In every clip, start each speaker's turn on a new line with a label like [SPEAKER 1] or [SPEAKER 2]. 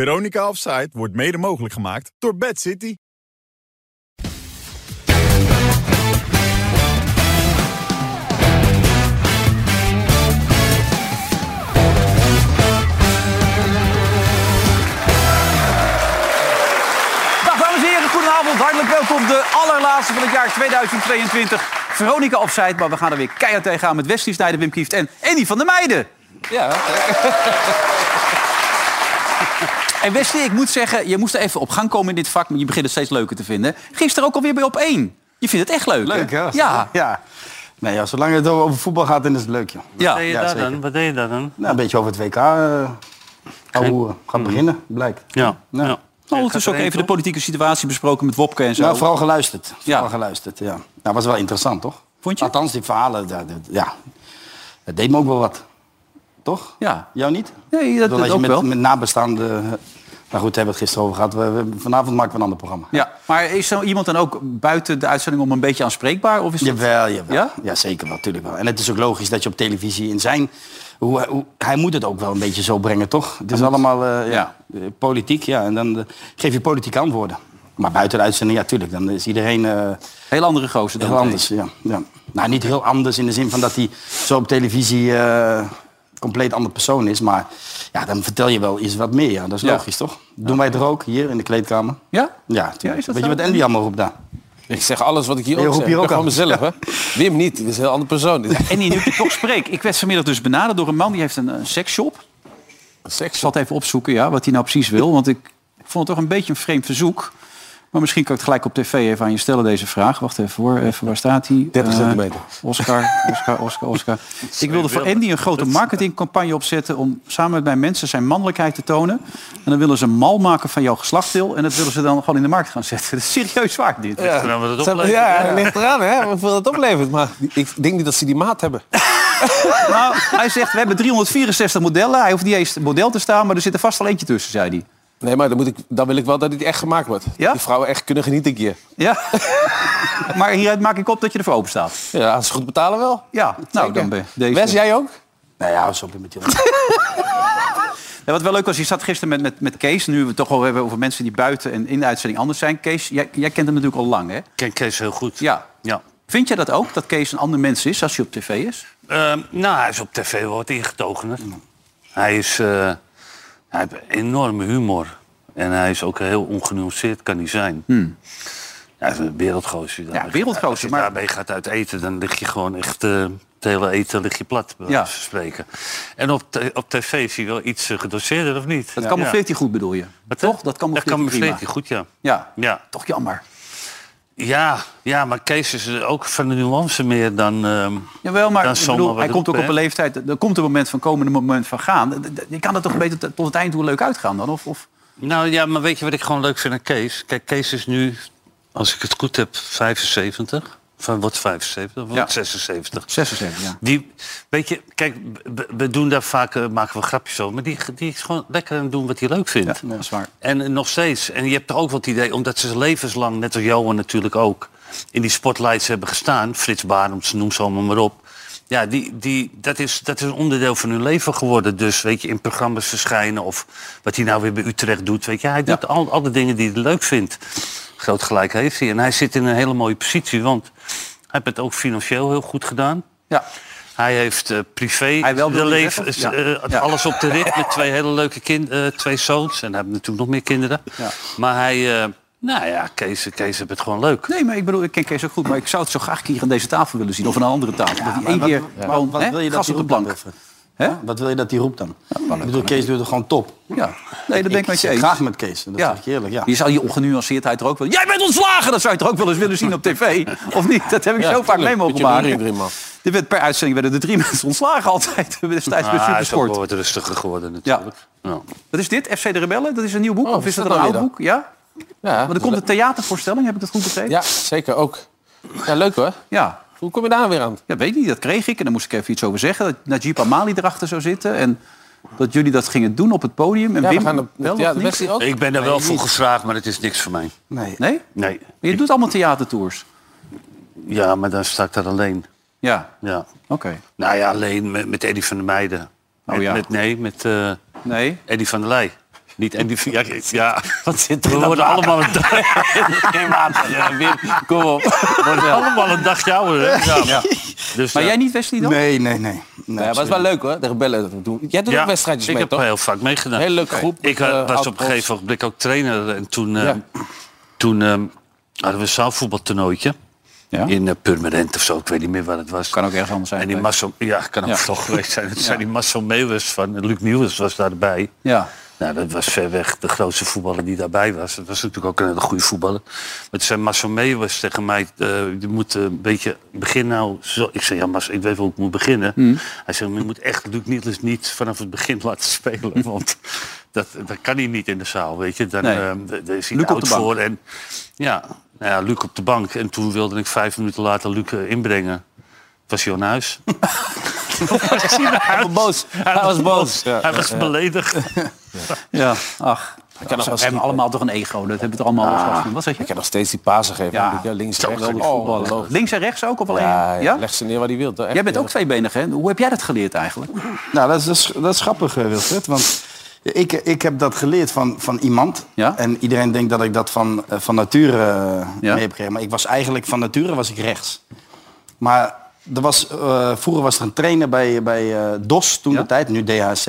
[SPEAKER 1] Veronica Offside wordt mede mogelijk gemaakt door Bad City.
[SPEAKER 2] Dag dames en heren, goedenavond. Hartelijk welkom. De allerlaatste van het jaar 2022. Veronica opzij, maar we gaan er weer keihard tegenaan met Wesley Snijder, Wim Kieft en Annie van der Meijden.
[SPEAKER 3] Ja,
[SPEAKER 2] En Wesley, ik moet zeggen, je moest er even op gang komen in dit vak, maar je begint het steeds leuker te vinden. Gisteren ook alweer bij op één. Je vindt het echt leuk,
[SPEAKER 3] Leuk,
[SPEAKER 2] hè?
[SPEAKER 3] ja.
[SPEAKER 2] Ja.
[SPEAKER 4] Ja. Nee, ja, zolang het over voetbal gaat, dan is het leuk, joh.
[SPEAKER 2] ja.
[SPEAKER 5] deed je
[SPEAKER 4] ja,
[SPEAKER 5] dat
[SPEAKER 4] zeker.
[SPEAKER 5] dan? Wat deed je dat dan?
[SPEAKER 4] Nou, een beetje over het WK. eh ouwe,
[SPEAKER 2] Hmm.
[SPEAKER 4] gaat beginnen, blijkt.
[SPEAKER 5] Ja.
[SPEAKER 4] Nou.
[SPEAKER 5] ja.
[SPEAKER 2] Nou, ondertussen ook even de politieke situatie besproken met Wopke en zo.
[SPEAKER 4] Nou, vooral geluisterd. Vooral
[SPEAKER 2] Ja.
[SPEAKER 4] geluisterd, ja. Nou, was wel interessant, toch?
[SPEAKER 2] Vond je?
[SPEAKER 4] Althans, die verhalen, dat, dat- ja. Dat deed me ook wel wat. Toch?
[SPEAKER 2] Ja.
[SPEAKER 4] Jou niet?
[SPEAKER 2] Nee,
[SPEAKER 4] Ik
[SPEAKER 2] dat,
[SPEAKER 4] bedoel,
[SPEAKER 2] dat
[SPEAKER 4] als je
[SPEAKER 2] ook
[SPEAKER 4] met,
[SPEAKER 2] wel.
[SPEAKER 4] met nabestaanden... eh, Nou goed, daar hebben we het gisteren over gehad. We, we- vanavond maken we een ander programma.
[SPEAKER 2] Ja. Maar is zo iemand dan ook buiten de uitzending om een beetje aanspreekbaar? Of is dat...
[SPEAKER 4] Jawel, jawel.
[SPEAKER 2] Ja?
[SPEAKER 4] Ja? zeker wel, natuurlijk wel. En het is ook logisch dat je op televisie in zijn... Hoe, hoe, hij moet het ook wel een beetje zo brengen, toch? Het is allemaal eh, ja, eh, politiek, ja. En dan eh, geef je politieke antwoorden. Maar buiten de uitzending, ja, tuurlijk. Dan is iedereen eh,
[SPEAKER 2] Heel andere gozer dan
[SPEAKER 4] heel anders. Ja, ja. Nou, niet heel anders in de zin van dat hij zo op televisie... eh, compleet ander persoon is. Maar ja, dan vertel je wel iets wat meer. Ja. Dat is
[SPEAKER 2] Ja.
[SPEAKER 4] logisch, toch? Doen wij het er ook, hier in de kleedkamer?
[SPEAKER 2] Ja?
[SPEAKER 4] Ja, tuurlijk.
[SPEAKER 2] is dat
[SPEAKER 4] Weet
[SPEAKER 2] zo?
[SPEAKER 4] je wat Andy allemaal roept daar?
[SPEAKER 3] Ik zeg alles wat ik hier
[SPEAKER 4] Je
[SPEAKER 3] ook
[SPEAKER 4] roept
[SPEAKER 3] zeg.
[SPEAKER 4] hier
[SPEAKER 3] Ik
[SPEAKER 4] ook
[SPEAKER 3] ben
[SPEAKER 4] aan.
[SPEAKER 3] gewoon mezelf, hè. Wim niet. Dit is een heel andere persoon. Dit is
[SPEAKER 2] En die nu ik je toch spreek. Ik werd vanmiddag dus benaderd door een man die heeft een, eh, seksshop.
[SPEAKER 3] een
[SPEAKER 2] Ik
[SPEAKER 3] seks.
[SPEAKER 2] zal het even opzoeken ja, wat hij nou precies wil. Want ik vond het toch een beetje een vreemd verzoek. Maar misschien kan ik het gelijk op tv even aan je stellen deze vraag. Wacht even hoor, even waar staat hij?
[SPEAKER 3] 30
[SPEAKER 2] Eh,
[SPEAKER 3] centimeter.
[SPEAKER 2] Oscar, Oscar, Oscar, Oscar. Ik wilde voor Andy een grote marketingcampagne opzetten... om samen met mijn mensen zijn mannelijkheid te tonen. En dan willen ze een mal maken van jouw geslachtsdeel... en dat willen ze dan gewoon in de markt gaan zetten. Dat is serieus waar dit.
[SPEAKER 3] Ja,
[SPEAKER 5] dan wat het
[SPEAKER 3] Zou-
[SPEAKER 5] oplevert,
[SPEAKER 3] ja,
[SPEAKER 5] ja.
[SPEAKER 3] ligt eraan, hè. Hoeveel dat oplevert. Maar ik denk niet dat ze die maat hebben.
[SPEAKER 2] Nou, hij zegt, we hebben 364 modellen. Hij hoeft niet eens model te staan, maar er zit er vast al eentje tussen, zei hij.
[SPEAKER 3] Nee, maar dan, moet ik, dan wil ik wel dat dit echt gemaakt wordt.
[SPEAKER 2] Ja?
[SPEAKER 3] Die vrouwen echt kunnen genieten een keer.
[SPEAKER 2] Ja. maar hieruit maak ik op dat je ervoor open staat.
[SPEAKER 3] Ja, als ze goed betalen wel.
[SPEAKER 2] Ja, nou dan ben deze.
[SPEAKER 3] Wes, jij ook?
[SPEAKER 4] Nou ja, hou eens op met die
[SPEAKER 2] Ja, wat wel leuk was, je zat gisteren met, met, met Kees. Nu we het toch al hebben over mensen die buiten en in de uitzending anders zijn. Kees, jij, jij kent hem natuurlijk al lang, hè?
[SPEAKER 5] Ik ken Kees heel goed.
[SPEAKER 2] Ja.
[SPEAKER 5] ja.
[SPEAKER 2] Vind jij dat ook, dat Kees een ander mens is als hij op tv is?
[SPEAKER 5] Ehm, nou, hij is op tv wel wat ingetogener. Hij, is, eh, hij heeft enorme humor. En hij is ook heel ongenuanceerd, kan hij zijn. Hij is een wereldgozer. Daarmee-
[SPEAKER 2] Hm. wereldgozer,
[SPEAKER 5] Als je
[SPEAKER 2] maar-
[SPEAKER 5] daarbij gaat uit eten, dan lig je gewoon echt... eh, het hele eten lig je plat, bij
[SPEAKER 2] Ja.
[SPEAKER 5] wijze van spreken. En op, t- op tv is hij wel iets eh, gedoseerder, of niet?
[SPEAKER 2] Dat
[SPEAKER 5] Ja.
[SPEAKER 2] camoufleert hij goed, bedoel je?
[SPEAKER 5] Wat, hè?
[SPEAKER 2] Toch? Dat camoufleert hij prima.
[SPEAKER 5] camoufleert hij goed, ja.
[SPEAKER 2] Ja.
[SPEAKER 5] Ja.
[SPEAKER 2] Toch jammer.
[SPEAKER 5] Ja, ja, maar Kees is eh, ook van de nuance meer dan... ehm,
[SPEAKER 2] Jawel, maar
[SPEAKER 5] dan
[SPEAKER 2] ik
[SPEAKER 5] zomaar
[SPEAKER 2] bedoel,
[SPEAKER 5] wat
[SPEAKER 2] hij komt ook
[SPEAKER 5] roepen,
[SPEAKER 2] op een
[SPEAKER 5] hè?
[SPEAKER 2] leeftijd. Er komt een moment van komen en een moment van gaan. D- d- Je kan dat toch beter t- tot het eind hoe leuk uitgaan dan? Of, of...
[SPEAKER 5] Nou ja, maar weet je wat ik gewoon leuk vind aan Kees? Kijk, Kees is nu, als ik het goed heb, 75. Van wat 75? Wat
[SPEAKER 2] Ja.
[SPEAKER 5] 76.
[SPEAKER 2] 76, ja.
[SPEAKER 5] Die, weet je, kijk, we- we doen daar vaak, eh, maken we grapjes over, maar die, die is gewoon lekker aan het doen wat hij leuk vindt.
[SPEAKER 2] Ja, dat is waar.
[SPEAKER 5] En eh, nog steeds. En je hebt toch ook wat idee, omdat ze levenslang, net als Johan natuurlijk ook, in die spotlights hebben gestaan. Frits Barends, noem ze allemaal maar op. Ja, die, die, dat, is, dat is een onderdeel van hun leven geworden. Dus weet je, in programma's verschijnen of wat hij nou weer bij Utrecht doet. Weet je, hij doet al, alle dingen die hij leuk vindt. Groot gelijk heeft hij. En hij zit in een hele mooie positie, want hij heeft het ook financieel heel goed gedaan.
[SPEAKER 2] Ja.
[SPEAKER 5] Hij heeft eh, privé
[SPEAKER 2] Hij wel
[SPEAKER 5] de
[SPEAKER 2] wil
[SPEAKER 5] leven-
[SPEAKER 2] die zeggen?
[SPEAKER 5] eh,
[SPEAKER 2] Ja.
[SPEAKER 5] eh,
[SPEAKER 2] Ja.
[SPEAKER 5] alles op de rit met twee hele leuke kind, eh, twee zoons. En hij heeft natuurlijk nog meer kinderen. Maar hij, eh, nou ja, Kees, Kees heeft het gewoon leuk.
[SPEAKER 2] Nee, maar ik bedoel, ik ken Kees ook goed. Maar ik zou het zo graag hier aan deze tafel willen zien. Of aan een andere tafel. dat hij één keer gewoon
[SPEAKER 4] wat
[SPEAKER 2] hè,
[SPEAKER 4] wil je dat
[SPEAKER 2] gas
[SPEAKER 4] die
[SPEAKER 2] op de
[SPEAKER 4] roept dan,
[SPEAKER 2] plank.
[SPEAKER 4] Wilfred?
[SPEAKER 2] Hè?
[SPEAKER 4] Ja, Wat wil je dat die roept dan? ik bedoel, Kees doet het gewoon top.
[SPEAKER 2] Ja, nee, dat ben ik met je
[SPEAKER 4] zit
[SPEAKER 2] eens.
[SPEAKER 4] graag met Kees, dat
[SPEAKER 2] Ja.
[SPEAKER 4] zeg ik eerlijk. Ja.
[SPEAKER 2] Je zou je ongenuanceerdheid er ook wel... Jij bent ontslagen! Dat zou je toch ook wel eens willen zien op tv? Of niet? Dat heb ik
[SPEAKER 3] Ja,
[SPEAKER 2] zo vaak
[SPEAKER 3] tuurlijk.
[SPEAKER 2] mee mogen
[SPEAKER 3] Beetje ruzie
[SPEAKER 2] maken.
[SPEAKER 3] erin, man.
[SPEAKER 2] Er werd per uitzending werden er drie mensen ontslagen altijd. Destijds bij
[SPEAKER 5] Maar hij Ah, is ook wel wat
[SPEAKER 2] Supersport.
[SPEAKER 5] rustiger geworden natuurlijk. Ja.
[SPEAKER 2] Wat is dit? FC de Rebellen? Dat is een nieuw boek?
[SPEAKER 3] Oh,
[SPEAKER 2] of is
[SPEAKER 3] is
[SPEAKER 2] dat,
[SPEAKER 3] dat
[SPEAKER 2] een
[SPEAKER 3] nou
[SPEAKER 2] oud
[SPEAKER 3] weer
[SPEAKER 2] boek? Ja?
[SPEAKER 3] Ja,
[SPEAKER 2] Maar er komt een theatervoorstelling, heb ik dat goed begrepen?
[SPEAKER 3] Ja, zeker ook. Ja, leuk hoor.
[SPEAKER 2] ja.
[SPEAKER 3] Hoe kom je daar nou weer aan?
[SPEAKER 2] Ja, weet ik niet. Dat kreeg ik. En dan moest ik even iets over zeggen. Dat Najib Amali erachter zou zitten. En dat jullie dat gingen doen op het podium. En
[SPEAKER 3] Ja,
[SPEAKER 2] Wim
[SPEAKER 3] we gaan de,
[SPEAKER 2] wel
[SPEAKER 3] ja,
[SPEAKER 2] of
[SPEAKER 3] de
[SPEAKER 2] niet?
[SPEAKER 3] Wesley ook.
[SPEAKER 5] Ik ben er wel voor gevraagd, maar het is niks voor mij.
[SPEAKER 4] Nee.
[SPEAKER 2] Nee?
[SPEAKER 5] Nee.
[SPEAKER 2] Maar je doet allemaal theatertours.
[SPEAKER 5] Ja, maar dan sta ik daar alleen.
[SPEAKER 2] Ja,
[SPEAKER 5] Ja.
[SPEAKER 2] oké.
[SPEAKER 5] Nou ja, alleen met, met Eddie van der Meijden.
[SPEAKER 2] Oh
[SPEAKER 5] Met-
[SPEAKER 2] ja.
[SPEAKER 5] met, nee, met eh
[SPEAKER 2] Nee.
[SPEAKER 5] Eddie van der Leij. Niet, en die, ja, ja.
[SPEAKER 4] Wat zit
[SPEAKER 5] We
[SPEAKER 4] er dan
[SPEAKER 5] worden
[SPEAKER 4] aan?
[SPEAKER 5] allemaal een dag,
[SPEAKER 4] Geen water. Ja, Wim, kom op. Wordt wel.
[SPEAKER 5] allemaal een dag jouw. Ja. Dus,
[SPEAKER 2] Maar
[SPEAKER 5] eh,
[SPEAKER 2] jij niet, Wesley, dan?
[SPEAKER 4] Nee, nee, nee.
[SPEAKER 3] Ja,
[SPEAKER 4] nee
[SPEAKER 3] maar het is wel leuk hoor, de rebellen. doen. Jij doet ook wedstrijdjes
[SPEAKER 5] ik
[SPEAKER 3] mee,
[SPEAKER 5] heb eh,
[SPEAKER 3] toch?
[SPEAKER 5] heel vaak meegedaan.
[SPEAKER 3] Hele leuke groep
[SPEAKER 5] Ik
[SPEAKER 3] met,
[SPEAKER 5] eh, was
[SPEAKER 3] eh,
[SPEAKER 5] op een
[SPEAKER 3] oud-profs.
[SPEAKER 5] gegeven moment ook trainer. En toen, eh,
[SPEAKER 3] Ja.
[SPEAKER 5] toen eh, hadden we een zaalvoetbaltoernooitje.
[SPEAKER 2] Ja.
[SPEAKER 5] In eh, Purmerend of zo, ik weet niet meer waar het was.
[SPEAKER 2] Kan ook ergens anders zijn
[SPEAKER 5] En die
[SPEAKER 2] geweest.
[SPEAKER 5] Marcel, ja, kan ook
[SPEAKER 2] Ja.
[SPEAKER 5] toch geweest zijn. Het zijn die Marcel Meeuwers van Luc Nieuwers was daarbij.
[SPEAKER 2] Ja.
[SPEAKER 5] Nou, dat was ver weg de grootste voetballer die daarbij was. Dat was natuurlijk ook een hele goede voetballer. Maar toen zei Marcel Meeuwers tegen mij, eh, je moet eh, een beetje, begin nou zo. Ik zei, ja Mas, ik weet wel hoe ik moet beginnen.
[SPEAKER 2] Hmm.
[SPEAKER 5] Hij zei, maar je moet echt Luc Niels niet vanaf het begin laten spelen. Want dat, dat kan hij niet in de zaal, weet je. Dan,
[SPEAKER 2] Nee.
[SPEAKER 5] eh, d- daar is hij
[SPEAKER 2] Luc op
[SPEAKER 5] oud
[SPEAKER 2] de bank.
[SPEAKER 5] voor. En, ja, nou ja, Luc op de bank. En toen wilde ik vijf minuten later Luc eh, inbrengen. Was hij aan huis?
[SPEAKER 3] Hij was boos. Hij was boos. Ja.
[SPEAKER 5] Hij was beledigd.
[SPEAKER 2] Ja, ach.
[SPEAKER 3] nog wel
[SPEAKER 2] Ze hebben allemaal toch een ego. Dat hebben we toch allemaal ah. Wat zeg je?
[SPEAKER 3] Ik heb nog steeds die Pasen gegeven.
[SPEAKER 2] Ja.
[SPEAKER 3] Ja. Links,
[SPEAKER 2] Zo
[SPEAKER 3] rechts.
[SPEAKER 2] kan die
[SPEAKER 3] Oh,
[SPEAKER 2] voetballen.
[SPEAKER 3] geloof ik.
[SPEAKER 2] Links en rechts ook op alleen.
[SPEAKER 3] Ja,
[SPEAKER 2] Ja,
[SPEAKER 3] ja, leg ze neer waar hij wil. toch? Echt, eh,
[SPEAKER 2] Jij bent
[SPEAKER 3] ja.
[SPEAKER 2] ook tweebenig, hè? Hoe heb jij dat geleerd eigenlijk?
[SPEAKER 4] Nou, dat is, dat is, dat is grappig, eh, Wilfred. Want ik, ik heb dat geleerd van, van iemand.
[SPEAKER 2] Ja?
[SPEAKER 4] En iedereen denkt dat ik dat van, eh, van nature eh,
[SPEAKER 2] Ja.
[SPEAKER 4] mee heb gekregen. Maar ik was eigenlijk van nature was ik rechts. Maar er was, eh, vroeger was er een trainer bij, bij eh, DOS, toen
[SPEAKER 2] Ja?
[SPEAKER 4] de tijd, nu DHC.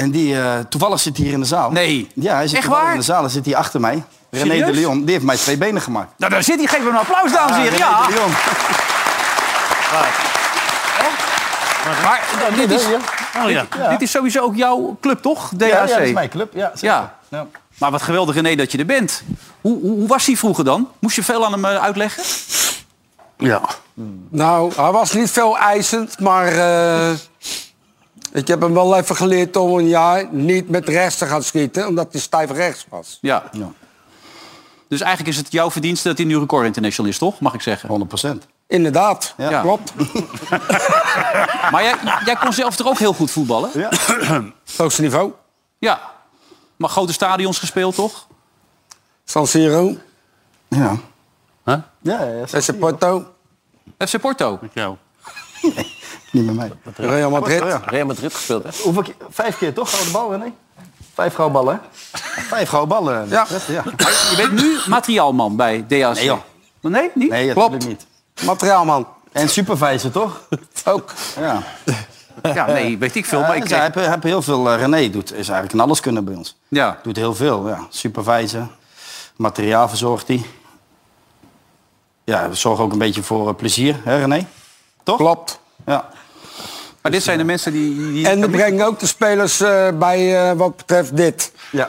[SPEAKER 4] En die, eh, toevallig zit hij hier in de zaal.
[SPEAKER 2] Nee.
[SPEAKER 4] Ja, hij zit
[SPEAKER 2] Echt
[SPEAKER 4] toevallig
[SPEAKER 2] waar?
[SPEAKER 4] in de zaal. Hij zit hier achter mij. René
[SPEAKER 2] Serieus?
[SPEAKER 4] de Leon, die heeft mij twee benen gemaakt.
[SPEAKER 2] Nou, daar zit hij. Geef hem een applaus,
[SPEAKER 3] Ah,
[SPEAKER 2] dames en heren. Ja.
[SPEAKER 4] René de Leon.
[SPEAKER 2] Maar nou, dit, is,
[SPEAKER 5] Oh ja.
[SPEAKER 2] dit is sowieso ook jouw club, toch? DHC.
[SPEAKER 4] Ja, ja, dat is mijn club. Ja, zeker.
[SPEAKER 2] Ja.
[SPEAKER 4] Ja.
[SPEAKER 2] Maar wat geweldig, René, dat je er bent. Hoe, hoe, hoe was hij vroeger dan? Moest je veel aan hem eh, uitleggen?
[SPEAKER 5] ja.
[SPEAKER 6] Nou, hij was niet veel eisend, maar eh, ik heb hem wel even geleerd om een jaar niet met rechts te gaan schieten, omdat hij stijf rechts was.
[SPEAKER 2] Ja. Dus eigenlijk is het jouw verdienste dat hij nu record international is, toch? Mag ik zeggen.
[SPEAKER 4] 100 procent.
[SPEAKER 6] Inderdaad,
[SPEAKER 2] Ja.
[SPEAKER 6] klopt.
[SPEAKER 2] Maar jij, jij kon zelf toch ook heel goed voetballen?
[SPEAKER 6] Hoogste niveau,
[SPEAKER 2] Ja. Maar grote stadions gespeeld, toch?
[SPEAKER 6] San Siro,
[SPEAKER 4] Ja.
[SPEAKER 5] Huh?
[SPEAKER 4] Ja, ja, ja.
[SPEAKER 6] FC Porto,
[SPEAKER 2] FC Porto.
[SPEAKER 5] Met jou.
[SPEAKER 4] Niet met mij.
[SPEAKER 6] Real Madrid.
[SPEAKER 4] Ja.
[SPEAKER 3] Real Madrid gespeeld. Hè?
[SPEAKER 4] Hoeveel keer? Vijf keer toch? Gouden bal, René? Vijf gouden ballen, hè? Vijf gouden ballen.
[SPEAKER 6] Ja.
[SPEAKER 4] ja.
[SPEAKER 2] Je bent nu materiaalman bij DHC.
[SPEAKER 4] Nee, joh.
[SPEAKER 2] Nee, niet?
[SPEAKER 4] Nee,
[SPEAKER 6] Klopt.
[SPEAKER 4] natuurlijk niet.
[SPEAKER 6] Materiaalman,
[SPEAKER 4] En supervisor, toch?
[SPEAKER 6] ook.
[SPEAKER 4] Ja.
[SPEAKER 2] Ja, nee, weet ik veel.
[SPEAKER 4] Ja,
[SPEAKER 2] Maar ik
[SPEAKER 4] dus
[SPEAKER 2] kreeg-
[SPEAKER 4] hij heeft, heeft heel veel... eh, René doet, is eigenlijk een alles kunnen bij ons.
[SPEAKER 2] Ja.
[SPEAKER 4] Doet heel veel, ja. Supervisor. Materiaal verzorgt hij. Ja, we zorgen ook een beetje voor eh, plezier, hè René? Toch?
[SPEAKER 6] Klopt.
[SPEAKER 4] Ja.
[SPEAKER 2] Maar dit zijn de mensen die... die-
[SPEAKER 6] En we brengen ook de spelers eh, bij eh, wat betreft dit.
[SPEAKER 4] Ja.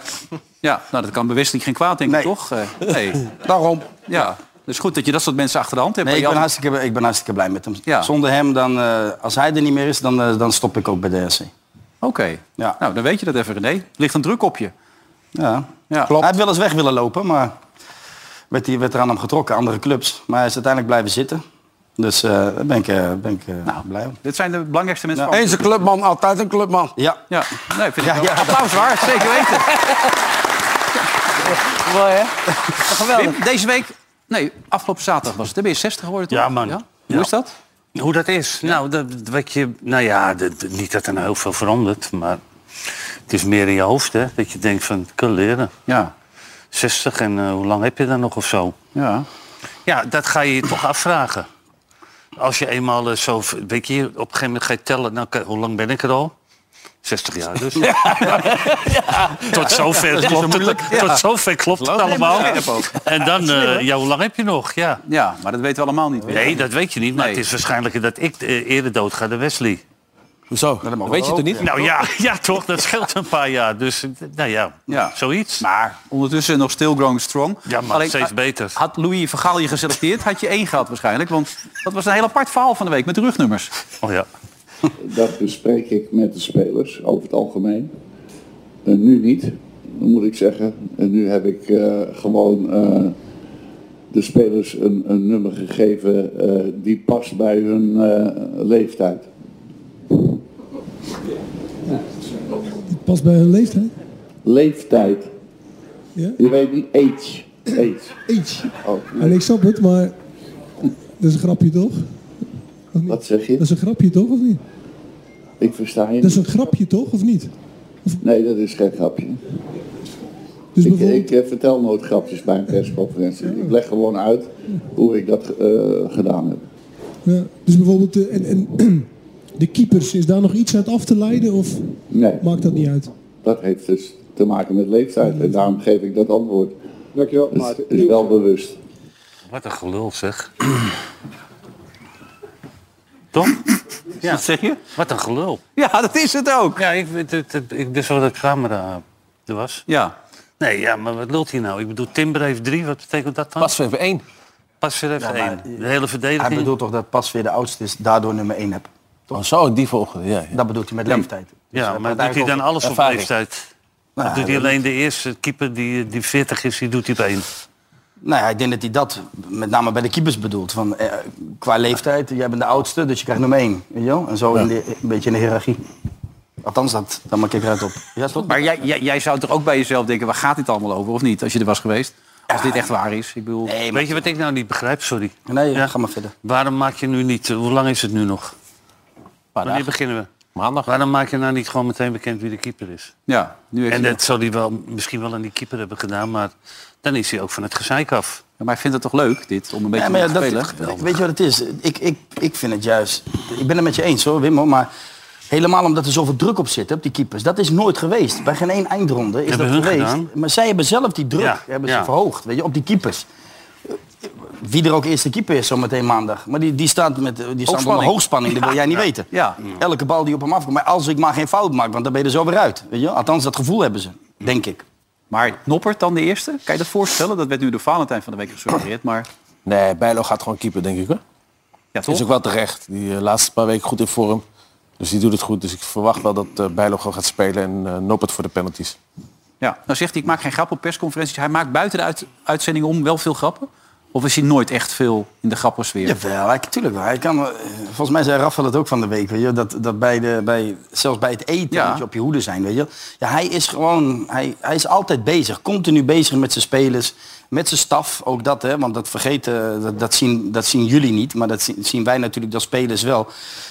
[SPEAKER 2] Ja, nou, dat kan bewust niet geen kwaad, denk ik,
[SPEAKER 4] Nee.
[SPEAKER 2] toch? Eh, nee.
[SPEAKER 6] Daarom.
[SPEAKER 2] Ja. Dus goed dat je dat soort mensen achter de hand hebt.
[SPEAKER 4] Nee, ik
[SPEAKER 2] Maar
[SPEAKER 4] ben,
[SPEAKER 2] Jan-
[SPEAKER 4] hartstikke, ik ben hartstikke blij met hem.
[SPEAKER 2] Ja.
[SPEAKER 4] Zonder hem, dan, eh, als hij er niet meer is, dan, eh, dan stop ik ook bij DRC.
[SPEAKER 2] Oké.
[SPEAKER 4] Ja.
[SPEAKER 2] Nou, dan weet je dat even, René. Ligt een druk op je.
[SPEAKER 4] Ja.
[SPEAKER 2] Ja.
[SPEAKER 4] Hij had wel eens weg willen lopen, maar werd, die, werd er aan hem getrokken, andere clubs. Maar hij is uiteindelijk blijven zitten. Dus eh, daar ben ik, eh, ben ik eh, blij om.
[SPEAKER 2] Dit zijn de belangrijkste mensen van...
[SPEAKER 6] Eens een clubman, altijd een clubman.
[SPEAKER 4] Ja,
[SPEAKER 2] Ja, nee, ik vind ik
[SPEAKER 4] Ja,
[SPEAKER 2] wel.
[SPEAKER 4] ja.
[SPEAKER 2] Applaus waard, zeker weten. Mooi, hè? Geweldig. Wim, deze week... Nee, afgelopen zaterdag was het. Dan ben je 60 geworden, toch?
[SPEAKER 5] Ja, man.
[SPEAKER 2] Hoe
[SPEAKER 5] Ja.
[SPEAKER 2] is dat?
[SPEAKER 5] Hoe dat is? Nou, dat, wat je, nou ja, dat- dat- niet dat er nou heel veel verandert, maar het is meer in je hoofd, hè? Dat je denkt van, ik kan leren.
[SPEAKER 2] Ja.
[SPEAKER 5] 60 en eh, hoe lang heb je dan nog of zo?
[SPEAKER 2] Ja.
[SPEAKER 5] Ja, dat ga je je toch afvragen. Als je eenmaal eh, zo, weet je, op een gegeven moment ga je tellen, nou, kijk, hoe lang ben ik er al? 60 jaar dus. Tot zover klopt het, tot zover klopt het allemaal. En dan, eh, ja, hoe lang heb je nog? Ja.
[SPEAKER 2] Ja, maar dat weten we allemaal niet.
[SPEAKER 5] Nee, dat weet je niet. Maar
[SPEAKER 2] Nee.
[SPEAKER 5] het is waarschijnlijk dat ik eh, eerder dood ga dan Wesley.
[SPEAKER 3] Hoezo? weet je toch niet?
[SPEAKER 5] Nou ja, ja toch, dat scheelt een paar jaar. Dus eh, nou ja,
[SPEAKER 2] Ja.
[SPEAKER 5] zoiets.
[SPEAKER 2] Maar ondertussen nog still growing strong.
[SPEAKER 5] ja, maar
[SPEAKER 2] Alleen,
[SPEAKER 5] steeds
[SPEAKER 2] ah,
[SPEAKER 5] beter.
[SPEAKER 2] Had Louis van Gaal je geselecteerd, had je één gehad waarschijnlijk. Want dat was een heel apart verhaal van de week met de rugnummers.
[SPEAKER 5] Oh ja.
[SPEAKER 7] Dat bespreek ik met de spelers over het algemeen. En nu niet, moet ik zeggen. En nu heb ik eh, gewoon eh, de spelers een, een nummer gegeven eh, die past bij hun eh, leeftijd.
[SPEAKER 8] Pas bij hun leeftijd.
[SPEAKER 7] Leeftijd.
[SPEAKER 8] Ja.
[SPEAKER 7] Je weet niet, age. Age.
[SPEAKER 8] Eens.
[SPEAKER 7] Oh,
[SPEAKER 8] En ik snap het, maar dat is een grapje toch?
[SPEAKER 7] wat zeg
[SPEAKER 8] Dat
[SPEAKER 7] je?
[SPEAKER 8] is een grapje toch of niet?
[SPEAKER 7] Ik versta je
[SPEAKER 8] Dat is
[SPEAKER 7] niet.
[SPEAKER 8] een grapje toch of niet?
[SPEAKER 7] Nee, dat is geen grapje.
[SPEAKER 8] Dus
[SPEAKER 7] Ik, ik
[SPEAKER 8] bijvoorbeeld,
[SPEAKER 7] eh, vertel nooit grapjes bij een persconferentie. Ik leg gewoon uit hoe ik dat eh, gedaan heb.
[SPEAKER 8] ja, dus bijvoorbeeld eh, en, en de keepers, is daar nog iets uit af te leiden of
[SPEAKER 7] Nee,
[SPEAKER 8] maakt dat niet uit?
[SPEAKER 7] dat heeft dus te maken met leeftijd. En daarom geef ik dat antwoord.
[SPEAKER 9] Dankjewel,
[SPEAKER 7] Dat
[SPEAKER 9] Maarten.
[SPEAKER 7] is wel bewust.
[SPEAKER 5] Wat een gelul zeg. Toch? Ja.
[SPEAKER 2] Wat zeg je?
[SPEAKER 5] Wat een gelul.
[SPEAKER 2] Ja, dat is het ook.
[SPEAKER 5] Ja, ik, weet het- het- ik wist wel dat de camera er was.
[SPEAKER 2] Ja.
[SPEAKER 5] Nee, ja, maar wat lult hij nou? Ik bedoel, Timber heeft drie. Wat betekent dat dan?
[SPEAKER 3] Pas even één.
[SPEAKER 5] Passer heeft
[SPEAKER 4] Ja, Nou, maar- eh,
[SPEAKER 5] één. De hele verdediging.
[SPEAKER 4] Hij bedoelt toch dat pas weer de oudste is, daardoor nummer 1 heb.
[SPEAKER 3] Oh, zo, in die volgende. Ja, ja.
[SPEAKER 4] Dat bedoelt hij met leeftijd. Dus
[SPEAKER 5] ja,
[SPEAKER 4] hij
[SPEAKER 5] maar
[SPEAKER 4] praat
[SPEAKER 5] doet hij dan
[SPEAKER 4] eigenlijk
[SPEAKER 5] alles op
[SPEAKER 3] ervaring.
[SPEAKER 5] leeftijd?
[SPEAKER 4] Nou,
[SPEAKER 5] doet hij alleen de eerste keeper die, die 40 is, die doet hij op één.
[SPEAKER 4] Nou ja, ik denk dat hij dat met name bij de keepers bedoelt. Van, eh, qua leeftijd, jij bent de oudste, dus je krijgt nummer 1. Weet je wel? En zo in de- een beetje in de hiërarchie. Althans, dat, daar maak ik eruit op. Ja, toch?
[SPEAKER 2] Maar jij, jij, jij zou toch ook bij jezelf denken, waar gaat dit allemaal over of niet? Als je er was geweest. Als dit echt waar is. Ik bedoel,
[SPEAKER 4] Nee, maar,
[SPEAKER 5] Weet je wat ik nou niet begrijp? Sorry.
[SPEAKER 4] nee
[SPEAKER 5] Ja.
[SPEAKER 4] ga maar verder.
[SPEAKER 5] Waarom maak je nu niet... eh, Hoe lang is het nu nog? Wanneer beginnen we?
[SPEAKER 3] Maandag.
[SPEAKER 5] Waarom maak je nou niet gewoon meteen bekend wie de keeper is?
[SPEAKER 2] ja, nu heeft
[SPEAKER 5] En
[SPEAKER 2] hij-
[SPEAKER 5] dat zou hij wel, misschien wel aan die keeper hebben gedaan, maar dan is hij ook van het gezeik af.
[SPEAKER 2] Ja, Maar ik vind het toch leuk, dit, om een beetje
[SPEAKER 4] Ja, maar ja,
[SPEAKER 2] te spelen?
[SPEAKER 4] dat, weet je wat het is? Ik, ik, ik vind het juist... Ik ben het met je eens hoor, Wim. hoor, Maar helemaal omdat er zoveel druk op zit, op die keepers. Dat is nooit geweest. Bij geen één eindronde is
[SPEAKER 5] Hebben
[SPEAKER 4] dat
[SPEAKER 5] hun
[SPEAKER 4] geweest.
[SPEAKER 5] gedaan.
[SPEAKER 4] Maar zij hebben zelf die druk
[SPEAKER 5] Ja,
[SPEAKER 4] hebben ze
[SPEAKER 5] ja.
[SPEAKER 4] verhoogd. Weet je, op die keepers. Wie er ook eerste keeper is zometeen maandag. Maar die, die staat, met, die staat onder hoogspanning. Dat wil jij niet weten.
[SPEAKER 2] Ja.
[SPEAKER 4] Elke bal die op hem afkomt. Maar als ik maar geen fout maak, want dan ben je er zo weer uit. Weet je? Althans, dat gevoel hebben ze. Denk ik.
[SPEAKER 2] Maar Noppert dan de eerste? Kan je dat voorstellen? Dat werd nu door Valentijn van de week gesuggereerd, maar
[SPEAKER 3] Nee, Bijlo gaat gewoon keeper, denk ik. Hoor.
[SPEAKER 2] ja,
[SPEAKER 3] Is ook
[SPEAKER 2] toch?
[SPEAKER 3] wel terecht. Die eh, laatste paar weken goed in vorm. Dus die doet het goed. Dus ik verwacht wel dat eh Bijlo gewoon gaat spelen en eh Noppert voor de penalties.
[SPEAKER 2] Ja. Nou zegt hij, ik maak geen grap op persconferenties. Hij maakt buiten de uit- uitzending om wel veel grappen? Of is hij nooit echt veel in de grappensfeer?
[SPEAKER 4] Jawel, hij, tuurlijk wel. Hij kan, eh, volgens mij zei Rafael het ook van de week. Weet je, dat dat bij de, bij, zelfs bij het eten
[SPEAKER 2] Ja.
[SPEAKER 4] moet je op je hoede zijn. Weet je. Ja, hij is gewoon, hij, hij is altijd bezig. Continu bezig met zijn spelers. Met zijn staf, ook dat. Hè, want dat vergeten, dat, dat, zien, dat zien jullie niet. Maar dat zien, zien wij natuurlijk als spelers wel.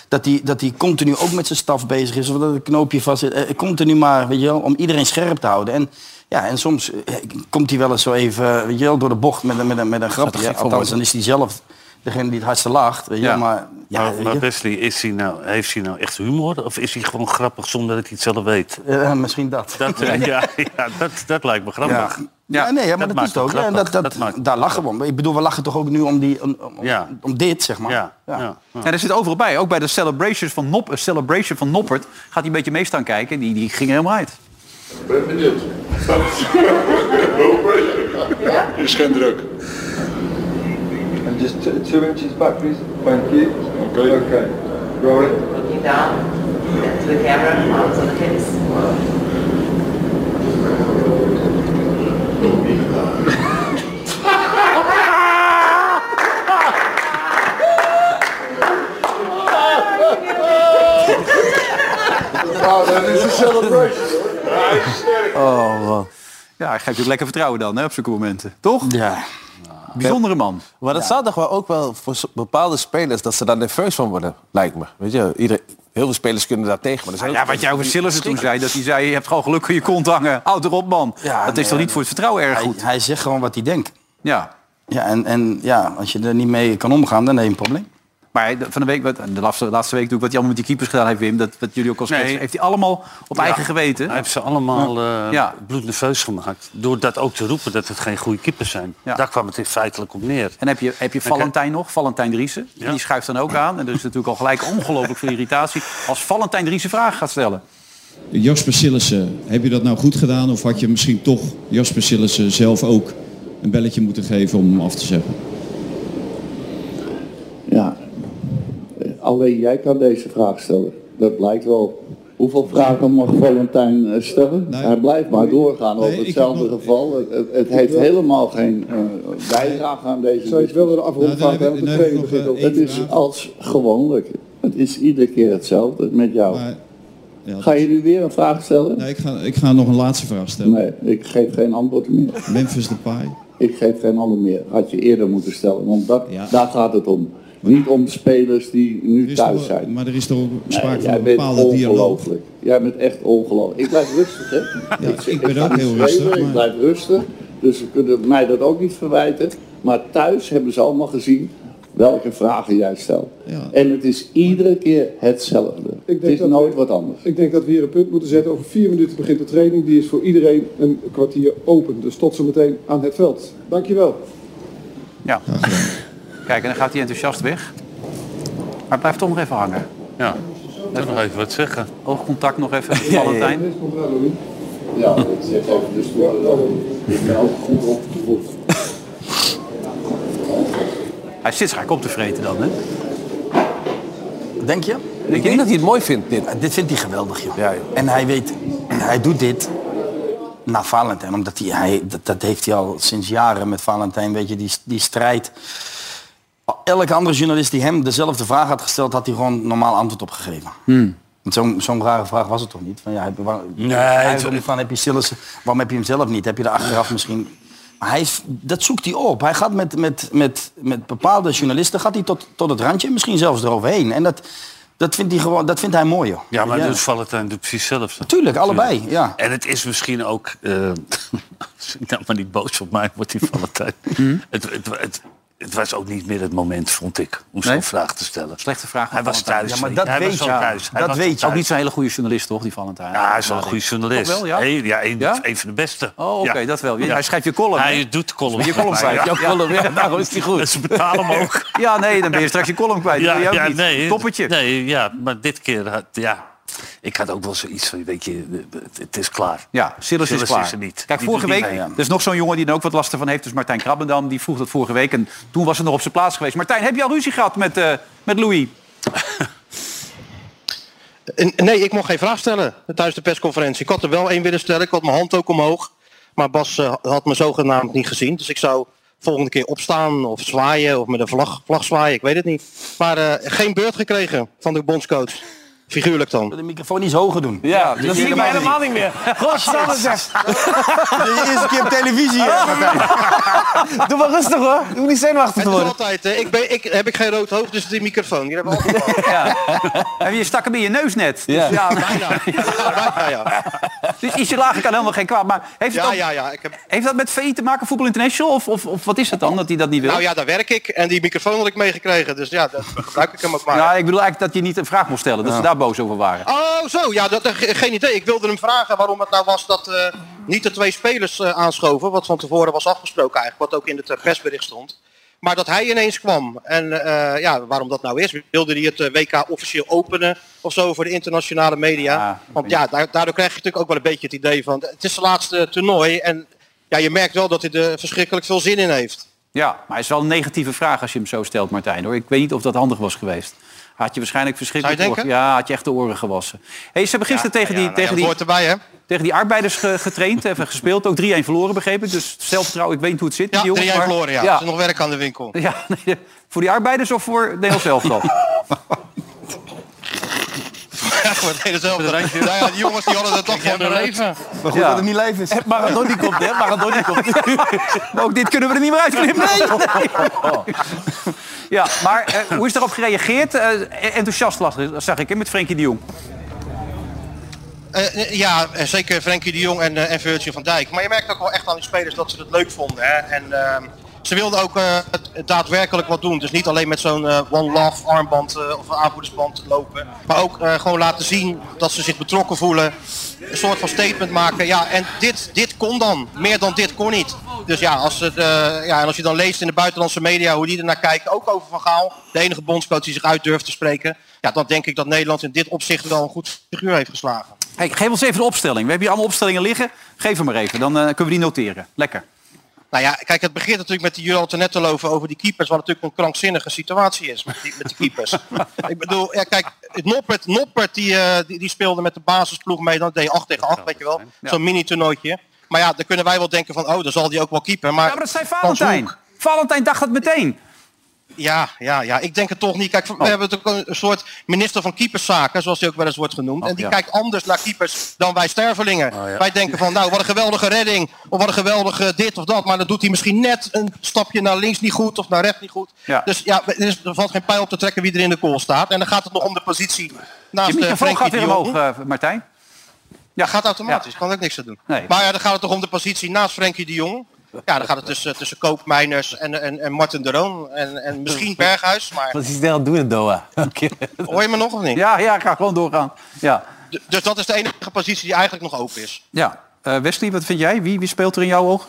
[SPEAKER 4] Dat hij dat die continu ook met zijn staf bezig is. Of dat een knoopje vast zit. Eh, Continu maar, weet je wel, om iedereen scherp te houden. En ja, en soms eh, komt hij wel eens zo even, weet je wel, door de bocht met, een- met, een- met een grapje.
[SPEAKER 3] gek
[SPEAKER 4] hè.
[SPEAKER 3] van
[SPEAKER 4] Althans,
[SPEAKER 3] worden.
[SPEAKER 4] dan is hij zelf degene die het hardste lacht. Weet je,
[SPEAKER 2] Ja.
[SPEAKER 4] ja. maar, ja,
[SPEAKER 5] maar,
[SPEAKER 4] weet
[SPEAKER 5] maar
[SPEAKER 4] je.
[SPEAKER 5] Wesley, is hij nou, heeft hij nou echt humor? Of is hij gewoon grappig zonder dat hij het zelf weet?
[SPEAKER 4] Eh, misschien dat.
[SPEAKER 5] Dat, eh, ja, ja, dat, dat lijkt me grappig.
[SPEAKER 4] Ja.
[SPEAKER 2] Ja,
[SPEAKER 4] Ja, nee, ja, maar
[SPEAKER 5] dat
[SPEAKER 4] dat,
[SPEAKER 5] maakt
[SPEAKER 4] is het ook.
[SPEAKER 5] het
[SPEAKER 4] Ja, en dat,
[SPEAKER 5] grappig.
[SPEAKER 4] dat,
[SPEAKER 5] Dat maakt het
[SPEAKER 4] daar lachen we om. Ik bedoel, we lachen toch ook nu om, die, om, om,
[SPEAKER 5] Ja.
[SPEAKER 4] om dit, zeg maar.
[SPEAKER 5] Ja, ja. ja.
[SPEAKER 2] Ja, daar zit overal bij. Ook bij de celebrations van, Nop, celebration van Noppert gaat hij een beetje mee staan kijken. Die, die ging er helemaal uit.
[SPEAKER 10] ben benieuwd. Is geen druk.
[SPEAKER 9] And just two, two inches back, please. Thank you.
[SPEAKER 10] Okay.
[SPEAKER 9] Okay. Roll it.
[SPEAKER 11] Looking down to the camera, arms on the hips.
[SPEAKER 7] Nou, dat is een celebration.
[SPEAKER 2] Ja, hij geeft natuurlijk lekker vertrouwen dan hè, op zulke momenten. Toch?
[SPEAKER 4] Ja.
[SPEAKER 2] Bijzondere man.
[SPEAKER 3] Maar dat staat toch wel ook wel voor s- bepaalde spelers dat ze daar nerveus van worden, lijkt me. Weet je, iedereen, heel veel spelers kunnen daar tegen. Maar er zijn
[SPEAKER 2] Nou Ja,
[SPEAKER 3] ook-
[SPEAKER 2] wat jij over Sillissen toen zei, dat hij zei, je hebt gewoon geluk in je kont hangen. Houd erop, man.
[SPEAKER 4] Ja,
[SPEAKER 2] dat
[SPEAKER 4] nee,
[SPEAKER 2] is toch niet
[SPEAKER 4] ja.
[SPEAKER 2] voor het vertrouwen erg
[SPEAKER 4] Hij,
[SPEAKER 2] goed?
[SPEAKER 4] hij zegt gewoon wat hij denkt.
[SPEAKER 2] Ja.
[SPEAKER 4] Ja, en, en ja, als je er niet mee kan omgaan, dan heb je een probleem.
[SPEAKER 2] Maar de- van de week, wat- de laatste, laatste week doe ik wat hij allemaal met die keepers gedaan heeft, Wim. Dat wat jullie ook al schetsen,
[SPEAKER 5] Nee.
[SPEAKER 2] heeft hij allemaal op eigen geweten.
[SPEAKER 5] Hij heeft ze allemaal eh
[SPEAKER 2] Ja.
[SPEAKER 5] bloednerveus gemaakt. Door dat ook te roepen dat het geen goede kippers zijn.
[SPEAKER 2] Ja.
[SPEAKER 5] Daar kwam het in feitelijk op neer.
[SPEAKER 2] En heb je, heb je Valentijn nog, Valentijn Driessen.
[SPEAKER 5] Ja.
[SPEAKER 2] Die schuift dan ook aan. En er is natuurlijk al gelijk ongelooflijk veel irritatie. Als Valentijn Driessen vragen gaat stellen.
[SPEAKER 10] Jasper Sillissen, heb je dat nou goed gedaan of had je misschien toch Jasper Sillissen zelf ook een belletje moeten geven om hem af te zetten?
[SPEAKER 7] Ja, alleen jij kan deze vraag stellen. Dat blijkt wel. Hoeveel vragen mag Valentijn eh, stellen?
[SPEAKER 10] Nee.
[SPEAKER 7] Hij blijft maar doorgaan
[SPEAKER 10] Nee,
[SPEAKER 7] over
[SPEAKER 10] ik
[SPEAKER 7] hetzelfde
[SPEAKER 10] heb nog-
[SPEAKER 7] geval. Het, het- het heeft helemaal geen eh, bijdrage aan deze
[SPEAKER 9] Zou je het wel
[SPEAKER 7] discussie.
[SPEAKER 9] willen afronden,
[SPEAKER 10] Nou, dan
[SPEAKER 9] Vaak, hè?
[SPEAKER 10] heb
[SPEAKER 9] Want de
[SPEAKER 10] ik- dan heb
[SPEAKER 9] tweede
[SPEAKER 10] ik nog,
[SPEAKER 9] begint
[SPEAKER 10] eh,
[SPEAKER 9] al.
[SPEAKER 10] één
[SPEAKER 7] Het is als gewoonlijk. Het is iedere keer hetzelfde met jou.
[SPEAKER 10] Maar, ja,
[SPEAKER 7] Ga je nu weer een vraag stellen?
[SPEAKER 10] nee, ik, ga, ik ga nog een laatste vraag stellen.
[SPEAKER 7] Nee, ik geef geen antwoord meer.
[SPEAKER 10] Memphis Depay.
[SPEAKER 7] Ik geef geen antwoord meer. Had je eerder moeten stellen, want dat,
[SPEAKER 10] Ja.
[SPEAKER 7] daar gaat het om. Niet om spelers die nu thuis zijn.
[SPEAKER 10] Maar er is toch ook sprake
[SPEAKER 7] Nee,
[SPEAKER 10] van
[SPEAKER 7] jij
[SPEAKER 10] een
[SPEAKER 7] bent
[SPEAKER 10] bepaalde dialoog.
[SPEAKER 7] ongelooflijk. Jij bent echt ongelooflijk. Ik blijf rustig, hè? ik, ik
[SPEAKER 10] ben
[SPEAKER 7] ga
[SPEAKER 10] ook
[SPEAKER 7] niet
[SPEAKER 10] heel
[SPEAKER 7] schreeuwen,
[SPEAKER 10] rustig, maar-
[SPEAKER 7] Ik blijf rustig. Dus ze kunnen mij dat ook niet verwijten. Maar thuis hebben ze allemaal gezien welke vragen jij stelt. En het is iedere keer hetzelfde.
[SPEAKER 12] denk
[SPEAKER 7] het is
[SPEAKER 12] dat
[SPEAKER 7] nooit wat anders.
[SPEAKER 12] Ik denk dat we hier een punt moeten zetten. Over vier minuten begint de training. Die is voor iedereen een kwartier open. Dus tot zometeen aan het veld. Dankjewel.
[SPEAKER 2] Ja. Kijk, en dan gaat hij enthousiast weg. Maar hij blijft toch nog even hangen.
[SPEAKER 5] Ja. Moet nog even wat zeggen.
[SPEAKER 2] Oogcontact nog even met Valentijn.
[SPEAKER 7] Ja, dat zit over de stoel. Ik ben ook goed op de voet.
[SPEAKER 2] Hij zit schaak op te vreten dan, hè?
[SPEAKER 4] Denk je? ik denk dat hij het mooi vindt, dit. Dit vindt hij geweldig, joh. En hij weet, hij doet dit na Valentijn. Omdat hij, hij dat, dat heeft hij al sinds jaren met Valentijn, weet je, die, die strijd. Elke andere journalist die hem dezelfde vraag had gesteld, had hij gewoon normaal antwoord op gegeven. Want Zo'n zo'n rare vraag was het toch niet? Van, ja, heb je, waar, nee, van, heb je Sillissen, waarom heb je hem zelf niet? Heb je er achteraf misschien... Maar hij is, dat zoekt hij op. Hij gaat met, met, met, met bepaalde journalisten gaat hij tot, tot het randje, misschien zelfs eroverheen. En dat, dat, vindt, hij gewoon, dat vindt hij mooi, joh.
[SPEAKER 5] Ja, maar dus
[SPEAKER 4] Ja.
[SPEAKER 5] dat doet Valentijn doet precies hetzelfde.
[SPEAKER 4] Tuurlijk, allebei, ja.
[SPEAKER 5] En het is misschien ook... eh als ik nou maar niet boos op mij wordt die Valentijn.
[SPEAKER 4] Hmm.
[SPEAKER 5] het, het, het, het was ook niet meer het moment, vond ik, om zo'n vraag te stellen.
[SPEAKER 2] Slechte vraag.
[SPEAKER 5] Hij was thuis.
[SPEAKER 2] Ja, maar dat
[SPEAKER 5] hij
[SPEAKER 2] weet
[SPEAKER 5] was al
[SPEAKER 2] je.
[SPEAKER 5] thuis. Hij
[SPEAKER 2] Dat
[SPEAKER 5] was al
[SPEAKER 2] weet je.
[SPEAKER 5] thuis.
[SPEAKER 2] Ook niet zo'n hele goede journalist, toch, die Valentijn?
[SPEAKER 5] Ja, hij is wel een goede journalist.
[SPEAKER 2] Toch wel, ja?
[SPEAKER 5] Hey, ja, een, een van de beste.
[SPEAKER 2] Oh, oké,
[SPEAKER 5] Ja.
[SPEAKER 2] dat wel.
[SPEAKER 5] Ja.
[SPEAKER 2] Hij schrijft je column.
[SPEAKER 5] Hij
[SPEAKER 2] hè?
[SPEAKER 5] doet de column.
[SPEAKER 2] Je column schrijft.
[SPEAKER 5] Ja.
[SPEAKER 2] Jouw column, ja, daarom is die goed.
[SPEAKER 5] En ze betalen hem ook.
[SPEAKER 2] Ja, nee, dan ben je straks je column kwijt. Dat wil je ook niet.
[SPEAKER 5] nee,
[SPEAKER 2] Toppertje.
[SPEAKER 5] Nee, ja, maar dit keer had, ja. Ik had ook wel zoiets van, weet je, het, het is klaar.
[SPEAKER 2] Ja, Silas is
[SPEAKER 5] Silas
[SPEAKER 2] klaar.
[SPEAKER 5] er niet.
[SPEAKER 2] Kijk,
[SPEAKER 5] Die
[SPEAKER 2] vorige
[SPEAKER 5] doet
[SPEAKER 2] week,
[SPEAKER 5] niet mee.
[SPEAKER 2] er is nog zo'n jongen die er ook wat last van heeft. Dus Martijn Krabbendam, die vroeg dat vorige week. En toen was het nog op zijn plaats geweest. Martijn, heb je al ruzie gehad met, eh, met Louis?
[SPEAKER 13] En- Nee, ik mocht geen vraag stellen tijdens de persconferentie. Ik had er wel één willen stellen. Ik had mijn hand ook omhoog. Maar Bas eh, had me zogenaamd niet gezien. Dus ik zou volgende keer opstaan of zwaaien of met een vlag, vlag zwaaien. Ik weet het niet. Maar eh, geen beurt gekregen van de bondscoach. Figuurlijk dan.
[SPEAKER 4] De microfoon iets hoger doen.
[SPEAKER 13] Ja,
[SPEAKER 4] dat zie je mij helemaal niet meer. Godsamme, zeg.
[SPEAKER 14] De eerste keer op televisie. hè, Martijn. Doe maar rustig hoor. Doe niet zenuwachtig
[SPEAKER 13] Het is
[SPEAKER 14] worden.
[SPEAKER 13] altijd, eh, ik ben, ik, heb ik geen rood hoofd, dus die microfoon. Die hebben we altijd.
[SPEAKER 2] En je stak hem in je neus net. Dus, ja. dus ietsje lager kan helemaal geen kwaad. Maar heeft, het
[SPEAKER 13] Ja,
[SPEAKER 2] ook-
[SPEAKER 13] ja, ja, ik heb-
[SPEAKER 2] heeft dat met VI te maken, Voetbal International? Of, of, of wat is het dan, dat hij dat niet wil?
[SPEAKER 13] Nou ja, daar werk ik. En die microfoon had ik meegekregen. Dus ja, daar gebruik ik hem ook maar.
[SPEAKER 2] Ja, ik bedoel eigenlijk dat je niet een vraag moest stellen. Dat ze daar boos over waren.
[SPEAKER 13] Oh, zo. Ja, dat, eh, ge- geen idee. Ik wilde hem vragen waarom het nou was dat eh, niet de twee spelers eh, aanschoven. Wat van tevoren was afgesproken eigenlijk. Wat ook in het eh, persbericht stond. Maar dat hij ineens kwam. En eh, ja, waarom dat nou is. Wilde hij het eh, WK officieel openen of zo voor de internationale media. Want ja, da- daardoor krijg je natuurlijk ook wel een beetje het idee van... Het is het laatste toernooi. En ja, je merkt wel dat hij er verschrikkelijk veel zin in heeft.
[SPEAKER 2] Ja, maar het is wel een negatieve vraag als je hem zo stelt, Martijn. Hoor. Ik weet niet of dat handig was geweest. Had je waarschijnlijk verschrikkelijk...
[SPEAKER 13] Zou je
[SPEAKER 2] oren- Ja, had je echt de oren gewassen. Hey, ze hebben gisteren tegen, die,
[SPEAKER 13] nou ja,
[SPEAKER 2] tegen,
[SPEAKER 13] dat
[SPEAKER 2] die,
[SPEAKER 13] hoort erbij, hè?
[SPEAKER 2] tegen die arbeiders ge- getraind en gespeeld. Ook 3-1 verloren, begreep ik. Dus zelfvertrouwen, ik weet niet hoe het zit. met
[SPEAKER 13] Ja,
[SPEAKER 2] die jongens,
[SPEAKER 13] 3-1
[SPEAKER 2] maar-
[SPEAKER 13] verloren, ja. Er is nog werk aan de winkel.
[SPEAKER 2] Ja, nee, voor die arbeiders of voor Nederland zelf dan?
[SPEAKER 13] Ja, voor het hele zelfde. Nou ja, die jongens die hadden dat toch gewoon hun leven.
[SPEAKER 14] Maar goed dat het niet live is. Maradoni komt, hè? Maradoni komt.
[SPEAKER 2] maar ook dit kunnen we er niet meer uitknippen. Ja, maar eh, hoe is erop gereageerd? Eh, enthousiast las- zag ik, hè, met Frenkie de Jong.
[SPEAKER 13] Eh, eh, ja, eh, zeker Frenkie de Jong en, eh, en Virgil van Dijk. Maar je merkt ook wel echt aan die spelers dat ze het leuk vonden. Hè? En ehm, ze wilden ook eh, het- het daadwerkelijk wat doen. Dus niet alleen met zo'n eh, One Love armband eh, of een aanvoerdersband lopen. Maar ook eh, gewoon laten zien dat ze zich betrokken voelen. Een soort van statement maken. Ja, en dit, dit kon dan. Meer dan dit kon niet. Dus ja, als het, eh, ja, en als je dan leest in de buitenlandse media hoe die ernaar kijken. Ook over Van Gaal. De enige bondscoach die zich uit durft te spreken. Ja, dan denk ik dat Nederland in dit opzicht wel een goed figuur heeft geslagen.
[SPEAKER 2] Hey, geef ons even de opstelling. We hebben hier allemaal opstellingen liggen. Geef hem maar even, dan eh, kunnen we die noteren. Lekker.
[SPEAKER 13] Nou ja, kijk, het begint natuurlijk met die jullie al te net te loven over die keepers, wat natuurlijk een krankzinnige situatie is met die, met die keepers. ik bedoel, ja, kijk, Noppert, Noppert die, eh, die, die speelde met de basisploeg mee, dan deed je 8 tegen 8, weet je wel. Zo'n mini-toernooitje. Maar ja, dan kunnen wij wel denken van, oh, dan zal die ook wel keepen. Maar,
[SPEAKER 2] Ja, maar dat zei Valentijn. Valentijn dacht dat meteen.
[SPEAKER 13] Ja, ja, ja, ik denk het toch niet. Kijk,
[SPEAKER 2] Oh.
[SPEAKER 13] we hebben natuurlijk een soort minister van keeperszaken, zoals hij ook wel eens wordt
[SPEAKER 2] Oh,
[SPEAKER 13] genoemd. en die
[SPEAKER 15] ja.
[SPEAKER 13] kijkt anders naar keepers dan wij stervelingen. Wij denken van, nou, wat een geweldige redding. Of wat een geweldige dit of dat. Maar dan doet hij misschien net een stapje naar links niet goed of naar rechts niet goed.
[SPEAKER 2] Ja.
[SPEAKER 13] Dus ja, er, is- er valt geen pijl op te trekken wie er in de kool staat. En dan gaat het nog om de positie naast
[SPEAKER 2] Je
[SPEAKER 13] de
[SPEAKER 2] microfoon
[SPEAKER 13] Frenkie
[SPEAKER 2] gaat
[SPEAKER 13] de
[SPEAKER 2] weer
[SPEAKER 13] Jong.
[SPEAKER 2] omhoog, eh, Martijn.
[SPEAKER 13] Ja, gaat automatisch. Kan ook niks aan doen.
[SPEAKER 2] Nee.
[SPEAKER 13] Maar ja, dan gaat het toch om de positie naast Frenkie de Jong. Ja, dan gaat het tussen, tussen Koop, Meiners en, en, en Martin de Roon. En, en misschien Berghuis. Maar
[SPEAKER 14] Wat is hij daar aan het doen in Doha?
[SPEAKER 13] hoor je me nog of niet?
[SPEAKER 2] Ja, ja, ik ga gewoon doorgaan. Ja,
[SPEAKER 13] D- Dus dat is de enige positie die eigenlijk nog open is.
[SPEAKER 2] ja. Eh, Wesley, wat vind jij? Wie, wie speelt er in jouw ogen?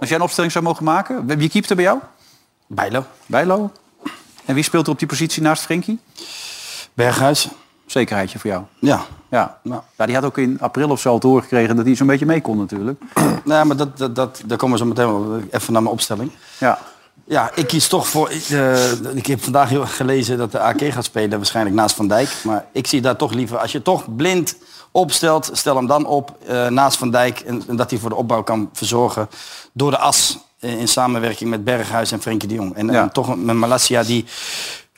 [SPEAKER 2] Als jij een opstelling zou mogen maken, wie wie keept er bij jou?
[SPEAKER 4] Bijlo.
[SPEAKER 2] Bijlo. En wie speelt er op die positie naast Frenkie?
[SPEAKER 4] Berghuis.
[SPEAKER 2] Zekerheidje voor jou.
[SPEAKER 4] Ja.
[SPEAKER 2] Ja. nou, ja, die had ook in april of zo al doorgekregen dat hij zo'n beetje mee kon natuurlijk.
[SPEAKER 4] Nou, maar dat, dat, dat, daar komen we zo meteen wel even naar mijn opstelling.
[SPEAKER 2] Ja.
[SPEAKER 4] Ja, ik kies toch voor... Ik, eh, ik heb vandaag heel erg gelezen dat de AK gaat spelen, waarschijnlijk naast Van Dijk. Maar ik zie daar toch liever, als je toch blind opstelt, stel hem dan op eh, naast Van Dijk. En, en dat hij voor de opbouw kan verzorgen door de as. eh, in samenwerking met Berghuis en Frenkie de Jong. En, en toch een- met Malasia die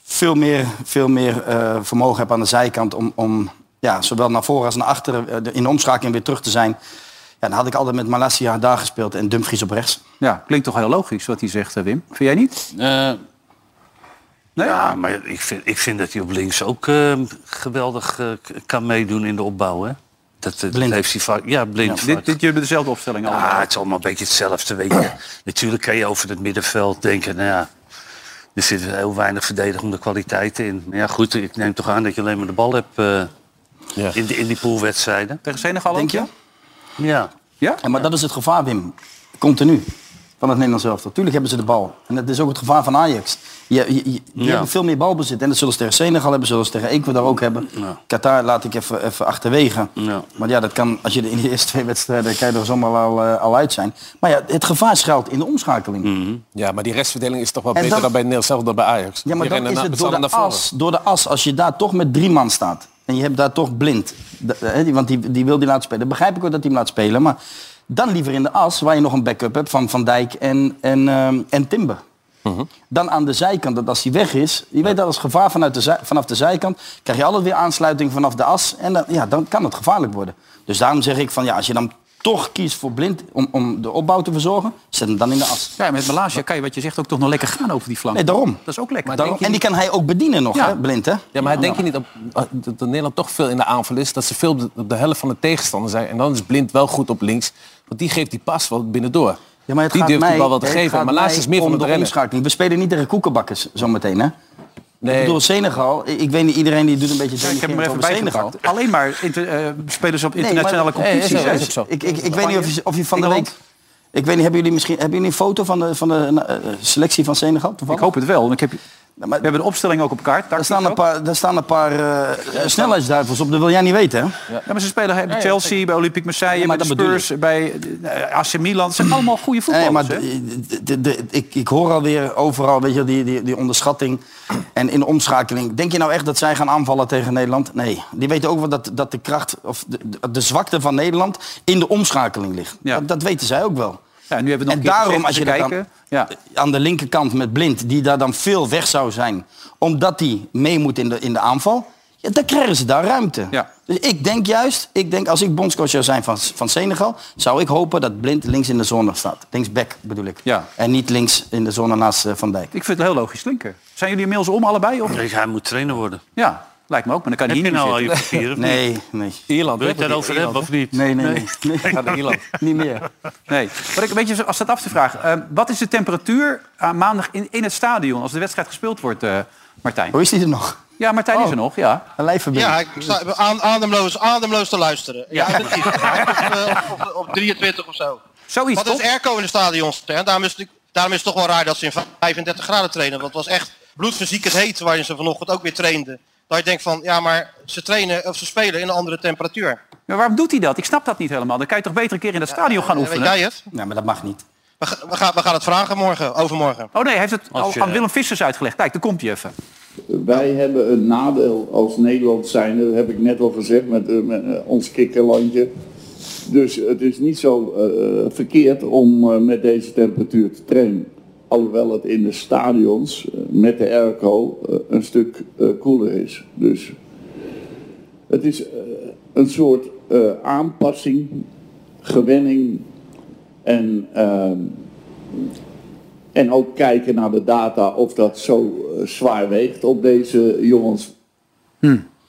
[SPEAKER 4] veel meer, veel meer eh, vermogen heb aan de zijkant om, om ja, zowel naar voren als naar achteren eh, de- in de omschakeling weer terug te zijn. Ja, dan had ik altijd met Malasia daar gespeeld en Dumfries op rechts.
[SPEAKER 2] Ja, klinkt toch heel logisch wat hij zegt, eh, Wim. Vind jij niet?
[SPEAKER 5] Eh, Ja, maar ik vind, ik vind dat hij op links ook eh, geweldig eh, k- kan meedoen in de opbouw. Hè? Dat, eh, dat heeft hij vaak. Ja, blind.
[SPEAKER 2] dit, dit jullie dezelfde opstelling al.
[SPEAKER 5] Ah, het is allemaal een beetje hetzelfde. Weet je. Natuurlijk kan je over het middenveld denken, nou ja, er zit heel weinig verdedigende kwaliteiten in. Maar ja, goed, ik neem toch aan dat je alleen maar de bal hebt eh, in, die- in die poolwedstrijden.
[SPEAKER 2] Tegen Senegal
[SPEAKER 5] Denk
[SPEAKER 2] je?
[SPEAKER 5] Ja.
[SPEAKER 2] ja?
[SPEAKER 4] maar dat is het gevaar, Wim. Continu. Van het Nederlands elftal. Tuurlijk hebben ze de bal. En dat is ook het gevaar van Ajax. Je, je, je- die
[SPEAKER 5] Ja.
[SPEAKER 4] hebben veel meer balbezit. En dat zullen ze tegen Senegal hebben, zullen ze tegen Ecuador ook hebben. Qatar laat ik even, even achterwege.
[SPEAKER 5] Ja.
[SPEAKER 4] Maar ja, dat kan, als je er in de eerste twee wedstrijden, kan je er zomaar al, eh, al uit zijn. Maar ja, het gevaar schuilt in de omschakeling.
[SPEAKER 2] Mhm.
[SPEAKER 3] Ja, maar die restverdeling is toch wel
[SPEAKER 4] En
[SPEAKER 3] beter
[SPEAKER 4] dat-
[SPEAKER 3] dan bij Nederland zelf dan bij Ajax.
[SPEAKER 4] Ja, maar
[SPEAKER 3] Die
[SPEAKER 4] dan
[SPEAKER 3] rennen
[SPEAKER 4] is
[SPEAKER 3] na-
[SPEAKER 4] het door
[SPEAKER 3] staan
[SPEAKER 4] de,
[SPEAKER 3] naar voren.
[SPEAKER 4] as, door de as. Als je daar toch met drie man staat. En je hebt daar toch blind. de- hè, die- want die, die wil die laten spelen. Dan begrijp ik ook dat hij hem laat spelen. Maar dan liever in de as waar je nog een backup hebt van Van Dijk en, en, ehm, en Timber.
[SPEAKER 3] Mhm.
[SPEAKER 4] Dan aan de zijkant, dat als hij weg is, je weet dat als gevaar vanuit de zij- vanaf de zijkant, krijg je altijd weer aansluiting vanaf de as. En dan, ja, dan kan het gevaarlijk worden. Dus daarom zeg ik van ja, als je dan toch kiest voor blind om, om de opbouw te verzorgen, zet hem dan in de as.
[SPEAKER 2] Ja, met Malaysia kan je wat je zegt ook toch nog lekker gaan over die flank.
[SPEAKER 4] Nee, daarom.
[SPEAKER 2] Dat is ook lekker.
[SPEAKER 4] Daarom-
[SPEAKER 3] denk je
[SPEAKER 4] en die kan hij ook bedienen nog,
[SPEAKER 3] Ja.
[SPEAKER 4] hè, blind hè?
[SPEAKER 3] Ja, maar denk je niet op, dat Nederland toch veel in de aanval is? Dat ze veel op de, op de helft van de tegenstander zijn. En dan is Blind wel goed op links. Want die geeft die pas wel binnendoor.
[SPEAKER 4] Ja, maar het
[SPEAKER 3] die
[SPEAKER 4] gaat
[SPEAKER 3] durft
[SPEAKER 4] mij,
[SPEAKER 3] die bal wel te
[SPEAKER 4] het
[SPEAKER 3] geven.
[SPEAKER 4] gaat
[SPEAKER 3] Maar laatst
[SPEAKER 4] mij
[SPEAKER 3] is meer
[SPEAKER 4] om
[SPEAKER 3] van het
[SPEAKER 4] de
[SPEAKER 3] rennen.
[SPEAKER 4] omschakeling. We spelen niet tegen koekenbakkers zometeen, hè? Ik bedoel, Senegal, ik, ik weet niet, iedereen die doet een beetje
[SPEAKER 2] ik heb hem er even bij gepakt. Alleen maar inter- eh, spelers op internationale competities.
[SPEAKER 4] competitie.
[SPEAKER 2] hè?
[SPEAKER 4] Ik, ik, ik weet niet of je, of je van de
[SPEAKER 2] Engeland?
[SPEAKER 4] week... Ik weet niet, hebben jullie misschien hebben jullie een foto van de, van de eh, eh, selectie van Senegal?
[SPEAKER 2] Ik
[SPEAKER 4] Toevallig? Nou,
[SPEAKER 2] hoop het wel. want Ik heb, we hebben de opstelling ook op kaart.
[SPEAKER 4] Daar staan een paar, daar staan een paar eh, snelheidsduivels op, dat wil jij niet weten, hè?
[SPEAKER 2] Ja, maar ze spelen bij
[SPEAKER 4] ja,
[SPEAKER 2] Chelsea, bij Olympique Marseille,
[SPEAKER 4] Ja, maar
[SPEAKER 2] bij de
[SPEAKER 4] dat bedoel
[SPEAKER 2] Spurs, bij eh, AC Milan. Het zijn allemaal goede voetballers.
[SPEAKER 4] Nee,
[SPEAKER 2] hè?
[SPEAKER 4] maar de- de- de- ik, ik hoor alweer overal weet je, die, die, die onderschatting en in de omschakeling. Denk je nou echt dat zij gaan aanvallen tegen Nederland? Nee. Die weten ook wel dat, dat de kracht of de, de- de zwakte van Nederland in de omschakeling ligt. Dat, dat weten zij ook wel.
[SPEAKER 2] Ja, nu hebben we
[SPEAKER 4] en
[SPEAKER 2] nog een keer
[SPEAKER 4] daarom,
[SPEAKER 2] gezegd,
[SPEAKER 4] als je
[SPEAKER 2] te
[SPEAKER 4] dat dan-
[SPEAKER 2] kijken. Ja.
[SPEAKER 4] aan de linkerkant met Blind, die daar dan veel weg zou zijn, omdat die mee moet in de, in de aanval, ja, dan krijgen ze daar ruimte. Dus ik denk juist, ik denk als ik bondscoach zou zijn van, van Senegal, zou ik hopen dat Blind links in de zone staat. Linksback bedoel ik.
[SPEAKER 2] Ja.
[SPEAKER 4] En niet links in de zone naast eh, Van Dijk.
[SPEAKER 2] Ik vind het heel logisch klinken. Zijn jullie inmiddels om allebei? Of?
[SPEAKER 5] Hij moet trainer worden.
[SPEAKER 2] Ja, lijkt me ook. Maar dan kan hij
[SPEAKER 5] Heb je
[SPEAKER 2] hier
[SPEAKER 5] nou
[SPEAKER 2] niet
[SPEAKER 5] al je
[SPEAKER 2] meer zitten.
[SPEAKER 5] papieren?
[SPEAKER 4] Nee, nee.
[SPEAKER 3] Ierland,
[SPEAKER 5] Wil je het daarover hebben of niet?
[SPEAKER 4] Nee, nee, nee. nee. niet meer.
[SPEAKER 2] Nee. Maar ik, weet je, als dat af te vragen. eh, wat is de temperatuur aan maandag in, in het stadion als de wedstrijd gespeeld wordt, eh, Martijn?
[SPEAKER 4] Hoe is die er nog? Oh.
[SPEAKER 2] Ja, Martijn is er nog, ja.
[SPEAKER 4] Een lijfverbinding.
[SPEAKER 13] Ja, ik sta aan- ademloos, ademloos te luisteren. Ja, dat is het. Hij is op, eh, op, op, op 23 of zo.
[SPEAKER 2] Zoiets,
[SPEAKER 13] Wat
[SPEAKER 2] toch?
[SPEAKER 13] is airco in de stadions? Hè? Daarom, is het, daarom is het toch wel raar dat ze in 35 graden trainen. Want het was echt bloedverziekend heet waarin ze vanochtend ook weer trainden. Dat je denkt van, ja maar ze trainen of ze spelen in een andere temperatuur.
[SPEAKER 2] Maar waarom doet hij dat? Ik snap dat niet helemaal. Dan kan je toch beter een keer in het stadion gaan
[SPEAKER 13] eh,
[SPEAKER 2] oefenen?
[SPEAKER 13] weet jij het?
[SPEAKER 4] Nee, maar dat mag niet.
[SPEAKER 13] We, ga- we, gaan, we gaan het vragen morgen, overmorgen.
[SPEAKER 2] Oh nee, hij heeft het
[SPEAKER 13] Als
[SPEAKER 2] al
[SPEAKER 13] je-
[SPEAKER 2] aan Willem Vissers uitgelegd. Kijk, daar komt hij even.
[SPEAKER 7] Wij hebben een nadeel als Nederland zijnde, dat heb ik net al gezegd met, eh, met, eh, ons kikkerlandje. Dus het is niet zo eh, verkeerd om eh, met deze eh, temperatuur te trainen. Alhoewel het in de stadions eh, met de airco eh, een stuk eh, koeler is. Dus het is eh, een soort eh, aanpassing, gewenning en, ehm, en ook kijken naar de data of dat zo eh, zwaar weegt op deze jongens.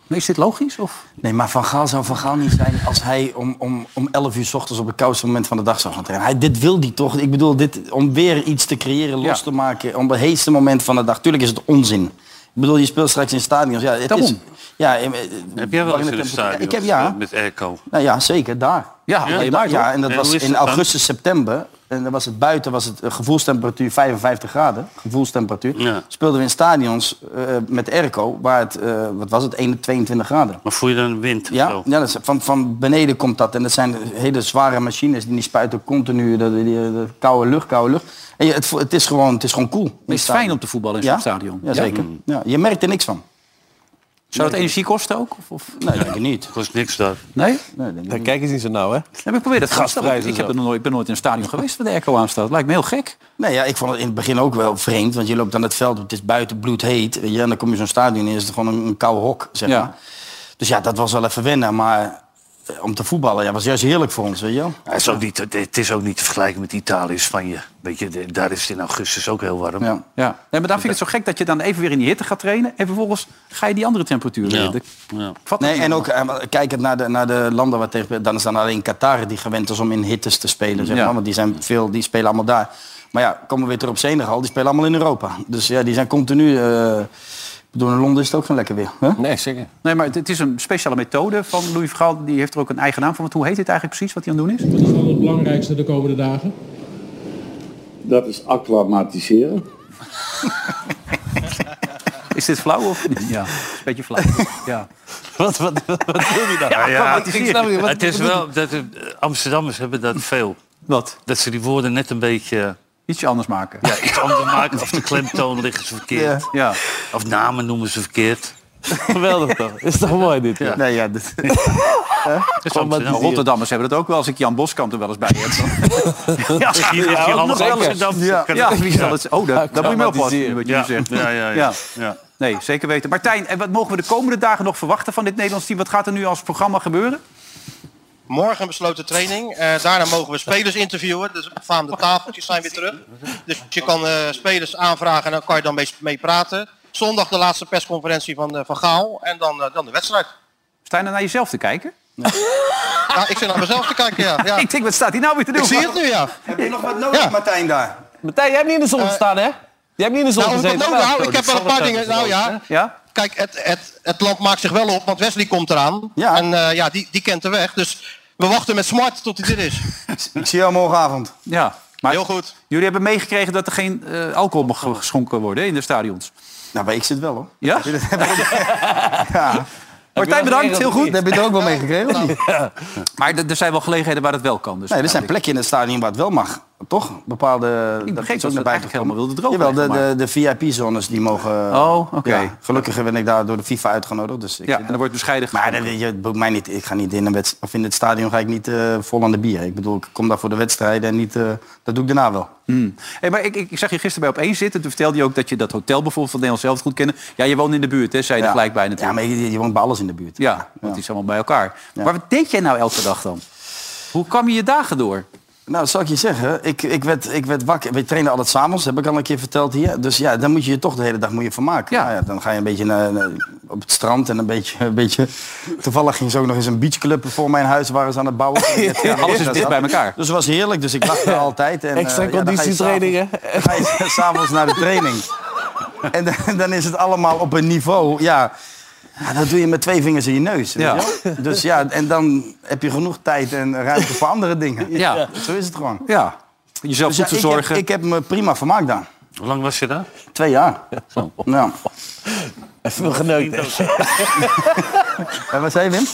[SPEAKER 2] Is dit logisch? Of?
[SPEAKER 4] Nee, maar Van Gaal zou Van Gaal niet zijn als hij om, om, om 11 uur s ochtends op het koudste moment van de dag zou gaan trainen. Hij, dit wil die toch? Ik bedoel, dit, om weer iets te creëren, los te maken, om het heetste moment van de dag. Tuurlijk is het onzin. Ik bedoel, je speelt straks in stadions. Ja, het is,
[SPEAKER 5] Daarom.
[SPEAKER 4] ja, eh, eh,
[SPEAKER 5] Heb jij wel eens in een stadion
[SPEAKER 4] Ik heb ja.
[SPEAKER 5] gestaan met airco?
[SPEAKER 4] Nou ja, zeker, daar.
[SPEAKER 5] Ja,
[SPEAKER 4] Nee,
[SPEAKER 5] ja,
[SPEAKER 4] da-
[SPEAKER 5] daar,
[SPEAKER 4] ja
[SPEAKER 5] toch?
[SPEAKER 4] en dat
[SPEAKER 5] En
[SPEAKER 4] was
[SPEAKER 5] hoe is
[SPEAKER 4] in
[SPEAKER 5] dat dan?
[SPEAKER 4] augustus, september. En dan was het buiten, was het eh, gevoelstemperatuur 55 graden. Gevoelstemperatuur.
[SPEAKER 5] Ja.
[SPEAKER 4] Speelden we in stadions eh, met airco, waar het, eh, wat was het, 1, 22 graden.
[SPEAKER 5] Maar voel je dan wind? of
[SPEAKER 4] Ja,
[SPEAKER 5] zo?
[SPEAKER 4] ja dat is, van, van beneden komt dat. En dat zijn hele zware machines die spuiten continu de, de, de- de koude lucht, koude lucht. En je, het, vo- het is gewoon, het is gewoon cool.
[SPEAKER 2] Het is fijn om te voetballen in zo'n
[SPEAKER 4] ja?
[SPEAKER 2] stadion.
[SPEAKER 4] Ja, zeker.
[SPEAKER 2] Mm.
[SPEAKER 4] Ja, je merkt er niks van.
[SPEAKER 2] Zou dat energie kosten ook? Of, of?
[SPEAKER 4] Nee, denk ik niet.
[SPEAKER 5] Kost niks daar.
[SPEAKER 2] Nee?
[SPEAKER 3] Daar kijken ze niet zo nauw, hè?
[SPEAKER 2] Heb ik probeer dat
[SPEAKER 3] Gasprijzen
[SPEAKER 2] gasprijs. Ik
[SPEAKER 3] en
[SPEAKER 2] heb
[SPEAKER 3] zo.
[SPEAKER 2] er nooit, ben nooit in een stadion geweest waar de airco aan staat. Lijkt me heel gek.
[SPEAKER 4] Nee, ja, ik vond het in het begin ook wel vreemd. Want je loopt aan het veld, het is buiten bloedheet. Weet je, en dan kom je zo'n stadion in, is het gewoon een, een koude hok, zeg maar. Dus ja, dat was wel even wennen. Maar eh, om te voetballen, ja, was juist heerlijk voor ons, weet je wel.
[SPEAKER 5] Ja, het, is ook niet, het is ook niet te vergelijken met Italië en Spanje. Weet je, de- daar is het in augustus ook heel warm.
[SPEAKER 4] Ja.
[SPEAKER 2] Ja. Nee, maar dan vind ik het zo gek dat je dan even weer in die hitte gaat trainen. En vervolgens ga je die andere temperaturen
[SPEAKER 5] Ja.
[SPEAKER 2] in. Ik
[SPEAKER 5] Ja.
[SPEAKER 2] vat het
[SPEAKER 4] Nee,
[SPEAKER 2] niet
[SPEAKER 4] en ook
[SPEAKER 2] helemaal.
[SPEAKER 4] eh, kijkend naar de, naar de landen waar tegen... Dan is dan alleen Qatar die gewend is om in hittes te spelen, zeg
[SPEAKER 2] Ja.
[SPEAKER 4] maar. Want die, zijn veel, die spelen allemaal daar. Maar ja, komen we weer terug op Senegal, die spelen allemaal in Europa. Dus ja, die zijn continu... eh ik bedoel, in Londen is het ook geen lekker weer. Hè?
[SPEAKER 3] Nee, zeker.
[SPEAKER 2] Nee, maar het, het is een speciale methode van Louis van Gaal. Die heeft er ook een eigen naam voor. Want hoe heet dit eigenlijk precies wat hij aan het doen is?
[SPEAKER 8] Wat is dan het belangrijkste de komende dagen?
[SPEAKER 7] Dat is acclimatiseren.
[SPEAKER 2] Is dit flauw of niet? Ja, een beetje flauw. Ja.
[SPEAKER 3] Wat, wat, wat, wat wil je dan?
[SPEAKER 5] Ja, ja,
[SPEAKER 3] ik snap niet, wat-
[SPEAKER 5] het is
[SPEAKER 3] wat-
[SPEAKER 5] wel dat de Amsterdammers hebben dat veel.
[SPEAKER 2] Wat?
[SPEAKER 5] Dat ze die woorden net een beetje
[SPEAKER 2] Ietsje anders maken.
[SPEAKER 5] ja, iets anders maken. Of de klemtoon liggen ze verkeerd.
[SPEAKER 2] Ja.
[SPEAKER 5] Of namen noemen ze verkeerd.
[SPEAKER 3] Geweldig toch? Is toch mooi dit? Ja.
[SPEAKER 4] Nee, ja, dit-
[SPEAKER 5] Dat is
[SPEAKER 3] Gewoon wat
[SPEAKER 5] Amsterdam.
[SPEAKER 3] die-
[SPEAKER 2] Rotterdammers hebben dat ook wel. Als ik Jan Boskamp er wel eens bij heb. dan-
[SPEAKER 5] Ja, hier ligt die alles Amsterdam.
[SPEAKER 2] Ja, ja, wie zal het? Oh, daar, daar moet je me op wat
[SPEAKER 3] Traumatiseren.
[SPEAKER 2] je nu
[SPEAKER 5] Ja,
[SPEAKER 2] zegt.
[SPEAKER 5] ja, ja, ja.
[SPEAKER 2] Ja.
[SPEAKER 5] ja.
[SPEAKER 2] Nee, zeker weten. Martijn, en wat mogen we de komende dagen nog verwachten van dit Nederlands team? Wat gaat er nu als programma gebeuren?
[SPEAKER 13] Morgen besloten training. Eh, daarna mogen we spelers interviewen. Dus befaamde tafeltjes zijn weer terug. Dus je kan eh, spelers aanvragen en dan kan je dan mee, mee praten. Zondag de laatste persconferentie van, eh, van Gaal. En dan, eh, dan de wedstrijd.
[SPEAKER 2] Sta je nou naar jezelf te kijken?
[SPEAKER 13] Nou, ik zit naar mezelf te kijken. Ja. Ja.
[SPEAKER 2] Ik denk, wat staat hij nou weer te doen?
[SPEAKER 13] Ik zie het nu, ja.
[SPEAKER 4] Heb je nog wat nodig,
[SPEAKER 13] Ja.
[SPEAKER 4] Martijn, daar?
[SPEAKER 3] Martijn, jij hebt niet in de zon gestaan, hè? Jij hebt niet in de zon
[SPEAKER 13] Nou, of ik
[SPEAKER 3] gezeten.
[SPEAKER 13] dat nodig hou? Ik heb wel een paar dingen. Nou ja,
[SPEAKER 2] Ja?
[SPEAKER 13] kijk, het, het, het land maakt zich wel op, want Wesley komt eraan.
[SPEAKER 4] Ja.
[SPEAKER 13] En eh, ja, die, die kent de weg. Dus we wachten met smart tot hij er is.
[SPEAKER 4] Ik zie jou morgenavond.
[SPEAKER 2] Ja. Maar
[SPEAKER 13] Heel goed.
[SPEAKER 2] jullie hebben meegekregen dat er geen eh, alcohol mag geschonken worden hè, in de stadions.
[SPEAKER 4] Nou, maar ik zit wel, hoor.
[SPEAKER 2] Ja? Martijn, bedankt. Heel goed.
[SPEAKER 4] heb je er ook wel mee gekregen,
[SPEAKER 2] Nou.
[SPEAKER 4] of niet?
[SPEAKER 2] Maar d- er zijn wel gelegenheden waar het wel kan. Dus
[SPEAKER 4] Nee, er zijn
[SPEAKER 2] eigenlijk.
[SPEAKER 4] plekken in het stadion waar het wel mag. Toch? Bepaalde...
[SPEAKER 2] Ik begreep
[SPEAKER 4] ook
[SPEAKER 2] dat ze het eigenlijk helemaal wilden droog
[SPEAKER 4] Jawel, de,
[SPEAKER 2] leggen,
[SPEAKER 4] de, de VIP-zones die mogen...
[SPEAKER 2] Oh, oké.
[SPEAKER 4] Ja, gelukkig ben ik daar door de FIFA uitgenodigd. Dus ik
[SPEAKER 2] Ja, en er wordt bescheiden
[SPEAKER 4] Maar dat, je, het boeit mij niet. Ik ga niet in, een wedst- of in het stadion ga ik niet eh, vol aan de bier. Ik bedoel, ik kom daar voor de wedstrijden en niet... eh, dat doe ik daarna wel.
[SPEAKER 2] Hmm. Hey, maar ik, ik, ik zag je gisteren bij op één zitten. Toen vertelde je ook dat je dat hotel bijvoorbeeld van Nederland zelf goed kende. Ja, je woont in de buurt, hè? Zei je er gelijk bij
[SPEAKER 4] Ja,
[SPEAKER 2] natuurlijk.
[SPEAKER 4] maar je, je woont bij alles in de buurt.
[SPEAKER 2] Ja, want die is allemaal bij elkaar. Maar wat deed jij nou elke dag dan? Hoe kwam je je dagen door?
[SPEAKER 4] Nou, dat zal ik je zeggen. Ik, ik, werd, ik werd wakker. We trainen altijd s'avonds, heb ik al een keer verteld hier. Dus ja, dan moet je je toch de hele dag moet je van maken.
[SPEAKER 2] Ja.
[SPEAKER 4] Nou ja, dan ga je een beetje naar, naar- op het strand en een beetje, een beetje... Toevallig ging ze ook nog eens een beachclub voor mijn huis waar ze aan het bouwen. Ja,
[SPEAKER 2] Alles is dicht bij elkaar.
[SPEAKER 4] Dus het was heerlijk, dus ik lag daar altijd. En, eh,
[SPEAKER 3] Extra
[SPEAKER 4] ja, dan ga je
[SPEAKER 3] conditietrainingen.
[SPEAKER 4] s'avonds- Dan ga je s'avonds naar de training. En dan, dan is het allemaal op een niveau, ja... ja, dat doe je met twee vingers in je neus. weet
[SPEAKER 2] Ja.
[SPEAKER 4] je wel? Dus ja, en dan heb je genoeg tijd en ruimte voor andere dingen.
[SPEAKER 2] Ja.
[SPEAKER 4] Eh, Zo is het gewoon.
[SPEAKER 2] Ja, jezelf goed
[SPEAKER 4] Dus ja, ik heb-
[SPEAKER 2] verzorgen.
[SPEAKER 4] Ik heb, me prima vermaakt daar.
[SPEAKER 5] Hoe lang was je daar?
[SPEAKER 4] Twee jaar. Ja.
[SPEAKER 3] Even genoten.
[SPEAKER 4] En wat zei je, Wim?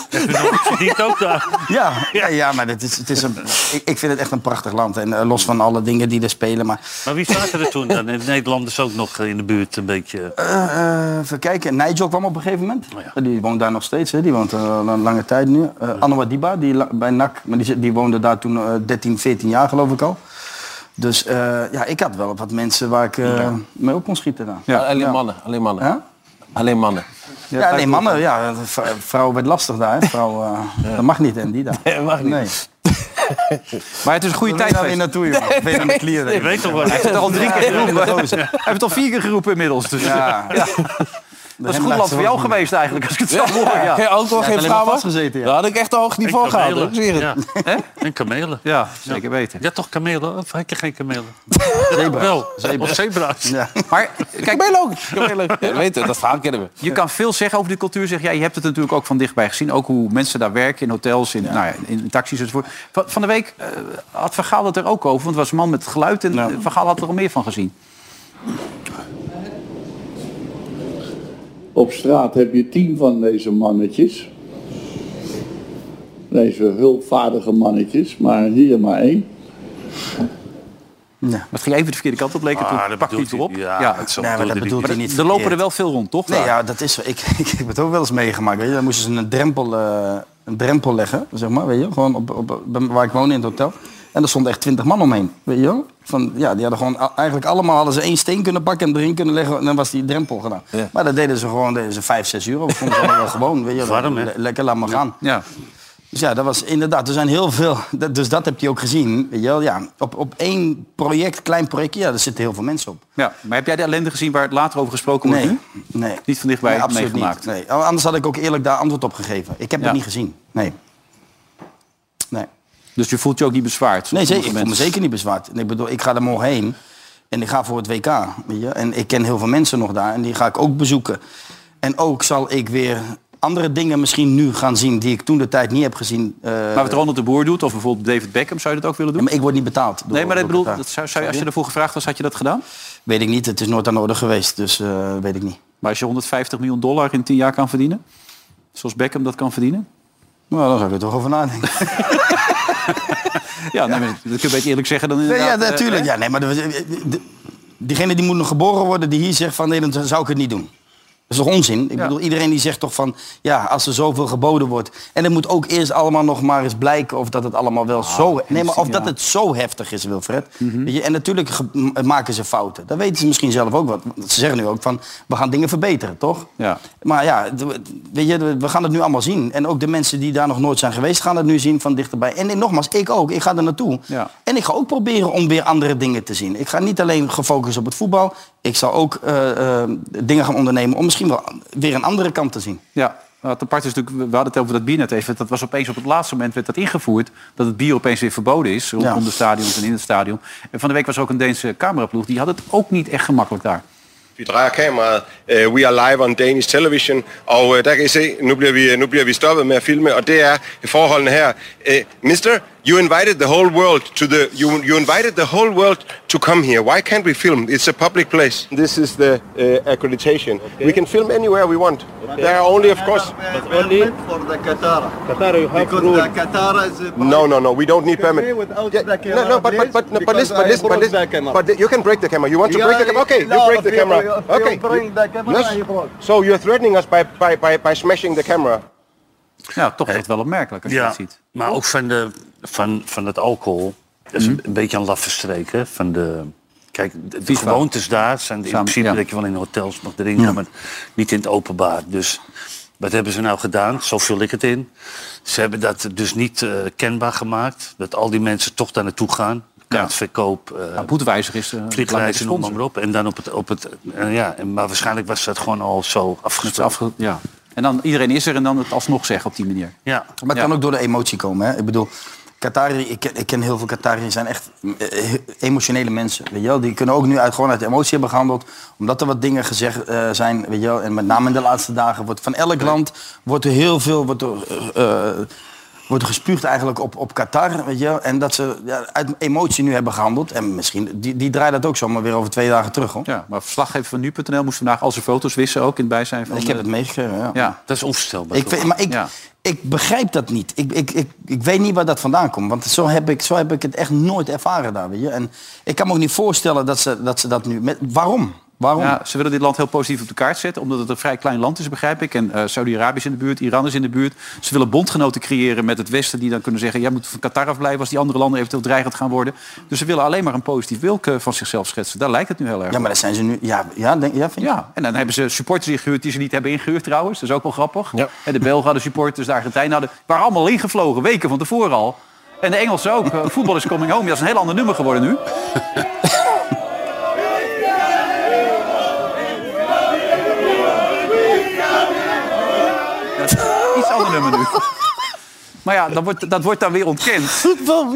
[SPEAKER 5] Verdient ook daar.
[SPEAKER 4] Ja, ja, ja maar het is, het is een, ik, ik vind het echt een prachtig land. En eh, los van alle dingen die er spelen. Maar
[SPEAKER 5] Maar wie zaten er toen dan? En De Nederlanders ook nog in de buurt een beetje.
[SPEAKER 4] eh, eh, even kijken. Nigel kwam op een gegeven moment.
[SPEAKER 2] Oh
[SPEAKER 4] Eh, Die woont daar nog steeds. Hè. Die woont er al een lange tijd nu. Eh Anouar Diba, die la- bij NAC. Maar die, zit- die woonde daar toen eh, 13, 14 jaar geloof ik al. Dus eh, ja, ik had wel wat mensen waar ik eh, mee op kon schieten daar.
[SPEAKER 3] Ja. Alleen mannen, alleen mannen. Alleen mannen.
[SPEAKER 4] Ja, nee, mannen, ja, v- vrouwen werd lastig daar. hè. Vrouwen, eh, Dat mag niet, en die daar. Nee, mag niet.
[SPEAKER 2] Maar het is een goede tijd
[SPEAKER 4] weer naartoe, jongen.
[SPEAKER 2] Nee.
[SPEAKER 4] Ik weet aan de klieren.
[SPEAKER 2] Je weet toch wel.
[SPEAKER 4] Hij heeft het al drie keer geroepen.
[SPEAKER 2] Ja.
[SPEAKER 4] gozer.
[SPEAKER 2] Hij heeft het al vier keer geroepen inmiddels. Dus.
[SPEAKER 4] Ja.
[SPEAKER 2] Dat is
[SPEAKER 4] hem
[SPEAKER 2] een goed
[SPEAKER 4] laat
[SPEAKER 2] land
[SPEAKER 4] ze
[SPEAKER 2] voor
[SPEAKER 4] ook
[SPEAKER 2] jou
[SPEAKER 4] niet.
[SPEAKER 2] geweest eigenlijk, als ik het zo hoor.
[SPEAKER 3] Ja.
[SPEAKER 2] Ja.
[SPEAKER 3] Geen alcohol,
[SPEAKER 2] Ja,
[SPEAKER 3] geen
[SPEAKER 2] alleen maar
[SPEAKER 3] vrouwen.
[SPEAKER 2] vastgezeten, ja.
[SPEAKER 3] Daar had ik echt een hoog niveau gehouden. hoor, Ik zweer het.
[SPEAKER 2] Hè?
[SPEAKER 5] En kamelen.
[SPEAKER 2] Ja, zeker weten.
[SPEAKER 5] Ja, toch kamelen? Of heb je geen kamelen? Wel, of zebra's.
[SPEAKER 2] Maar kijk,
[SPEAKER 3] ben ook. Ja, weet het, dat verhaal kennen we.
[SPEAKER 2] Je kan veel zeggen over die cultuur. Zeg, jij, je hebt het natuurlijk ook van dichtbij gezien. Ook hoe mensen daar werken in hotels, in, nou ja, in taxis enzovoort. Van, van de week eh, had Vergaal het er ook over. Want het was een man met geluid en eh, Vergaal had er al meer van gezien.
[SPEAKER 7] Op straat heb je tien van deze mannetjes. Deze hulpvaardige mannetjes, maar hier maar één.
[SPEAKER 2] Maar het ging even de verkeerde kant op, leek het.
[SPEAKER 5] Ah,
[SPEAKER 2] toen
[SPEAKER 5] dat
[SPEAKER 2] Pak
[SPEAKER 5] bedoelt
[SPEAKER 2] Pieter op.
[SPEAKER 5] hij- ja, dat zo
[SPEAKER 4] Nee, maar dat bedoelt hij niet.
[SPEAKER 2] Er lopen er
[SPEAKER 4] verkeerd.
[SPEAKER 2] wel veel rond, toch?
[SPEAKER 4] Nee,
[SPEAKER 2] daar?
[SPEAKER 4] ja, dat is zo. Ik, ik, heb het ook wel eens meegemaakt. Weet je. Dan moesten ze een drempel, eh, een drempel leggen, zeg maar. Weet je. Gewoon op, op, bij- waar ik woonde in het hotel. En er stonden echt twintig man omheen. Weet je. wel. Van, ja, die hadden gewoon, a- eigenlijk allemaal hadden ze één steen kunnen pakken en erin kunnen leggen. En dan was die drempel gedaan.
[SPEAKER 3] Ja.
[SPEAKER 4] Maar dat deden ze gewoon deden ze vijf, zes uur. Dat vonden ze allemaal wel gewoon. Weet je. wel.
[SPEAKER 5] Warm, hè?
[SPEAKER 4] Le- lekker, laat maar gaan.
[SPEAKER 2] Ja.
[SPEAKER 4] Dus ja, dat was inderdaad. Er zijn heel veel. dat- dus dat heb je ook gezien. Weet je wel. Ja, op, op één project, klein project, ja, daar zitten heel veel mensen op.
[SPEAKER 2] Ja, maar heb jij de ellende gezien waar het later over gesproken wordt
[SPEAKER 4] Nee,
[SPEAKER 2] nu?
[SPEAKER 4] nee.
[SPEAKER 2] Niet van dichtbij
[SPEAKER 4] Nee, absoluut
[SPEAKER 2] meegemaakt.
[SPEAKER 4] niet. Nee. Anders had ik ook eerlijk daar antwoord op gegeven. Ik heb
[SPEAKER 2] Ja.
[SPEAKER 4] het niet gezien. Nee. Nee,
[SPEAKER 2] Dus je voelt je ook niet bezwaard?
[SPEAKER 4] nee
[SPEAKER 2] zoals
[SPEAKER 4] zeker, ik
[SPEAKER 2] sommige
[SPEAKER 4] voel me
[SPEAKER 2] mensen.
[SPEAKER 4] zeker niet bezwaard. En Ik bedoel, ik ga er morgen heen. En ik ga voor het WK. Weet je? En ik ken heel veel mensen nog daar. En die ga ik ook bezoeken. En ook zal ik weer andere dingen misschien nu gaan zien... die ik toen de tijd niet heb gezien. eh,
[SPEAKER 2] Maar wat Ronald de Boer doet, of bijvoorbeeld David Beckham, zou je dat ook willen doen?
[SPEAKER 4] maar ik word niet betaald. door-
[SPEAKER 2] nee, maar dat
[SPEAKER 4] door
[SPEAKER 2] bedoel,
[SPEAKER 4] Qatar.
[SPEAKER 2] dat zou, zou je, als je ervoor gevraagd was, had je dat gedaan?
[SPEAKER 4] Weet ik niet. Het is nooit aan de orde geweest. Dus eh, weet ik niet.
[SPEAKER 2] Maar als je 150 miljoen dollar in 10 jaar kan verdienen, zoals Beckham dat kan verdienen?
[SPEAKER 4] Nou, dan zou ik er toch over nadenken.
[SPEAKER 2] Ja, nee, maar dat kun je beter eerlijk zeggen dan
[SPEAKER 4] Nee, ja,
[SPEAKER 2] inderdaad. eh,
[SPEAKER 4] natuurlijk.
[SPEAKER 2] hè?
[SPEAKER 4] Ja, nee, maar de- de- diegene die moet nog geboren worden, die hier zegt van nee, dan zou ik het niet doen. Dat is toch onzin? Ik bedoel, iedereen die zegt toch van ja, als er zoveel geboden wordt. En het moet ook eerst allemaal nog maar eens blijken of dat het allemaal wel
[SPEAKER 2] Ah,
[SPEAKER 4] zo. Nee, maar of dat het zo heftig is, Wilfred.
[SPEAKER 2] Mhm.
[SPEAKER 4] Weet je, en natuurlijk ge- m- maken ze fouten. Dat weten ze misschien zelf ook wat. Want Ze zeggen nu ook van we gaan dingen verbeteren, toch?
[SPEAKER 2] Ja.
[SPEAKER 4] Maar ja, d- weet je, we gaan het nu allemaal zien. En ook de mensen die daar nog nooit zijn geweest, gaan het nu zien van dichterbij. En, en nogmaals, ik ook. Ik ga er naartoe.
[SPEAKER 2] Ja.
[SPEAKER 4] En ik ga ook proberen om weer andere dingen te zien. Ik ga niet alleen gefocust op het voetbal. Ik zal ook eh, eh, dingen gaan ondernemen om misschien wel weer een andere kant te zien.
[SPEAKER 2] Ja, wat apart is natuurlijk, we hadden het over dat bier net even. Dat was opeens op het laatste moment werd dat ingevoerd. Dat het bier opeens weer verboden is. Rondom de stadions en in het stadion. En van de week was er ook een Deense cameraploeg. Die had het ook niet echt gemakkelijk daar.
[SPEAKER 15] Vi drejer kameraet. Uh, we are live on Danish television. Og uh, der kan I se, nu bliver, vi, nu bliver vi stoppet med at filme, og det er forholdene her. Uh, Mister, you invited the whole world to the... You, you invited the whole world to come here. Why can't we film? It's a public place. This is the uh, accreditation. We can film anywhere we want. There are only, of course...
[SPEAKER 9] But only for the Qatar. Qatar, you have because the Qatar is uh,
[SPEAKER 15] No, no, no. We don't need permit.
[SPEAKER 9] without the camera.
[SPEAKER 15] No, no, but but but no, but
[SPEAKER 9] because
[SPEAKER 15] listen, but
[SPEAKER 9] I
[SPEAKER 15] listen, but
[SPEAKER 9] broke
[SPEAKER 15] listen.
[SPEAKER 9] the camera.
[SPEAKER 15] But you can break the camera. You want to
[SPEAKER 9] Yeah,
[SPEAKER 15] break the camera? Okay, you
[SPEAKER 9] no,
[SPEAKER 15] break the
[SPEAKER 9] if you-
[SPEAKER 15] camera.
[SPEAKER 9] if you
[SPEAKER 15] Okay.
[SPEAKER 9] bring the camera,
[SPEAKER 15] Yes.
[SPEAKER 9] I broke.
[SPEAKER 15] So you're threatening us by by by by smashing the camera.
[SPEAKER 2] Ja, toch echt wel opmerkelijk als je dat ziet.
[SPEAKER 5] Maar ook van, de, van, van het alcohol. Dat is
[SPEAKER 2] Mhm.
[SPEAKER 5] een beetje een laffe streek. Hè? Van de, kijk, de, de
[SPEAKER 2] FIFA.
[SPEAKER 5] gewoontes daar zijn in
[SPEAKER 2] Samen,
[SPEAKER 5] principe
[SPEAKER 2] ja.
[SPEAKER 5] dat je wel in hotels mag drinken, maar niet in het openbaar. Dus wat hebben ze nou gedaan? Zo vul ik het in. Ze hebben dat dus niet eh, kenbaar gemaakt. Dat al die mensen toch daar naartoe gaan. Kaartverkoop. eh,
[SPEAKER 2] Nou, boetwijzer is... eh,
[SPEAKER 5] Vliegreizen, noem
[SPEAKER 2] belangrijke
[SPEAKER 5] maar,
[SPEAKER 2] sponsor.
[SPEAKER 5] op. En dan op het... Op het eh, ja, en, maar waarschijnlijk was dat gewoon al zo
[SPEAKER 2] Het
[SPEAKER 5] afgesproken.
[SPEAKER 2] is afge- ja. En dan iedereen is er en dan het alsnog zeggen op die manier.
[SPEAKER 5] Ja.
[SPEAKER 4] Maar het kan ook door de emotie komen. Hè? Ik bedoel, Qatari, ik, ken- ik ken heel veel Qatariërs, zijn echt eh, eh, emotionele mensen. Weet je wel? Die kunnen ook nu uit, gewoon uit de emotie hebben gehandeld. Omdat er wat dingen gezegd eh, zijn. Weet je wel? En met name in de laatste dagen wordt van elk land wordt er heel veel... Wordt er, eh, eh, wordt er gespuugd eigenlijk op, op Qatar, weet je wel? En dat ze ja, uit emotie nu hebben gehandeld. En misschien, die, die draaien dat ook zomaar weer over twee dagen terug, hoor.
[SPEAKER 2] Ja, maar verslaggever van nu.nl moest vandaag al zijn foto's wissen ook in het bijzijn van...
[SPEAKER 4] Ik heb
[SPEAKER 2] eh,
[SPEAKER 4] het meegekregen, ja.
[SPEAKER 2] Ja,
[SPEAKER 5] Dat is onvoorstelbaar.
[SPEAKER 4] Ik, vind- maar ik, ik begrijp dat niet. Ik, ik, ik, ik weet niet waar dat vandaan komt. Want zo heb ik, zo heb ik het echt nooit ervaren daar. Weet je? En ik kan me ook niet voorstellen dat ze dat, ze dat nu... Met, waarom? Waarom?
[SPEAKER 2] Ja, ze willen dit land heel positief op de kaart zetten, omdat het een vrij klein land is, begrijp ik. En eh, Saudi-Arabië is in de buurt, Iran is in de buurt. Ze willen bondgenoten creëren met het Westen die dan kunnen zeggen... jij moet van Qatar afblijven als die andere landen eventueel dreigend gaan worden. Dus ze willen alleen maar een positief wilk eh, van zichzelf schetsen. Daar lijkt het nu heel erg
[SPEAKER 4] Ja, maar dat zijn ze nu... Ja, ja, denk, ja, vind je?
[SPEAKER 2] ja, en dan hebben ze supporters ingehuurd die ze niet hebben ingehuurd trouwens. Dat is ook wel grappig. En de Belgen hadden supporters, de Argentijnen hadden... waren allemaal ingevlogen, weken van tevoren al. En de Engelsen ook. Eh, Voetbal is coming home. Ja, Dat is een heel ander nummer geworden nu. Dat is een iets ander nummer nu. Maar ja, dat wordt, dat wordt dan weer ontkend. Voetbal,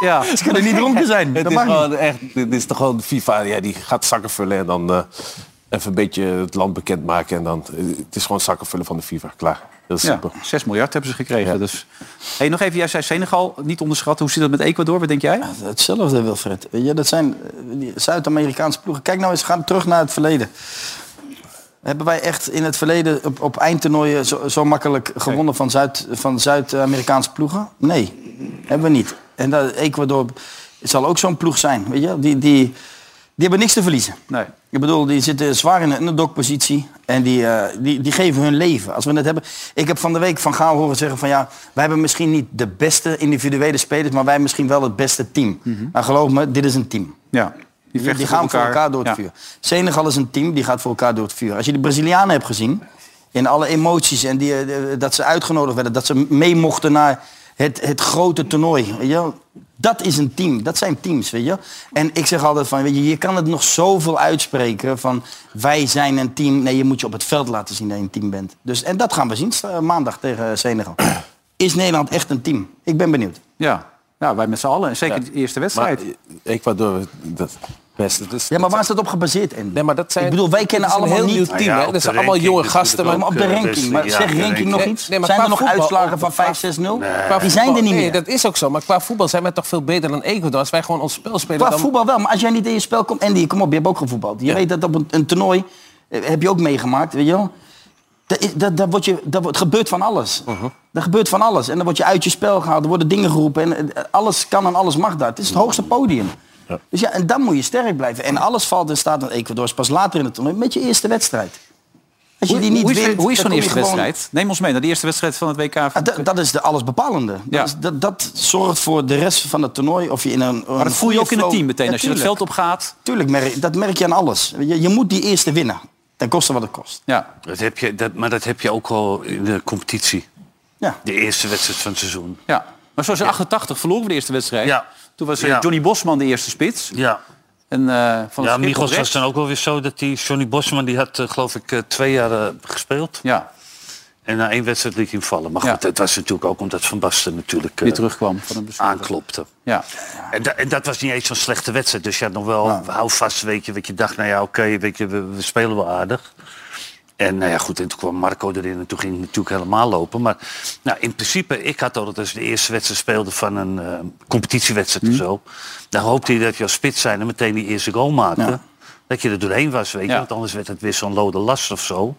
[SPEAKER 2] Ja.
[SPEAKER 3] Ze kunnen niet dronken zijn. Het
[SPEAKER 2] Dat
[SPEAKER 3] is
[SPEAKER 2] mag niet.
[SPEAKER 3] gewoon echt, dit is toch gewoon de FIFA, ja, die gaat zakken vullen en dan eh, even een beetje het land bekendmaken. En dan, eh, het is gewoon zakken vullen van de FIFA, klaar. Heel
[SPEAKER 2] Ja,
[SPEAKER 3] simpel.
[SPEAKER 2] 6 miljard hebben ze gekregen. Dus. Hey, nog even, jij zei Senegal, niet onderschatten. Hoe zit dat met Ecuador? Wat denk jij?
[SPEAKER 4] Hetzelfde, Wilfred. Weet je, dat zijn eh, die Zuid-Amerikaanse ploegen. Kijk nou eens, gaan terug naar het verleden. Hebben wij echt in het verleden op, op eindtoernooien zo, zo makkelijk gewonnen van, Zuid, van Zuid-Amerikaanse ploegen? Nee, hebben we niet. En dat, Ecuador zal ook zo'n ploeg zijn. Weet je? Die, die, die hebben niks te verliezen.
[SPEAKER 2] Nee.
[SPEAKER 4] Ik bedoel, die zitten zwaar in een underdog-positie. En die, eh, die, die geven hun leven. Als we het hebben... Ik heb van de week van Gaal horen zeggen van... ja, wij hebben misschien niet de beste individuele spelers... maar wij hebben misschien wel het beste team. Maar geloof me, dit is een team.
[SPEAKER 2] Ja,
[SPEAKER 4] Die,
[SPEAKER 2] vechten
[SPEAKER 4] die gaan voor elkaar door het
[SPEAKER 2] Ja.
[SPEAKER 4] vuur. Senegal is een team, die gaat voor elkaar door het vuur. Als je de Brazilianen hebt gezien, in alle emoties en die, eh, dat ze uitgenodigd werden, dat ze mee mochten naar het, het grote toernooi. Weet je? wel. Dat is een team, dat zijn teams, weet je. wel. En ik zeg altijd van, weet je, je kan het nog zoveel uitspreken van wij zijn een team. Nee, je moet je op het veld laten zien dat je een team bent. Dus, en dat gaan we zien eh, maandag tegen Senegal. Is Nederland echt een team? Ik ben benieuwd.
[SPEAKER 2] Ja. Nou, wij met z'n allen. En zeker de eerste wedstrijd.
[SPEAKER 3] Maar eh, Ecuador, dat best. Dus,
[SPEAKER 4] Ja, maar waar is dat op gebaseerd in?
[SPEAKER 3] Nee, maar dat zijn,
[SPEAKER 4] ik bedoel, wij kennen
[SPEAKER 3] dat is een
[SPEAKER 4] allemaal
[SPEAKER 3] heel
[SPEAKER 4] niet...
[SPEAKER 3] nieuw team. hè. Dat zijn allemaal jonge gasten.
[SPEAKER 4] Maar op de ranking. Maar zeg ranking nog iets? zijn er nog uitslagen van 5-6-0? Die zijn er niet
[SPEAKER 3] Nee,
[SPEAKER 4] meer.
[SPEAKER 3] dat is ook zo. Maar qua voetbal zijn wij toch veel beter dan Ecuador. Als wij gewoon ons spel spelen...
[SPEAKER 4] Qua
[SPEAKER 3] dan...
[SPEAKER 4] voetbal wel, maar als jij niet in je spel komt... Andy, kom op, je hebt ook gevoetbald. Je weet dat op een, een toernooi, eh, heb je ook meegemaakt, weet je wel. Dat, is- dat, dat, wordt je, dat wordt, gebeurt van alles.
[SPEAKER 2] Uh-huh.
[SPEAKER 4] Er gebeurt van alles. En dan word je uit je spel gehaald. Er worden dingen geroepen. En eh, alles kan en alles mag daar. Het is het hoogste podium. Dus ja, en dan moet je sterk blijven. En alles valt in staat van Ecuador. is Pas later in het toernooi met je eerste wedstrijd. Als je
[SPEAKER 2] Hoe-
[SPEAKER 4] die niet
[SPEAKER 2] hoe is-
[SPEAKER 4] wint,
[SPEAKER 2] hoe is
[SPEAKER 4] dan
[SPEAKER 2] zo'n
[SPEAKER 4] kom je
[SPEAKER 2] eerste
[SPEAKER 4] gewoon-
[SPEAKER 2] wedstrijd? Neem ons mee naar de eerste wedstrijd van het WK.
[SPEAKER 4] Ah, dat, dat is de allesbepalende.
[SPEAKER 2] Ja.
[SPEAKER 4] Dat, is- dat, dat zorgt voor de rest van het toernooi. Of je in een,
[SPEAKER 2] Maar dat voel je ook in het team meteen. Als je het veld op gaat.
[SPEAKER 4] Tuurlijk, merk, dat merk je aan alles. Je, je moet die eerste winnen. Ten koste wat het kost.
[SPEAKER 2] Ja.
[SPEAKER 5] Dat heb je, dat, maar dat heb je ook al in de competitie.
[SPEAKER 4] Ja.
[SPEAKER 5] De eerste wedstrijd van het seizoen.
[SPEAKER 2] Ja. Maar zoals in 88 verloren we de eerste wedstrijd.
[SPEAKER 5] Ja.
[SPEAKER 2] Toen was eh,
[SPEAKER 5] Ja.
[SPEAKER 2] Johnny Bosman de eerste spits.
[SPEAKER 5] Ja.
[SPEAKER 2] En eh, van
[SPEAKER 5] ja,
[SPEAKER 2] het Schip
[SPEAKER 5] Michels was
[SPEAKER 2] rechts.
[SPEAKER 5] dan ook wel weer zo dat die Johnny Bosman die had eh, geloof ik eh, twee jaar eh, gespeeld.
[SPEAKER 2] Ja.
[SPEAKER 5] En na één wedstrijd liet hij hem vallen. Maar goed, dat was natuurlijk ook omdat Van Basten natuurlijk eh,
[SPEAKER 2] Weer terugkwam van een blessure.
[SPEAKER 5] aanklopte.
[SPEAKER 2] Ja.
[SPEAKER 5] En, da- en dat was niet eens zo'n slechte wedstrijd. Dus je had nog wel, hou vast, weet je, weet je dacht, nou ja, oké, weet je, we, we spelen wel aardig. En nou ja, goed, en toen kwam Marco erin en toen ging het natuurlijk helemaal lopen. Maar nou, in principe, ik had altijd als je de eerste wedstrijd speelde van een eh, competitiewedstrijd
[SPEAKER 4] Mhm.
[SPEAKER 5] of zo. Dan hoopte je dat je als spits zijn en meteen die eerste goal maakte. Dat je er doorheen was, weet je. Want anders werd het weer zo'n lode last of zo.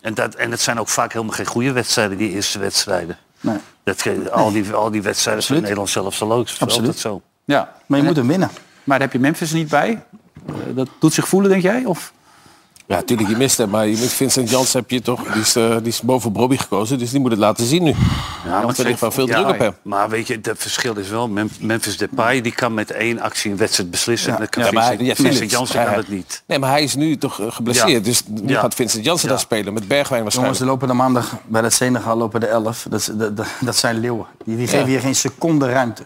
[SPEAKER 5] En dat, en dat zijn ook vaak helemaal geen goede wedstrijden, die eerste wedstrijden.
[SPEAKER 4] Nee.
[SPEAKER 5] Dat, ge- al, die, al die wedstrijden van
[SPEAKER 4] Absoluut.
[SPEAKER 5] Nederland zelf zal ook is
[SPEAKER 4] Absoluut.
[SPEAKER 5] altijd zo.
[SPEAKER 2] Ja.
[SPEAKER 4] Maar je moet hem winnen.
[SPEAKER 2] Maar daar heb je Memphis niet bij. Eh, dat doet zich voelen, denk jij? Of?
[SPEAKER 3] Ja, tuurlijk, je mist hem. Maar je mist Vincent Jans heb je toch... Die is, eh, die is boven Bobby gekozen, dus die moet het laten zien nu. Ja, want er ligt wel veel
[SPEAKER 5] Ja,
[SPEAKER 3] druk op hem.
[SPEAKER 5] Maar weet je, het verschil is wel, Mem- Memphis Depay die kan met één actie een wedstrijd beslissen. en dat Dus, eh, kan
[SPEAKER 3] Ja, maar
[SPEAKER 5] Vincent,
[SPEAKER 3] hij- ja,
[SPEAKER 5] Vincent
[SPEAKER 3] Vincent,
[SPEAKER 5] Janssen
[SPEAKER 3] hij-
[SPEAKER 5] kan het niet.
[SPEAKER 3] Nee, maar hij is nu toch eh, geblesseerd.
[SPEAKER 5] Ja.
[SPEAKER 3] Dus nu
[SPEAKER 5] Ja.
[SPEAKER 3] gaat Vincent Jansen
[SPEAKER 5] Ja.
[SPEAKER 3] daar spelen. Met Bergwijn
[SPEAKER 4] Jongens,
[SPEAKER 3] waarschijnlijk.
[SPEAKER 4] er lopen de maandag bij dat Senegal lopen de 11. Dat, is- dat, dat, dat zijn leeuwen. Die, die geven
[SPEAKER 2] Ja.
[SPEAKER 4] je geen seconde ruimte.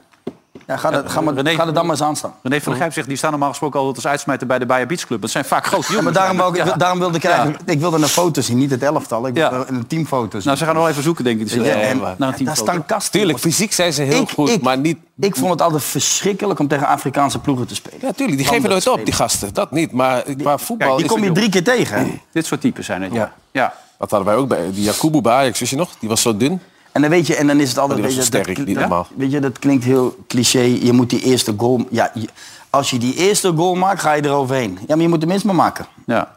[SPEAKER 4] Ja, ga, dat, ga, maar,
[SPEAKER 2] René-
[SPEAKER 4] ga er dan maar eens aan staan.
[SPEAKER 2] René van der Gijp zegt, die staan normaal gesproken altijd als uitsmijter bij de Bayer Beach Club. Dat zijn vaak grote jongens.
[SPEAKER 4] maar daarom, wou ik,
[SPEAKER 2] Ja.
[SPEAKER 4] daarom wilde ik eigenlijk... Ik wilde een foto zien, niet het elftal. Ik wilde een teamfoto zien.
[SPEAKER 2] Nou, ze gaan nog wel even zoeken, denk ik.
[SPEAKER 4] Ja, en-
[SPEAKER 2] naar een
[SPEAKER 4] daar staan kasten.
[SPEAKER 3] Tuurlijk, fysiek zijn ze heel
[SPEAKER 4] Ik-
[SPEAKER 3] goed,
[SPEAKER 4] ik-
[SPEAKER 3] maar niet...
[SPEAKER 4] Ik vond het altijd verschrikkelijk om tegen Afrikaanse ploegen te spelen.
[SPEAKER 3] Ja, tuurlijk, die geven nooit op, die gasten. Dat niet, maar qua voetbal...
[SPEAKER 4] die
[SPEAKER 3] is
[SPEAKER 4] kom
[SPEAKER 3] het-
[SPEAKER 4] je drie keer tegen. hè?
[SPEAKER 2] Dit soort types zijn het. Ja. ja.
[SPEAKER 3] Dat hadden wij ook bij die Jakubu bij Ajax, wist je nog? Die was zo dun.
[SPEAKER 4] En dan weet je, en dan is het altijd...
[SPEAKER 3] Maar die
[SPEAKER 4] weet
[SPEAKER 3] was
[SPEAKER 4] je,
[SPEAKER 3] zo sterk, niet normaal.
[SPEAKER 4] Weet je, dat klinkt heel cliché. Je moet die eerste goal... Ja, je- als je die eerste goal maakt, ga je eroverheen. Ja, maar je moet hem minst maar maken.
[SPEAKER 2] Ja.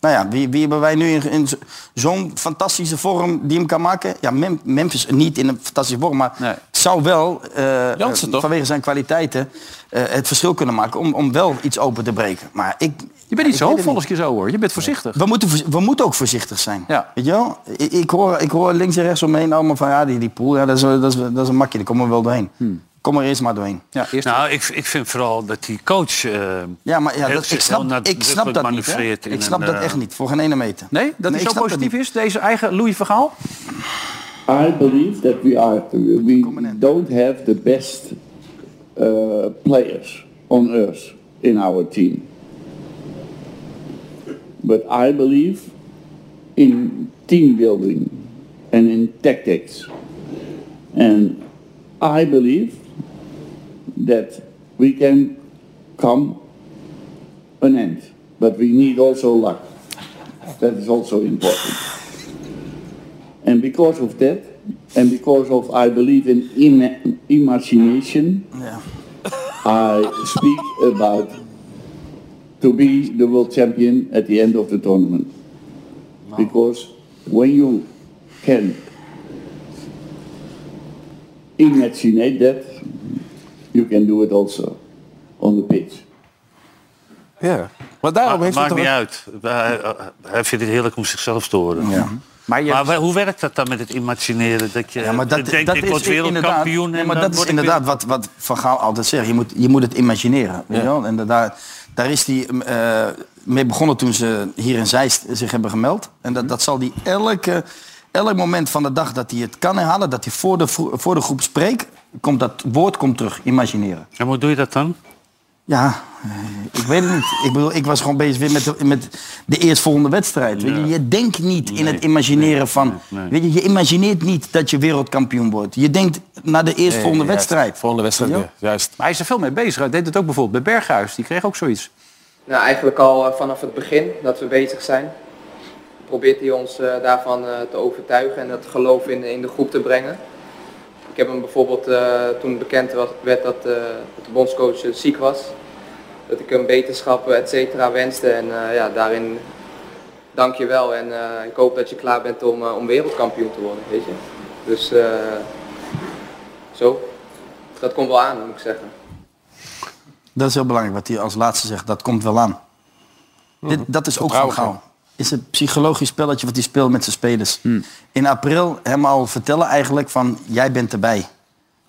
[SPEAKER 4] Nou ja, wie, wie hebben wij nu in, in zo- zo'n fantastische vorm die hem kan maken? Ja, Mem- Memphis niet in een fantastische vorm, maar het zou wel eh, eh, vanwege zijn kwaliteiten eh, het verschil kunnen maken om, om wel iets open te breken. Maar ik,
[SPEAKER 2] Je bent niet zo hoopvol als je zo hoor. Je bent voorzichtig.
[SPEAKER 4] we moeten, voorz- we moeten ook voorzichtig zijn. Weet je wel? Ik, ik hoor, ik hoor links en rechts omheen allemaal van ja, die, die pool, ja, dat, is, dat, is, dat is een makkie, daar komen we wel doorheen.
[SPEAKER 3] Hmm.
[SPEAKER 4] Kom er eerst maar doorheen.
[SPEAKER 5] Nou, ik, ik vind vooral dat die coach... eh,
[SPEAKER 4] Ja, maar ja,
[SPEAKER 5] heel-
[SPEAKER 4] dat, ik
[SPEAKER 5] heel
[SPEAKER 4] snap, ik
[SPEAKER 5] nadrukkelijk
[SPEAKER 4] snap dat niet. hè.
[SPEAKER 5] manoeuvreert in
[SPEAKER 4] Ik snap
[SPEAKER 5] een,
[SPEAKER 4] dat
[SPEAKER 5] eh,
[SPEAKER 4] echt niet, voor geen ene meter.
[SPEAKER 2] Nee, dat
[SPEAKER 4] Nee,
[SPEAKER 2] hij
[SPEAKER 4] ik
[SPEAKER 2] zo
[SPEAKER 4] snap dat
[SPEAKER 2] positief is, deze eigen Louis Vergaal?
[SPEAKER 7] I believe that we are we don't have the best uh, players on earth in our team. But I believe in team building and in tactics. And I believe that we can come an end. But we need also luck. That is also important. And because of that, and because of I believe in im- imagination, I speak about to be the world champion at the end of the tournament. Because when you can imagine that, you can do it also on the pitch.
[SPEAKER 3] Ja. Maar daarom
[SPEAKER 5] Ma-
[SPEAKER 3] heeft
[SPEAKER 5] maakt
[SPEAKER 3] het
[SPEAKER 5] niet
[SPEAKER 3] toch-
[SPEAKER 5] uit. Hij, eh, hij vindt het heerlijk om zichzelf te horen.
[SPEAKER 2] Maar,
[SPEAKER 5] wa- hoe werkt dat dan met het imagineren? Dat je
[SPEAKER 4] Ja, maar dat,
[SPEAKER 5] denkt,
[SPEAKER 4] dat
[SPEAKER 5] ik
[SPEAKER 4] is
[SPEAKER 5] word
[SPEAKER 4] inderdaad,
[SPEAKER 5] wereldkampioen en
[SPEAKER 4] nee, maar
[SPEAKER 5] dan
[SPEAKER 4] dat is
[SPEAKER 5] word ik weer-
[SPEAKER 4] inderdaad wat, wat Van Gaal altijd zegt. Je moet, je moet het imagineren. Weet je wel? En da- daar, daar is hij eh, mee begonnen toen ze hier in Zeist zich hebben gemeld. En dat, dat zal die elke, elk moment van de dag dat hij het kan herhalen... dat hij voor de, vro- voor de groep spreekt, komt dat woord komt terug. Imagineren.
[SPEAKER 5] En hoe doe je dat dan?
[SPEAKER 4] Ja, eh, ik weet het niet. Ik bedoel, ik was gewoon bezig weer met de, met de eerstvolgende wedstrijd. Weet je? je denkt niet in het imagineren van... Weet je, je imagineert niet dat je wereldkampioen wordt. Je denkt
[SPEAKER 2] Ah,
[SPEAKER 4] naar de eerstvolgende
[SPEAKER 2] Nee, juist.
[SPEAKER 4] wedstrijd.
[SPEAKER 3] Volgende wedstrijd,
[SPEAKER 4] Ja.
[SPEAKER 3] juist.
[SPEAKER 2] Maar hij is er veel mee bezig. Hij deed het ook bijvoorbeeld bij Berghuis. Die kreeg ook zoiets.
[SPEAKER 16] Nou, eigenlijk al eh, vanaf het begin dat we bezig zijn, probeert hij ons eh, daarvan eh, te overtuigen en dat geloof in, in de groep te brengen. Ik heb hem bijvoorbeeld eh, toen bekend was- werd dat, eh, dat de bondscoach eh, ziek was, dat ik hem betenschappen et cetera wenste en eh, ja, daarin dank je wel en eh, ik hoop dat je klaar bent om, eh, om wereldkampioen te worden, weet je. Dus eh, zo, dat komt wel aan moet ik zeggen.
[SPEAKER 4] Dat is heel belangrijk wat hij als laatste zegt. Dat komt wel aan.
[SPEAKER 2] Mhm.
[SPEAKER 4] Dit, dat is ook van
[SPEAKER 16] Vertrouwen
[SPEAKER 4] Gaal. Is een psychologisch spelletje wat hij speelt met zijn spelers.
[SPEAKER 2] Hmm.
[SPEAKER 4] In april hem al vertellen eigenlijk van jij bent erbij.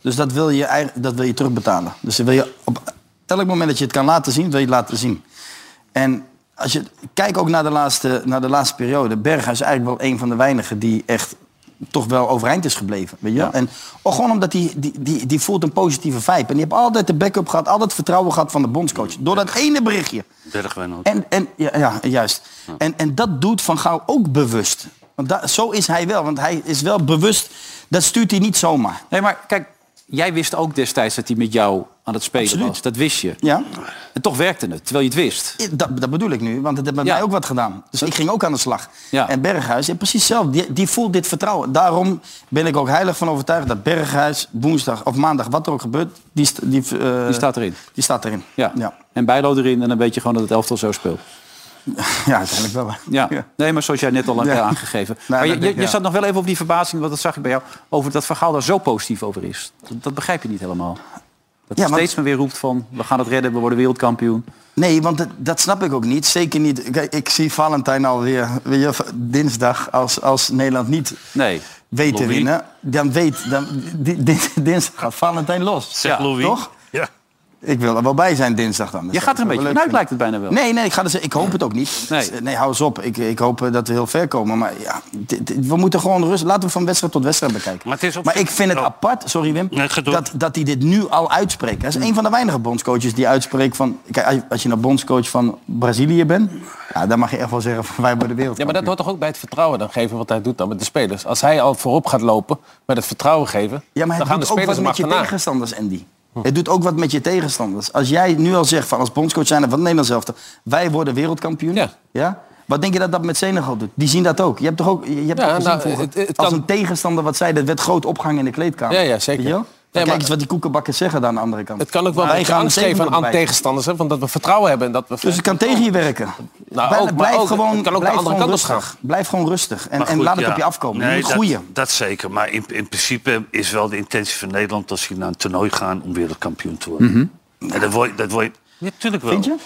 [SPEAKER 4] Dus dat wil je, eigen- dat wil je terugbetalen. Dus dat wil je op elk moment dat je het kan laten zien, wil je het laten zien. En als je kijk ook naar de laatste, naar de laatste periode. Berghuis is eigenlijk wel een van de weinigen die echt toch wel overeind is gebleven. Weet je? wel? En ook gewoon omdat die, die, die, die voelt een positieve vibe. En die heeft altijd de backup gehad, altijd vertrouwen gehad van de bondscoach. Door dat ene berichtje.
[SPEAKER 5] Bergwijn
[SPEAKER 4] En, en ja, ja, juist. En, en dat doet Van Gaal ook bewust. Want da, zo is hij wel. Want hij is wel bewust. Dat stuurt hij niet zomaar.
[SPEAKER 2] Nee, maar kijk, jij wist ook destijds dat hij met jou aan het spelen was. Dat wist je.
[SPEAKER 4] Ja.
[SPEAKER 2] En toch werkte het, terwijl je het wist.
[SPEAKER 4] Dat, dat bedoel ik nu, want het heeft met mij ook wat gedaan. Dus ik ging ook aan de slag.
[SPEAKER 2] Ja.
[SPEAKER 4] En Berghuis, ja, precies zelf, die, die voelt dit vertrouwen. Daarom ben ik ook heilig van overtuigd dat Berghuis woensdag of maandag, wat er ook gebeurt, die, st- die, eh,
[SPEAKER 2] Die staat erin.
[SPEAKER 4] Die staat erin.
[SPEAKER 2] Ja. En Bijlo erin en dan weet je gewoon dat het elftal zo speelt.
[SPEAKER 4] Ja, uiteindelijk wel.
[SPEAKER 2] Ja. nee, maar zoals jij net al had
[SPEAKER 4] Ja.
[SPEAKER 2] aangegeven.
[SPEAKER 4] Nou,
[SPEAKER 2] maar je,
[SPEAKER 4] dat
[SPEAKER 2] je,
[SPEAKER 4] denk ik,
[SPEAKER 2] je
[SPEAKER 4] ja.
[SPEAKER 2] zat nog wel even op die verbazing, want dat zag ik bij jou, over dat verhaal daar zo positief over is. Dat, dat begrijp je niet helemaal. Dat je
[SPEAKER 4] Ja, want-
[SPEAKER 2] steeds maar weer roept van, we gaan het redden, we worden wereldkampioen.
[SPEAKER 4] Nee, want dat, dat snap ik ook niet. Zeker niet. Kijk, ik zie Valentijn alweer weet je, v- dinsdag als, als Nederland niet
[SPEAKER 2] Nee.
[SPEAKER 4] weet te
[SPEAKER 2] Louis.
[SPEAKER 4] winnen. Dan weet, dan, di- di- dinsdag gaat Valentijn los.
[SPEAKER 5] Zeg Louis.
[SPEAKER 4] Toch?
[SPEAKER 5] Ja.
[SPEAKER 4] Ik wil er wel bij zijn dinsdag dan. Dus
[SPEAKER 2] Je
[SPEAKER 4] dat
[SPEAKER 2] gaat er een
[SPEAKER 4] is
[SPEAKER 2] beetje
[SPEAKER 4] wel
[SPEAKER 2] vanuit,
[SPEAKER 4] leuk
[SPEAKER 2] lijkt het bijna wel.
[SPEAKER 4] Nee, nee, ik, ga dus, ik hoop het ook niet.
[SPEAKER 2] Nee.
[SPEAKER 4] Dus, eh, nee hou eens op. Ik, ik hoop eh, dat we heel ver komen. Maar ja, dit- dit- we moeten gewoon rust. Laten we van wedstrijd tot wedstrijd bekijken.
[SPEAKER 5] Maar, het is op
[SPEAKER 4] Maar
[SPEAKER 5] zich-
[SPEAKER 4] ik vind het apart, sorry Wim, dat, dat hij dit nu al uitspreekt. Hij is een van de weinige bondscoaches die uitspreekt van... Kijk, als je- als je nou bondscoach van Brazilië bent... Ja, dan mag je echt wel zeggen van wij worden de wereld.
[SPEAKER 3] Ja, maar dat hoort toch ook bij het vertrouwen dan geven wat hij doet dan met de spelers. Als hij al voorop gaat lopen met het vertrouwen geven,
[SPEAKER 4] Ja, maar
[SPEAKER 3] dan gaan
[SPEAKER 4] het
[SPEAKER 3] de
[SPEAKER 4] doet ook
[SPEAKER 3] spelers
[SPEAKER 4] wat
[SPEAKER 3] hem
[SPEAKER 4] met je
[SPEAKER 3] achterna.
[SPEAKER 4] tegenstanders, Andy. Het doet ook wat met je tegenstanders. Als jij nu al zegt van als bondscoach zijn van Nederland zelf, wij worden wereldkampioen. Ja. Wat denk je dat dat met Senegal doet? Die zien dat ook. Je hebt toch ook je hebt
[SPEAKER 3] Ja,
[SPEAKER 4] toch gezien
[SPEAKER 3] nou,
[SPEAKER 4] vroeger,
[SPEAKER 3] het- het
[SPEAKER 4] als
[SPEAKER 3] kan-
[SPEAKER 4] een tegenstander wat zei, dat werd groot opgang in de kleedkamer.
[SPEAKER 3] Ja, ja,
[SPEAKER 4] Weet je
[SPEAKER 3] zeker.
[SPEAKER 4] wel? Nou, kijk eens wat die koekenbakkers zeggen daar aan de andere kant.
[SPEAKER 3] Het kan ook wel
[SPEAKER 4] Wij
[SPEAKER 3] een beetje
[SPEAKER 4] gaan
[SPEAKER 3] angst
[SPEAKER 4] tegen
[SPEAKER 3] geven aan,
[SPEAKER 4] elkaar
[SPEAKER 3] aan
[SPEAKER 4] bij.
[SPEAKER 3] tegenstanders. Hè? Want dat we vertrouwen hebben. En dat we
[SPEAKER 4] Dus het kan tegen je werken.
[SPEAKER 3] Nou,
[SPEAKER 4] Blijf-
[SPEAKER 3] ook, maar
[SPEAKER 4] blijf
[SPEAKER 3] ook,
[SPEAKER 4] gewoon,
[SPEAKER 3] het kan ook de andere
[SPEAKER 4] blijf gewoon
[SPEAKER 3] kant op
[SPEAKER 4] rustig.
[SPEAKER 3] gaan.
[SPEAKER 4] Blijf gewoon rustig. En,
[SPEAKER 5] Maar
[SPEAKER 4] en
[SPEAKER 5] goed,
[SPEAKER 4] laat het
[SPEAKER 5] ja.
[SPEAKER 4] op je afkomen.
[SPEAKER 5] Nee,
[SPEAKER 4] je moet
[SPEAKER 5] dat,
[SPEAKER 4] groeien.
[SPEAKER 5] Dat zeker. Maar in, in principe is wel de intentie van Nederland dat ze naar een toernooi gaan om wereldkampioen te worden. En dat word, je- dat word je. Ja, natuurlijk wel.
[SPEAKER 4] Mhm. Vind je?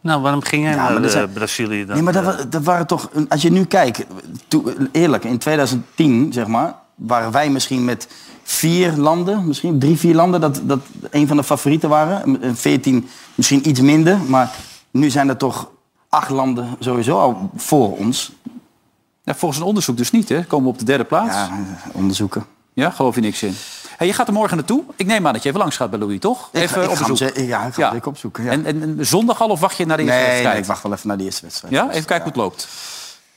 [SPEAKER 5] Nou, waarom ging jij
[SPEAKER 4] Ja, maar
[SPEAKER 5] naar
[SPEAKER 4] dat
[SPEAKER 5] eh,
[SPEAKER 4] zijn-
[SPEAKER 5] Brazilië dan? eh,
[SPEAKER 4] Nee, maar dat,
[SPEAKER 2] eh,
[SPEAKER 4] wa- dat waren toch... een- Als je nu kijkt, toe- eerlijk, in 2010, zeg maar, waren wij misschien met vier landen, misschien drie, vier landen, dat, dat een van de favorieten waren. En 14 misschien iets minder, maar nu zijn er toch acht landen sowieso al voor ons.
[SPEAKER 2] Ja, volgens een onderzoek dus niet, hè? Komen we op de derde plaats? Ja,
[SPEAKER 4] eh, onderzoeken.
[SPEAKER 2] Ja, geloof je niks in. Hey, je gaat er morgen naartoe. Ik neem aan dat je even langs gaat bij Louis, toch?
[SPEAKER 4] Ik ga-
[SPEAKER 2] Even
[SPEAKER 4] ik
[SPEAKER 2] op
[SPEAKER 4] ga hem
[SPEAKER 2] bezoek.
[SPEAKER 4] ze- Ja, ik ga
[SPEAKER 2] Ja.
[SPEAKER 4] hem zeker opzoeken. Ja.
[SPEAKER 2] En, en, en zondag al of wacht je naar de eerste
[SPEAKER 4] nee,
[SPEAKER 2] wedstrijd?
[SPEAKER 4] nee, ik wacht wel even naar de eerste wedstrijd. Oh,
[SPEAKER 2] Ja, even kijken hoe het loopt.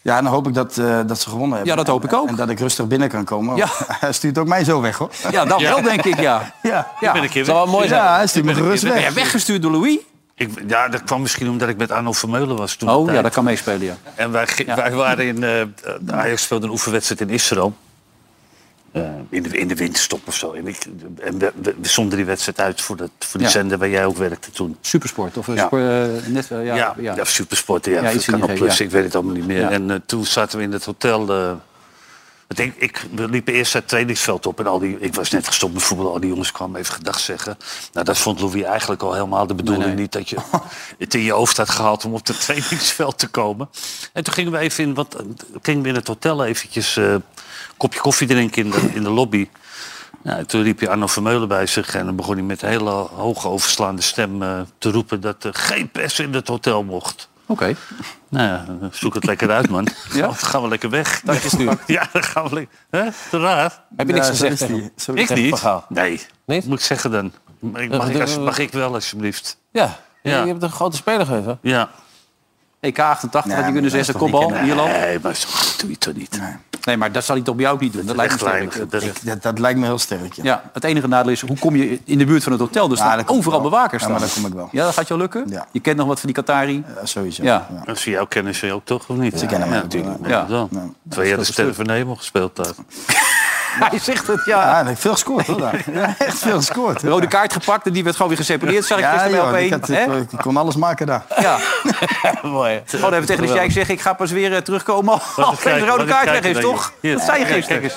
[SPEAKER 4] Ja, en dan hoop ik dat, eh, dat ze gewonnen hebben.
[SPEAKER 2] Ja, dat hoop ik
[SPEAKER 4] En-
[SPEAKER 2] ook.
[SPEAKER 4] En dat ik rustig binnen kan komen.
[SPEAKER 2] Ja.
[SPEAKER 4] Hij stuurt ook mij zo weg, hoor.
[SPEAKER 2] Ja, dan wel denk ik, ja.
[SPEAKER 4] Ja.
[SPEAKER 2] ja.
[SPEAKER 5] ben een keer
[SPEAKER 2] Zou wel
[SPEAKER 5] weg.
[SPEAKER 2] mooi zijn.
[SPEAKER 4] Ja, hij stuurt me gerust
[SPEAKER 2] Ben
[SPEAKER 4] weg.
[SPEAKER 2] jij weggestuurd door Louis?
[SPEAKER 5] Ik, ja, dat kwam misschien omdat ik met Arno Vermeulen was toen.
[SPEAKER 2] Oh
[SPEAKER 5] de
[SPEAKER 2] ja,
[SPEAKER 5] tijd.
[SPEAKER 2] dat kan meespelen, ja.
[SPEAKER 5] En wij, ge- wij waren in... eh, de Ajax speelde een oefenwedstrijd in Israël. Eh, in, de, in de winterstop of zo. En, ik, en we, we- we zonden die wedstrijd uit voor, dat, voor die
[SPEAKER 2] Ja.
[SPEAKER 5] zender waar jij ook werkte toen.
[SPEAKER 2] Supersport of eh,
[SPEAKER 5] Ja.
[SPEAKER 2] spor- eh, net, eh, ja,
[SPEAKER 5] Ja,
[SPEAKER 2] ja,
[SPEAKER 5] ja. supersport. Ja,
[SPEAKER 2] Ja, iets in die
[SPEAKER 5] Canal
[SPEAKER 2] geest,
[SPEAKER 5] Plus,
[SPEAKER 2] ja.
[SPEAKER 5] ik weet het allemaal niet meer.
[SPEAKER 2] Ja.
[SPEAKER 5] En eh, toen zaten we in het hotel... eh, want ik, ik, we liepen eerst het trainingsveld op en al die, ik was net gestopt met voetbal. Al die jongens kwamen even gedag zeggen. Nou, dat vond Louis eigenlijk al helemaal de bedoeling niet. Dat je het in je hoofd had gehaald om op het trainingsveld te komen. En toen gingen we even in, wat, gingen we in het hotel eventjes eh, een kopje koffie drinken in de, in de lobby. Nou, toen riep je Arno Vermeulen bij zich en dan begon hij met een hele hoge overslaande stem eh, te roepen dat er geen pers in het hotel mocht.
[SPEAKER 2] Oké.
[SPEAKER 5] Nou ja, zoek het lekker uit, man.
[SPEAKER 2] Ja?
[SPEAKER 5] Dan gaan we lekker weg.
[SPEAKER 2] Dank je, Stuur.
[SPEAKER 5] Ja, dan gaan we lekker... Hè? Te raar.
[SPEAKER 3] Heb je niks
[SPEAKER 4] Nou,
[SPEAKER 3] gezegd tegen hem?
[SPEAKER 5] Ik
[SPEAKER 3] Tegen Van
[SPEAKER 5] niet.
[SPEAKER 3] Gaal?
[SPEAKER 5] Nee. Moet ik zeggen dan? Mag ik, mag ik, als- mag ik wel, alsjeblieft?
[SPEAKER 3] Ja.
[SPEAKER 5] Ja.
[SPEAKER 3] Je hebt een grote speler geweest. hè?
[SPEAKER 5] Ja.
[SPEAKER 2] EK 88, E had je kunnen zeggen, kopbal, Ierland.
[SPEAKER 5] Nee, maar zo doe je toch niet.
[SPEAKER 2] Nee, maar dat zal hij toch bij jou ook niet doen. Dat, lijkt me
[SPEAKER 5] echt
[SPEAKER 2] sterk.
[SPEAKER 5] weinig. Dat-
[SPEAKER 4] Ik- dat, dat lijkt me heel sterk, ja.
[SPEAKER 2] Ja, het enige nadeel is, hoe kom je in de buurt van het hotel? Dus
[SPEAKER 4] Ja,
[SPEAKER 2] staan
[SPEAKER 4] dat komt
[SPEAKER 2] overal
[SPEAKER 4] wel.
[SPEAKER 2] bewakers
[SPEAKER 4] Ja, maar
[SPEAKER 2] staan.
[SPEAKER 4] dat kom ik wel.
[SPEAKER 2] Ja, dat gaat jou lukken?
[SPEAKER 4] Ja.
[SPEAKER 2] Je kent nog wat van die Qatari?
[SPEAKER 4] Ja, sowieso.
[SPEAKER 2] Ja.
[SPEAKER 5] Dat zie jou kennen ze ook toch, of niet?
[SPEAKER 4] Ze kennen
[SPEAKER 5] ja,
[SPEAKER 4] mij
[SPEAKER 5] natuurlijk.
[SPEAKER 2] Ja.
[SPEAKER 5] Ja. Dan. Twee jaar de Sterren van de Hemel gespeeld daar.
[SPEAKER 2] Hij zegt het, ja.
[SPEAKER 4] Ja, en ik heb veel gescoord, hoor. daar. Ja, echt veel gescoord.
[SPEAKER 2] Rode kaart gepakt en die werd gewoon weer gesepareerd, zag ik gisteren
[SPEAKER 4] joh,
[SPEAKER 2] bij
[SPEAKER 4] ik,
[SPEAKER 2] op
[SPEAKER 4] had- eh,
[SPEAKER 2] één.
[SPEAKER 4] ik kon alles maken daar.
[SPEAKER 2] Ja.
[SPEAKER 3] Mooi.
[SPEAKER 2] Oh, dan hebben we tegen de jij zeggen, ik ga pas weer eh, terugkomen als de
[SPEAKER 5] kijken,
[SPEAKER 2] rode
[SPEAKER 5] wat een
[SPEAKER 2] kaart weg
[SPEAKER 5] kijker
[SPEAKER 2] is,
[SPEAKER 5] ben je.
[SPEAKER 2] toch?
[SPEAKER 5] Ja.
[SPEAKER 2] Dat zei je
[SPEAKER 5] Ja,
[SPEAKER 2] gisteren.
[SPEAKER 5] kijk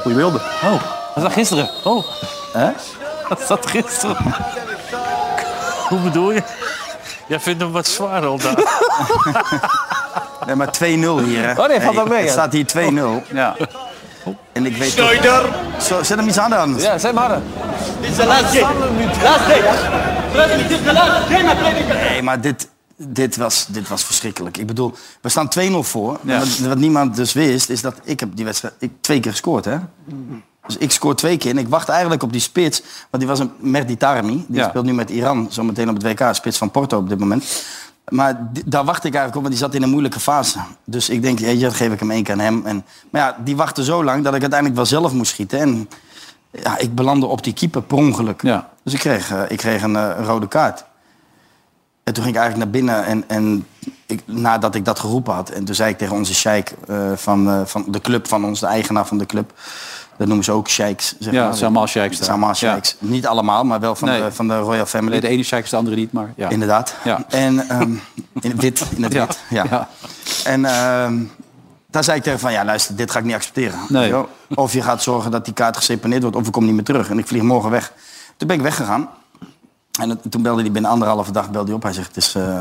[SPEAKER 2] Goeie wilde.
[SPEAKER 3] Oh, dat zat gisteren. Oh,
[SPEAKER 4] Hè?
[SPEAKER 3] dat zat gisteren.
[SPEAKER 5] Hoe bedoel je? Jij vindt hem wat zwaar al daar.
[SPEAKER 4] Nee, maar 2-0 hier. Hè.
[SPEAKER 3] Oh, nee, valt wel mee,
[SPEAKER 4] Het
[SPEAKER 3] hè?
[SPEAKER 4] staat hier 2-0.
[SPEAKER 2] Ja.
[SPEAKER 4] En ik weet Schneider! Zo, zet hem iets aan anders.
[SPEAKER 3] Ja, zeg maar.
[SPEAKER 14] Dit is de laatste game. Laatste game. Dit is de laatste game.
[SPEAKER 4] Nee, maar dit, dit, was, dit was verschrikkelijk. Ik bedoel, we staan 2-0 voor.
[SPEAKER 2] Ja.
[SPEAKER 4] Wat, wat niemand dus wist, is dat ik heb die wedstrijd ik twee keer gescoord. Hè? Dus ik scoor twee keer en ik wacht eigenlijk op die spits. Want die was een Mehdi Taremi. Die
[SPEAKER 2] Ja.
[SPEAKER 4] speelt nu met Iran zometeen op het WK. Spits van Porto op dit moment. Maar di- daar wacht ik eigenlijk op, want die zat in een moeilijke fase. Dus ik denk, ja, dan geef ik hem één keer aan hem. En, maar ja, die wachtte zo lang dat ik uiteindelijk wel zelf moest schieten. En ja, ik belandde op die keeper per ongeluk.
[SPEAKER 2] Ja.
[SPEAKER 4] Dus ik kreeg, eh, ik kreeg een eh, rode kaart. En toen ging ik eigenlijk naar binnen en, en ik, nadat ik dat geroepen had. En toen zei ik tegen onze sheik eh, van, eh, van de club van ons, de eigenaar van de club. Dat noemen ze ook sheiks. Zeg
[SPEAKER 2] Ja,
[SPEAKER 4] maar.
[SPEAKER 2] het zijn allemaal sheiks
[SPEAKER 4] Het
[SPEAKER 2] daar.
[SPEAKER 4] zijn allemaal sheiks. Niet allemaal, maar wel van,
[SPEAKER 2] Nee.
[SPEAKER 4] de, van de royal family.
[SPEAKER 2] Nee, de ene zei de andere niet, maar ja.
[SPEAKER 4] Inderdaad.
[SPEAKER 2] Ja.
[SPEAKER 4] En ehm, in het wit. In het
[SPEAKER 2] Ja.
[SPEAKER 4] wit. Ja.
[SPEAKER 2] Ja.
[SPEAKER 4] En ehm, daar zei ik tegen van, ja luister, dit ga ik niet accepteren.
[SPEAKER 2] Nee.
[SPEAKER 4] Weet je wel? Of je gaat zorgen dat die kaart geseponeerd wordt, of ik kom niet meer terug. En ik vlieg morgen weg. Toen ben ik weggegaan. En het- toen belde hij binnen anderhalve dag belde hij op. Hij zegt, het is eh,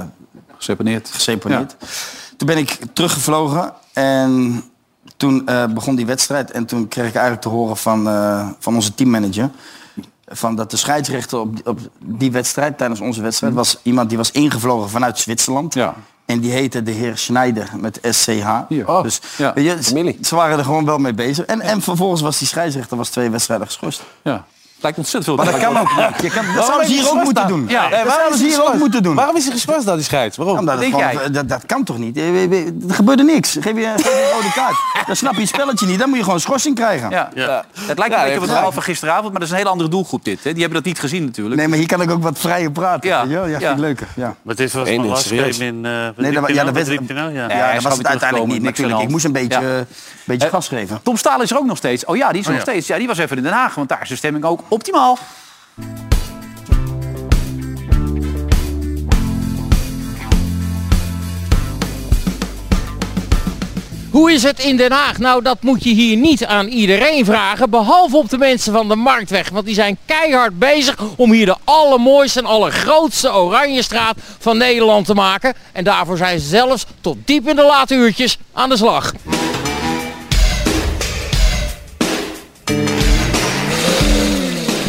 [SPEAKER 2] Geseponeerd.
[SPEAKER 4] geseponeerd. Toen ben ik teruggevlogen en toen eh, begon die wedstrijd. En toen kreeg ik eigenlijk te horen van, eh, van onze teammanager... Van dat de scheidsrechter op, op die wedstrijd, tijdens onze wedstrijd, was iemand die was ingevlogen vanuit Zwitserland.
[SPEAKER 2] Ja.
[SPEAKER 4] En die heette de heer Schneider met SCH.
[SPEAKER 2] Hier.
[SPEAKER 3] Oh,
[SPEAKER 4] dus
[SPEAKER 2] ja.
[SPEAKER 4] weet je,
[SPEAKER 3] Familie.
[SPEAKER 4] ze- ze waren er gewoon wel mee bezig. En, en vervolgens was die scheidsrechter was twee wedstrijden geschorst.
[SPEAKER 2] Ja.
[SPEAKER 3] Lijkt ontzettend veel.
[SPEAKER 4] Maar dat kan ook niet. Je kan- dat zouden ze hier ook moeten doen. Eh,
[SPEAKER 3] Ja,
[SPEAKER 4] Nee, dat zouden ze hier ook moeten doen.
[SPEAKER 3] Waarom is hij geschorst dan, die scheids? Waarom?
[SPEAKER 4] Omdat het
[SPEAKER 3] Denk
[SPEAKER 4] gewoon-
[SPEAKER 3] jij?
[SPEAKER 4] dat, dat kan toch niet? Eh, we- we- Er gebeurde niks. Geef je, geef je een rode kaart. Dan snap je het spelletje niet. Dan moet je gewoon een schorsing krijgen.
[SPEAKER 2] Ja. Het lijkt een beetje op het verhaal van gisteravond, maar dat is een hele andere doelgroep dit. Hè. Die hebben dat niet gezien natuurlijk.
[SPEAKER 4] Nee, maar hier kan ik ook wat vrijer praten. Ja, ja, vind ik leuker. Ja.
[SPEAKER 5] Maar dit was
[SPEAKER 4] Eén
[SPEAKER 5] mijn
[SPEAKER 4] ding,
[SPEAKER 5] last
[SPEAKER 4] serieus.
[SPEAKER 5] game in... eh, wat
[SPEAKER 4] Nee,
[SPEAKER 5] riep
[SPEAKER 4] dat,
[SPEAKER 5] je
[SPEAKER 4] ja,
[SPEAKER 5] nou?
[SPEAKER 4] dat,
[SPEAKER 5] Wat
[SPEAKER 4] werd,
[SPEAKER 5] riep je nou? Ja.
[SPEAKER 4] ja, dat was het uiteindelijk niet natuurlijk. Ik moest een beetje, eh, beetje gas geven.
[SPEAKER 2] Tom Staal is er ook nog steeds. Oh ja, die is er
[SPEAKER 4] Oh
[SPEAKER 2] nog
[SPEAKER 4] ja.
[SPEAKER 2] steeds. Ja, die was even in Den Haag, want daar is de stemming ook optimaal.
[SPEAKER 17] Hoe is het in Den Haag? Nou, dat moet je hier niet aan iedereen vragen. Behalve op de mensen van de Marktweg. Want die zijn keihard bezig om hier de allermooiste en allergrootste Oranjestraat van Nederland te maken. En daarvoor zijn ze zelfs tot diep in de late uurtjes aan de slag.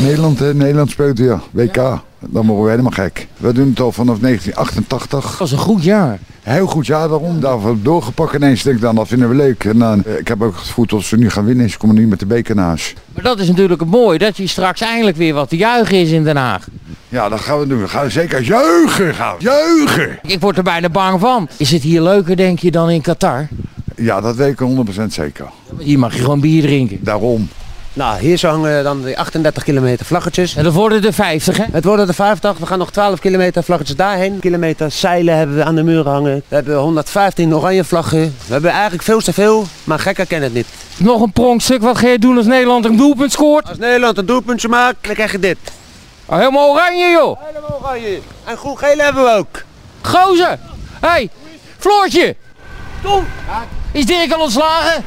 [SPEAKER 18] Nederland, hè? Nederland speelt ja. WK. Dan mogen we helemaal gek. We doen het al vanaf 1988. Dat was een goed jaar. Heel goed jaar daarom. Daarvoor doorgepakt ineens. Denk ik dan, dat vinden we leuk. En dan, eh, ik heb ook het gevoel dat ze nu gaan winnen. Ze komen nu met de beker naar huis.
[SPEAKER 17] Maar dat is natuurlijk het mooie, dat hier straks eindelijk weer wat te juichen is in Den Haag.
[SPEAKER 18] Ja, dat gaan we doen. We gaan zeker juichen gaan. we. Juichen!
[SPEAKER 17] Ik word er bijna bang van. Is het hier leuker, denk je, dan in Qatar?
[SPEAKER 18] Ja, dat weet ik 100% zeker.
[SPEAKER 17] Hier mag je gewoon bier drinken.
[SPEAKER 18] Daarom.
[SPEAKER 19] Nou, hier zo hangen dan die 38 kilometer vlaggetjes. En
[SPEAKER 17] dat worden er 50, hè?
[SPEAKER 19] Het worden er 50. We gaan nog 12 kilometer vlaggetjes daarheen. Kilometer zeilen hebben we aan de muren hangen. We hebben 115 oranje vlaggen. We hebben eigenlijk veel te veel, maar gekken kennen het niet.
[SPEAKER 17] Nog een pronkstuk, wat ga je doen als Nederland een doelpunt scoort?
[SPEAKER 19] Als Nederland een doelpuntje maakt, dan krijg je dit.
[SPEAKER 17] Oh, helemaal oranje, joh!
[SPEAKER 19] Helemaal oranje. En groen-geel hebben we ook.
[SPEAKER 17] Gozer! Hé, hey, Floortje! Kom! Is Dirk al ontslagen?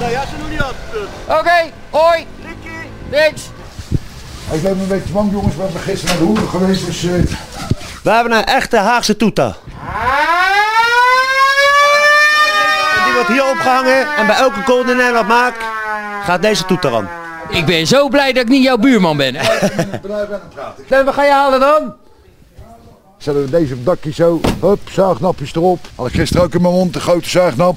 [SPEAKER 19] Nou ja, ze doen niet aan.
[SPEAKER 17] Oké, hoi! Niks!
[SPEAKER 18] Ik ben een beetje bang jongens. We hebben gisteren naar de hoeren geweest. Dus,
[SPEAKER 19] We hebben een echte Haagse toeta. En die wordt hier opgehangen en bij elke goal die Nederland maakt, gaat deze toeter aan.
[SPEAKER 17] Ik ben zo blij dat ik niet jouw buurman ben.
[SPEAKER 19] En wat ga je halen dan?
[SPEAKER 18] Zetten we deze op het dakje zo. Hup, zaagnapjes erop. Had ik gisteren ook in mijn mond een grote zaagnap.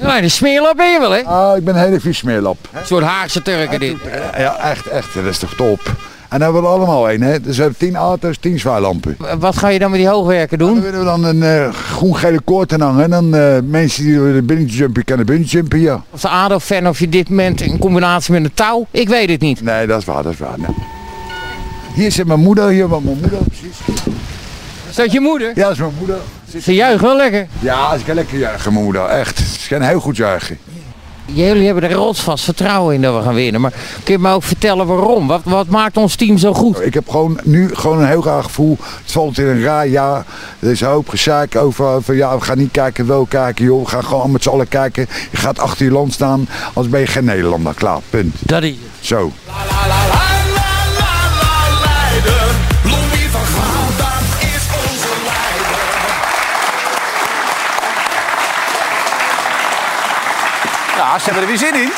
[SPEAKER 17] Nou, een smeerlap ben je wel, hè?
[SPEAKER 18] Ah, ik ben een hele vies smeerlap.
[SPEAKER 17] Een soort Haagse Turken dit.
[SPEAKER 18] Ja, echt, echt. Dat is toch top. En dan hebben we er allemaal één, hè. Dus we hebben tien auto's, tien zwaarlampen.
[SPEAKER 17] Wat ga je dan met die hoogwerker doen?
[SPEAKER 18] Dan willen we dan een eh, groen-gele koord aan hangen. En dan eh, mensen die willen bunnyjumpen, kennen bunnyjumpen, ja.
[SPEAKER 17] Of de ADO-fan of je dit moment in combinatie met een touw? Ik weet het niet.
[SPEAKER 18] Nee, dat is waar, dat is waar. nee. Hier zit mijn moeder, hier woont mijn moeder, precies.
[SPEAKER 17] Is dat je moeder?
[SPEAKER 18] Ja, dat is mijn moeder.
[SPEAKER 17] Ze juicht wel lekker.
[SPEAKER 18] Ja, ze kan lekker juichen, mijn moeder, echt. Ze kan heel goed juichen.
[SPEAKER 17] Jullie hebben er rotsvast vertrouwen in dat we gaan winnen. Maar kun je me ook vertellen waarom? Wat, wat maakt ons team zo goed?
[SPEAKER 18] Ik heb gewoon nu gewoon een heel raar gevoel. Het valt in een raar jaar. Er is een hoop gezaak over van ja, we gaan niet kijken, wel kijken joh. We gaan gewoon met z'n allen kijken. Je gaat achter je land staan, als ben je geen Nederlander. Klaar, punt.
[SPEAKER 17] Dat is
[SPEAKER 18] Zo.
[SPEAKER 2] Ja, ze hebben er weer zin in.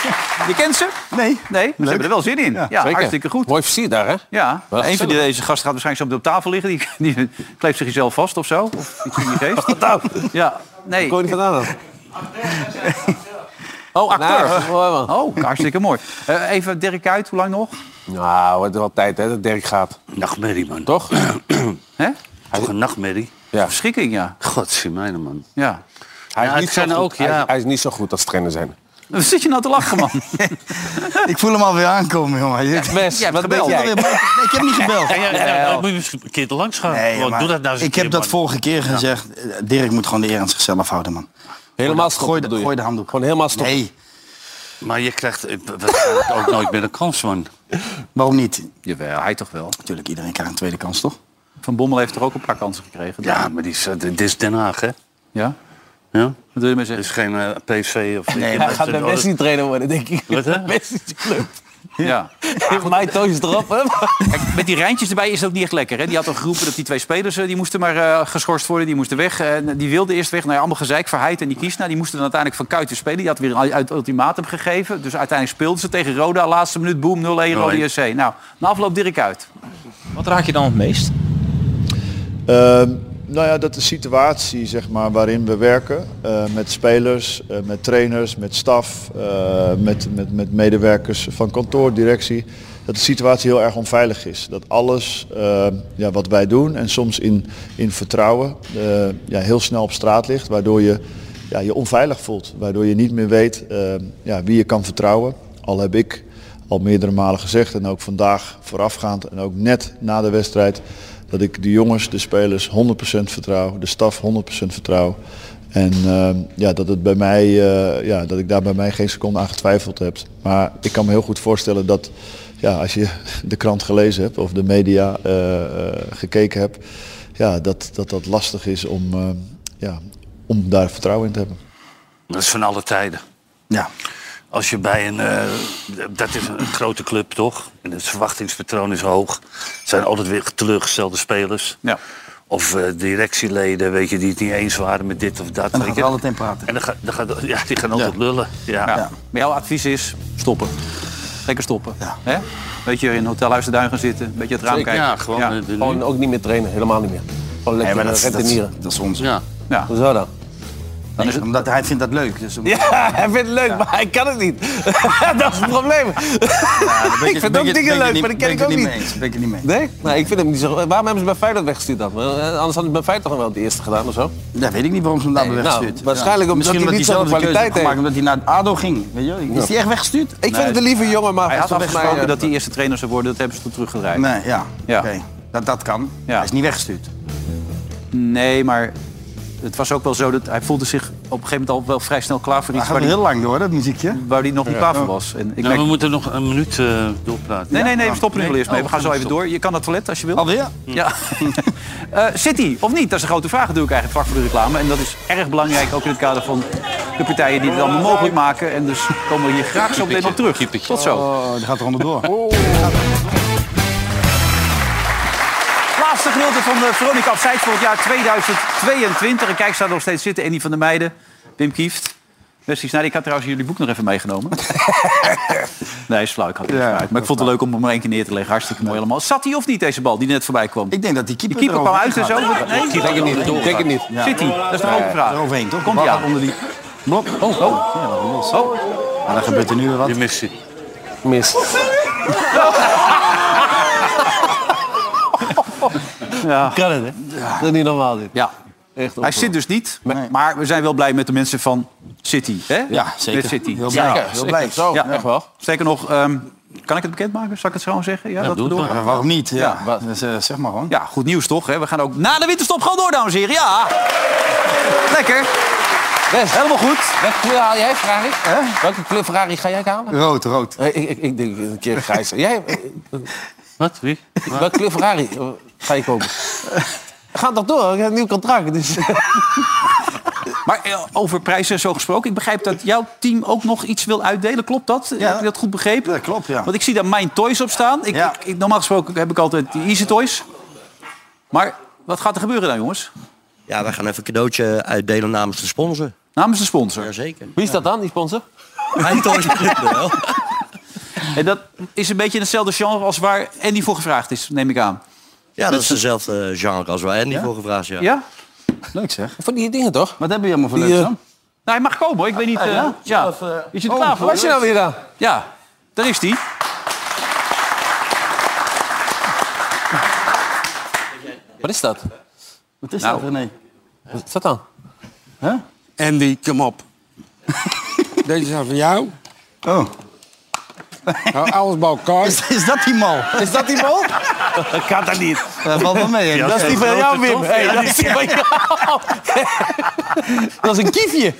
[SPEAKER 2] Je kent ze? Nee. Nee, maar ze hebben er wel zin in. Ja,
[SPEAKER 3] Zeker.
[SPEAKER 2] hartstikke goed.
[SPEAKER 3] Mooi versier daar, hè?
[SPEAKER 2] Ja,
[SPEAKER 3] Wel
[SPEAKER 2] een van die-
[SPEAKER 3] gezellig.
[SPEAKER 2] deze gasten gaat waarschijnlijk zo meteen op tafel liggen. Die, die kleeft zich jezelf vast of zo. Of iets in die geest. Wat nou? Ja, nee. Kon je niet vandaan Oh, acteur. Oh, hartstikke mooi. Eh, even Dirk uit, hoe lang nog?
[SPEAKER 3] Nou, wordt wel tijd hè, dat Dirk gaat.
[SPEAKER 5] Nachtmerrie, man.
[SPEAKER 3] Toch?
[SPEAKER 2] Hè?
[SPEAKER 5] Toch een nachtmerrie?
[SPEAKER 3] Ja.
[SPEAKER 2] Verschrikking, ja.
[SPEAKER 5] Godzijdank, man.
[SPEAKER 2] Ja.
[SPEAKER 3] Hij is,
[SPEAKER 5] Ja,
[SPEAKER 3] niet
[SPEAKER 5] het
[SPEAKER 3] zo
[SPEAKER 5] zijn
[SPEAKER 3] goed.
[SPEAKER 5] ook,
[SPEAKER 3] Hij-
[SPEAKER 5] ja.
[SPEAKER 3] hij, is niet zo goed als trainer zijn.
[SPEAKER 2] Wat zit je nou te lachen, man?
[SPEAKER 4] ik voel hem alweer aankomen, jongen. Je, je hebt
[SPEAKER 5] wat
[SPEAKER 4] gebeld.
[SPEAKER 5] ben jij?
[SPEAKER 4] Nee, ik heb niet gebeld.
[SPEAKER 5] Ja, ja, ja, dan moet je eens een keer er langs gaan.
[SPEAKER 4] Nee,
[SPEAKER 5] Gewoon,
[SPEAKER 4] maar
[SPEAKER 5] doe dat nou eens een
[SPEAKER 4] ik heb
[SPEAKER 5] keer,
[SPEAKER 4] dat
[SPEAKER 5] man.
[SPEAKER 4] vorige keer gezegd. Eh, Dirk moet gewoon de eer aan zichzelf houden, man. Helemaal gooi, de- gooi de handdoek. Gewoon helemaal stoppen. Nee,
[SPEAKER 5] Maar je krijgt eh, waarschijnlijk ook nooit meer een kans, man.
[SPEAKER 4] waarom niet?
[SPEAKER 2] Jawel, hij toch wel.
[SPEAKER 4] Natuurlijk, iedereen krijgt een tweede kans, toch?
[SPEAKER 2] Van Bommel heeft er ook een paar kansen gekregen.
[SPEAKER 5] Ja, maar die is, eh, dit is Den Haag, hè?
[SPEAKER 2] Ja?
[SPEAKER 5] Ja? Wat
[SPEAKER 2] wil je maar zeggen?
[SPEAKER 5] is geen eh, PSV of...
[SPEAKER 3] Nee, hij gaat bij Messi trainer worden, denk ik.
[SPEAKER 5] Wat, hè?
[SPEAKER 3] Messi de club.
[SPEAKER 2] Ja.
[SPEAKER 3] Mijn toos erop, hè?
[SPEAKER 2] Kijk, met die rijntjes erbij is het ook niet echt lekker. Hè? Die had al geroepen dat die twee spelers eh, die moesten maar eh, geschorst worden. Die moesten weg. En die wilden eerst weg. Nou ja, allemaal gezeik voor Heid en die Kiesna. Die moesten dan uiteindelijk van Kuiten spelen. Die had weer een uit- ultimatum gegeven. Dus uiteindelijk speelden ze tegen Roda. Laatste minuut, boom, 0-1 Roda JC. Nou, na afloop Dirk uit.
[SPEAKER 20] Wat raak je dan het meest?
[SPEAKER 21] Ehm, nou ja, dat de situatie zeg maar, waarin we werken eh, met spelers, eh, met trainers, met staf, eh, met, met, met medewerkers van kantoor, directie. dat de situatie heel erg onveilig is. Dat alles eh, ja, wat wij doen en soms in, in vertrouwen eh, ja, heel snel op straat ligt. Waardoor je ja, je onveilig voelt. Waardoor je niet meer weet eh, ja, wie je kan vertrouwen. Al heb ik al meerdere malen gezegd en ook vandaag voorafgaand en ook net na de wedstrijd. Dat ik de jongens, de spelers 100% vertrouw, de staf 100% vertrouw. En eh, ja, dat, het bij mij, eh, ja, dat ik daar bij mij geen seconde aan getwijfeld heb. Maar ik kan me heel goed voorstellen dat ja, als je de krant gelezen hebt of de media eh, eh, gekeken hebt, ja, dat, dat dat lastig is om, eh, ja, om daar vertrouwen in te hebben.
[SPEAKER 5] Dat is van alle tijden.
[SPEAKER 4] Ja.
[SPEAKER 5] Als je bij een... eh, dat is een grote club, toch? En het verwachtingspatroon is hoog. Het zijn altijd weer teleurgestelde spelers.
[SPEAKER 2] Ja.
[SPEAKER 5] Of eh, directieleden, weet je, die het niet eens waren met dit of dat.
[SPEAKER 4] dan
[SPEAKER 5] weet
[SPEAKER 4] gaat
[SPEAKER 5] je.
[SPEAKER 4] wel het in praten.
[SPEAKER 5] En dan gaat, dan gaat, ja, die gaan altijd lullen. Ja.
[SPEAKER 2] Ja. Maar jouw advies is stoppen. Lekker stoppen. Hè? Weet je, in hotelhuis de duin gaan zitten, een beetje het raam
[SPEAKER 3] Zeker.
[SPEAKER 2] kijken.
[SPEAKER 3] Ja, gewoon, eh, de- Gewoon
[SPEAKER 2] ook niet meer trainen, helemaal niet meer.
[SPEAKER 3] Gewoon lekker
[SPEAKER 4] Nee, maar dat is- dat is-
[SPEAKER 3] rentenieren.
[SPEAKER 4] Dat is ons.
[SPEAKER 5] Ja.
[SPEAKER 2] Ja.
[SPEAKER 3] Hoezo dan?
[SPEAKER 4] Dan is het omdat hij vindt dat leuk. Dus
[SPEAKER 3] Ja, hij vindt het leuk, maar hij kan het niet. dat is het probleem.
[SPEAKER 4] ben
[SPEAKER 3] ik
[SPEAKER 4] je-
[SPEAKER 3] vind
[SPEAKER 4] ben
[SPEAKER 3] ook
[SPEAKER 4] je-
[SPEAKER 3] dingen
[SPEAKER 4] ben je
[SPEAKER 3] leuk,
[SPEAKER 4] niet-
[SPEAKER 3] maar dat ken
[SPEAKER 4] ben
[SPEAKER 3] ik
[SPEAKER 4] je
[SPEAKER 3] ook
[SPEAKER 4] niet
[SPEAKER 3] niet.
[SPEAKER 4] mee eens, ben je niet mee
[SPEAKER 3] Nee? Nee, ik vind hem niet zo... Waarom hebben ze bij Feyenoord weggestuurd dan? Eh, Anders hadden ze bij Feyenoord nog wel het eerste gedaan of zo.
[SPEAKER 4] Dat weet ik niet waarom ze hem daar
[SPEAKER 3] Nee,
[SPEAKER 4] hebben weggestuurd.
[SPEAKER 3] nou, waarschijnlijk omdat
[SPEAKER 4] Misschien
[SPEAKER 3] hij niet
[SPEAKER 4] zelf
[SPEAKER 3] zoveel
[SPEAKER 4] de keuze
[SPEAKER 3] kwaliteit
[SPEAKER 4] heeft gemaakt, Omdat hij naar ADO ging. Weet je? wel.
[SPEAKER 2] Ja.
[SPEAKER 4] Is hij echt weggestuurd?
[SPEAKER 2] Ik vind het een
[SPEAKER 3] lieve jongen, maar
[SPEAKER 2] Hij had
[SPEAKER 4] volgens mij,
[SPEAKER 2] afgesproken
[SPEAKER 4] eh,
[SPEAKER 2] dat hij eerste trainer zou worden, dat hebben ze toen teruggedraaid.
[SPEAKER 4] Nee, ja.
[SPEAKER 2] Ja.
[SPEAKER 4] Oké. Dat, dat kan. Hij is niet weggestuurd.
[SPEAKER 2] Nee, maar het was ook wel zo dat hij voelde zich op een gegeven moment al wel vrij snel klaar voor
[SPEAKER 4] Hij
[SPEAKER 2] iets
[SPEAKER 4] gaat
[SPEAKER 2] waar
[SPEAKER 4] heel
[SPEAKER 2] hij,
[SPEAKER 4] lang door, dat muziekje.
[SPEAKER 2] waar hij nog niet
[SPEAKER 4] Ja.
[SPEAKER 2] klaar voor was. En ik
[SPEAKER 5] Nou,
[SPEAKER 2] merk-
[SPEAKER 5] we moeten nog een minuut eh, doorpraten.
[SPEAKER 2] Nee, nee, nee,
[SPEAKER 5] Ja.
[SPEAKER 2] we stoppen nu wel
[SPEAKER 5] Nee?
[SPEAKER 2] eerst mee.
[SPEAKER 5] Oh,
[SPEAKER 2] We gaan zo even
[SPEAKER 5] stoppen.
[SPEAKER 2] door. Je kan naar het toilet als je wil.
[SPEAKER 4] Alweer?
[SPEAKER 2] Ja. Eh, City of niet? Dat is een grote vraag natuurlijk eigenlijk vlak voor de reclame. En dat is erg belangrijk ook in het kader van de partijen die het allemaal mogelijk maken. En dus komen we hier graag zo meteen op terug. Tot zo.
[SPEAKER 4] Oh, dat gaat er onderdoor.
[SPEAKER 2] Laatste gedeelte van de Veronica Opzij voor het jaar 2022. En kijk, ze nog steeds zitten. Andy van der Meijden, Wim Kieft. Wesley Snijder, ik had trouwens jullie boek nog even meegenomen. nee, is flauw, ik had het niet
[SPEAKER 4] Ja,
[SPEAKER 2] vooruit. Maar ik vond het leuk om hem maar één keer neer te leggen. Hartstikke mooi allemaal. Zat hij of niet, deze bal die net voorbij kwam?
[SPEAKER 4] Ik denk dat die keeper
[SPEAKER 2] Die keeper kwam uit en zo?
[SPEAKER 4] eroverheen gaat.
[SPEAKER 2] Nee, denk het niet.
[SPEAKER 4] Eroverheen
[SPEAKER 2] Denk het niet.
[SPEAKER 4] gaat. Ja.
[SPEAKER 2] Zit hij? Dat is de open vraag.
[SPEAKER 4] Eroverheen, toch?
[SPEAKER 2] Komt
[SPEAKER 4] De bal
[SPEAKER 2] hij aan?
[SPEAKER 4] gaat onder die blok. Oh, oh. Ja, wel los. Maar dan gebeurt er nu weer wat. Je
[SPEAKER 5] mist hij.
[SPEAKER 3] Mist.
[SPEAKER 2] Ja.
[SPEAKER 3] Kan het, hè? Dat is niet normaal, dit.
[SPEAKER 2] Ja.
[SPEAKER 3] Echt
[SPEAKER 2] Hij
[SPEAKER 3] ongelooflijk.
[SPEAKER 2] zit dus niet, maar we zijn wel blij met de mensen van City. Hè?
[SPEAKER 4] Ja, zeker.
[SPEAKER 2] Met City.
[SPEAKER 4] Heel blij. Ja, heel blij. Zo, echt
[SPEAKER 2] wel. Zeker nog, ehm, kan ik het bekendmaken? Zal ik het zo zeggen? Ja, dat
[SPEAKER 4] doe het
[SPEAKER 2] bedoel ik.
[SPEAKER 4] maar. Waarom niet? Ja. Dus, eh, zeg maar gewoon.
[SPEAKER 2] Ja, goed nieuws toch? Hè? We gaan ook na de winterstop gewoon door, dames en heren. Ja! Lekker. Helemaal goed.
[SPEAKER 3] Welke kleur haal jij, vraag ik? Welke kleur Ferrari ga jij halen?
[SPEAKER 4] Rood, rood.
[SPEAKER 3] Eh, Ik, ik, ik denk een keer grijs. jij?
[SPEAKER 5] Wat? Wie?
[SPEAKER 3] Welke kleur Ferrari eh, ga je kopen? Gaat toch door? Ik heb een nieuw contract. Dus...
[SPEAKER 2] Maar eh, over prijzen en zo gesproken. Ik begrijp dat jouw team ook nog iets wil uitdelen. Klopt dat? Heb je dat goed begrepen? Dat
[SPEAKER 4] klopt, ja.
[SPEAKER 2] Want ik zie daar Mijn Toys op staan. Ik, ik, ik- normaal gesproken heb ik altijd die Easy Toys. Maar wat gaat er gebeuren dan, jongens?
[SPEAKER 1] Ja, we gaan even een cadeautje uitdelen namens de sponsor.
[SPEAKER 2] Namens de sponsor?
[SPEAKER 1] Jazeker.
[SPEAKER 3] Wie is dat dan, die sponsor?
[SPEAKER 1] Mijn toys.
[SPEAKER 2] En dat is een beetje in hetzelfde genre als waar Andy voor gevraagd is, neem ik aan.
[SPEAKER 1] Ja, dat is dezelfde genre als waar Andy voor gevraagd is, ja.
[SPEAKER 2] Ja?
[SPEAKER 4] Leuk zeg.
[SPEAKER 3] Van die dingen toch?
[SPEAKER 4] Wat hebben we allemaal voor
[SPEAKER 1] Die,
[SPEAKER 4] leuks Ah,
[SPEAKER 1] eh,
[SPEAKER 4] dan?
[SPEAKER 2] Nou, hij mag komen hoor. Ik weet niet... eh, ja. Is je er
[SPEAKER 3] Oh,
[SPEAKER 2] klaar voor?
[SPEAKER 3] was je nou weer dan?
[SPEAKER 2] Ja, daar is hij.
[SPEAKER 3] Wat is dat? Nou.
[SPEAKER 4] Wat is dat, René?
[SPEAKER 3] Wat is dat dan?
[SPEAKER 6] Andy, kom op. Deze zijn van jou.
[SPEAKER 4] Oh.
[SPEAKER 6] Nou, alles bij elkaar.
[SPEAKER 4] Is, is dat die mal?
[SPEAKER 6] Is dat die mal?
[SPEAKER 3] Dat kan dat niet.
[SPEAKER 4] Dat Eh, valt wel mee. hè?
[SPEAKER 3] dat is die van jou, Wim. Hey, dat is die van jou. dat is een kiefje.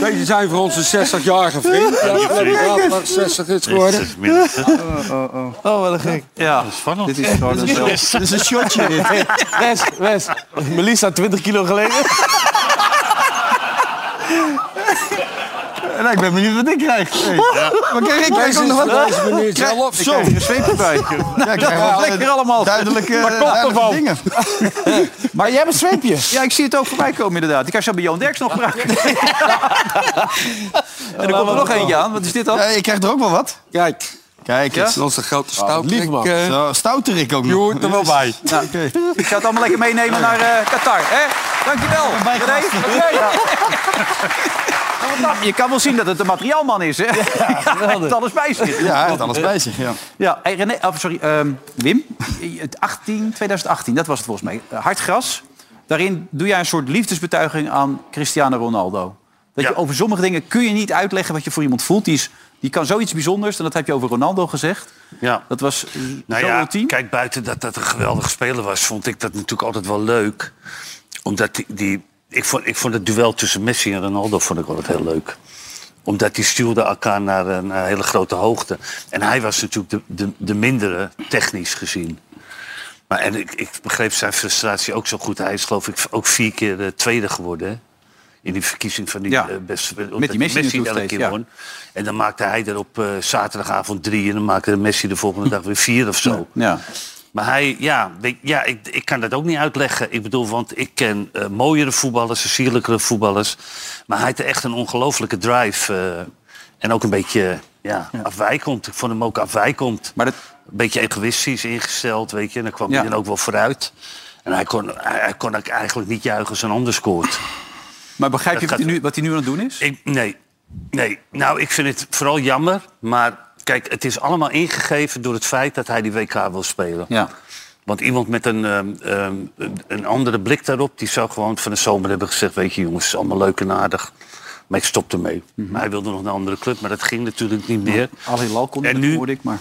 [SPEAKER 6] Deze zijn voor onze 60-jarige vriend. Ja,
[SPEAKER 5] die vriend.
[SPEAKER 6] ja, wat 60 is geworden.
[SPEAKER 5] Jezus, minst.
[SPEAKER 3] Oh, wat een gek.
[SPEAKER 2] Ja, spannend. Dit is gewoon
[SPEAKER 3] een- Dit
[SPEAKER 4] is een shotje.
[SPEAKER 3] Wes, Wes. Melissa, 20 kilo geleden.
[SPEAKER 4] Nou, ik ben benieuwd wat ik krijg. Hey. Maar kijk, ik krijg
[SPEAKER 6] Deze
[SPEAKER 4] ook nog
[SPEAKER 6] is
[SPEAKER 4] wat.
[SPEAKER 6] van deze meneer zelf.
[SPEAKER 4] Zo,
[SPEAKER 6] Ik
[SPEAKER 4] een zweepje bij. Ja, ik krijg wel
[SPEAKER 2] Nou, lekker allemaal.
[SPEAKER 4] Duidelijke,
[SPEAKER 2] Maar kom
[SPEAKER 4] duidelijke
[SPEAKER 2] ervan.
[SPEAKER 4] dingen.
[SPEAKER 3] Maar jij hebt een zweepje.
[SPEAKER 2] eh, Ja, ik zie het ook voorbij komen inderdaad. Ik heb zo bij Johan Derks nog vragen. en er komt er nog eentje aan. Wat is dit dan?
[SPEAKER 4] Ja, ik krijg er ook wel wat.
[SPEAKER 6] Kijk.
[SPEAKER 4] Kijk,
[SPEAKER 6] Dit
[SPEAKER 4] ja? Ah,
[SPEAKER 6] is onze grote
[SPEAKER 2] Oh,
[SPEAKER 6] stout.
[SPEAKER 4] lief man.
[SPEAKER 2] eh,
[SPEAKER 4] Zo, stouterik ook nog.
[SPEAKER 6] Je hoort er wel bij.
[SPEAKER 2] Nou, Ik zou het allemaal lekker meenemen naar eh Qatar. Hè? Dankjewel. René. Oké. Je kan wel zien dat het een materiaalman is, hè? Ja, het alles bij zich.
[SPEAKER 4] Ja, hij heeft alles bij zich, ja.
[SPEAKER 2] Ja, hey, René, oh, sorry, ehm, Wim. Het 18, 2018, dat was het volgens mij. Eh, Hard gras. Daarin doe jij een soort liefdesbetuiging aan Cristiano Ronaldo. Dat je over sommige dingen kun je niet uitleggen wat je voor iemand voelt. Die, is, die kan zoiets bijzonders, en dat heb je over Ronaldo gezegd.
[SPEAKER 5] Ja.
[SPEAKER 2] Dat was eh,
[SPEAKER 5] Nou
[SPEAKER 2] zo
[SPEAKER 5] ja, kijk, buiten dat dat een geweldige speler was, vond ik dat natuurlijk altijd wel leuk. Omdat die, die ik, vond, ik vond het duel tussen Messi en Ronaldo vond ik altijd heel leuk. Omdat die stuurden elkaar naar een eh, hele grote hoogte. En hij was natuurlijk de, de, de mindere, technisch gezien. Maar en ik, ik begreep zijn frustratie ook zo goed. Hij is geloof ik ook vier keer eh, tweede geworden. Hè? In die verkiezing van die
[SPEAKER 2] Ja.
[SPEAKER 5] eh, beste...
[SPEAKER 2] Met die
[SPEAKER 5] omdat
[SPEAKER 2] Messi natuurlijk
[SPEAKER 5] elke
[SPEAKER 2] steeds,
[SPEAKER 5] keer
[SPEAKER 2] ja.
[SPEAKER 5] won. En dan maakte hij er op eh, zaterdagavond drie. En dan maakte Messi de volgende dag weer vier of zo.
[SPEAKER 2] Ja.
[SPEAKER 5] Maar hij, ja, weet- ja ik, ik kan dat ook niet uitleggen. Ik bedoel, want ik ken eh, mooiere voetballers, sierlijkere voetballers. Maar hij heeft echt een ongelofelijke drive. eh, en ook een beetje ja, afwijkend. Ik vond hem ook afwijkend.
[SPEAKER 2] Maar dat...
[SPEAKER 5] Een beetje egoïstisch ingesteld, weet je. En dan kwam
[SPEAKER 2] Ja.
[SPEAKER 5] hij dan ook wel vooruit. En hij kon, hij, hij kon ook eigenlijk niet juichen als een ander scoort.
[SPEAKER 2] Maar begrijp je
[SPEAKER 5] Dat
[SPEAKER 2] wat hij, nu, wat hij nu aan het doen is?
[SPEAKER 5] Ik, nee. nee. Nou, ik vind het vooral jammer. Maar kijk, het is allemaal ingegeven door het feit dat hij die WK wil spelen.
[SPEAKER 2] Ja.
[SPEAKER 5] Want iemand met een, ehm, ehm, een andere blik daarop... die zou gewoon van de zomer hebben gezegd... weet je jongens, het is allemaal leuk en aardig. Maar ik stop ermee.
[SPEAKER 2] Mhm.
[SPEAKER 5] Maar hij wilde nog naar een andere club, maar dat ging natuurlijk niet meer.
[SPEAKER 2] Al Hilal kon
[SPEAKER 5] en nu,
[SPEAKER 2] ik, maar...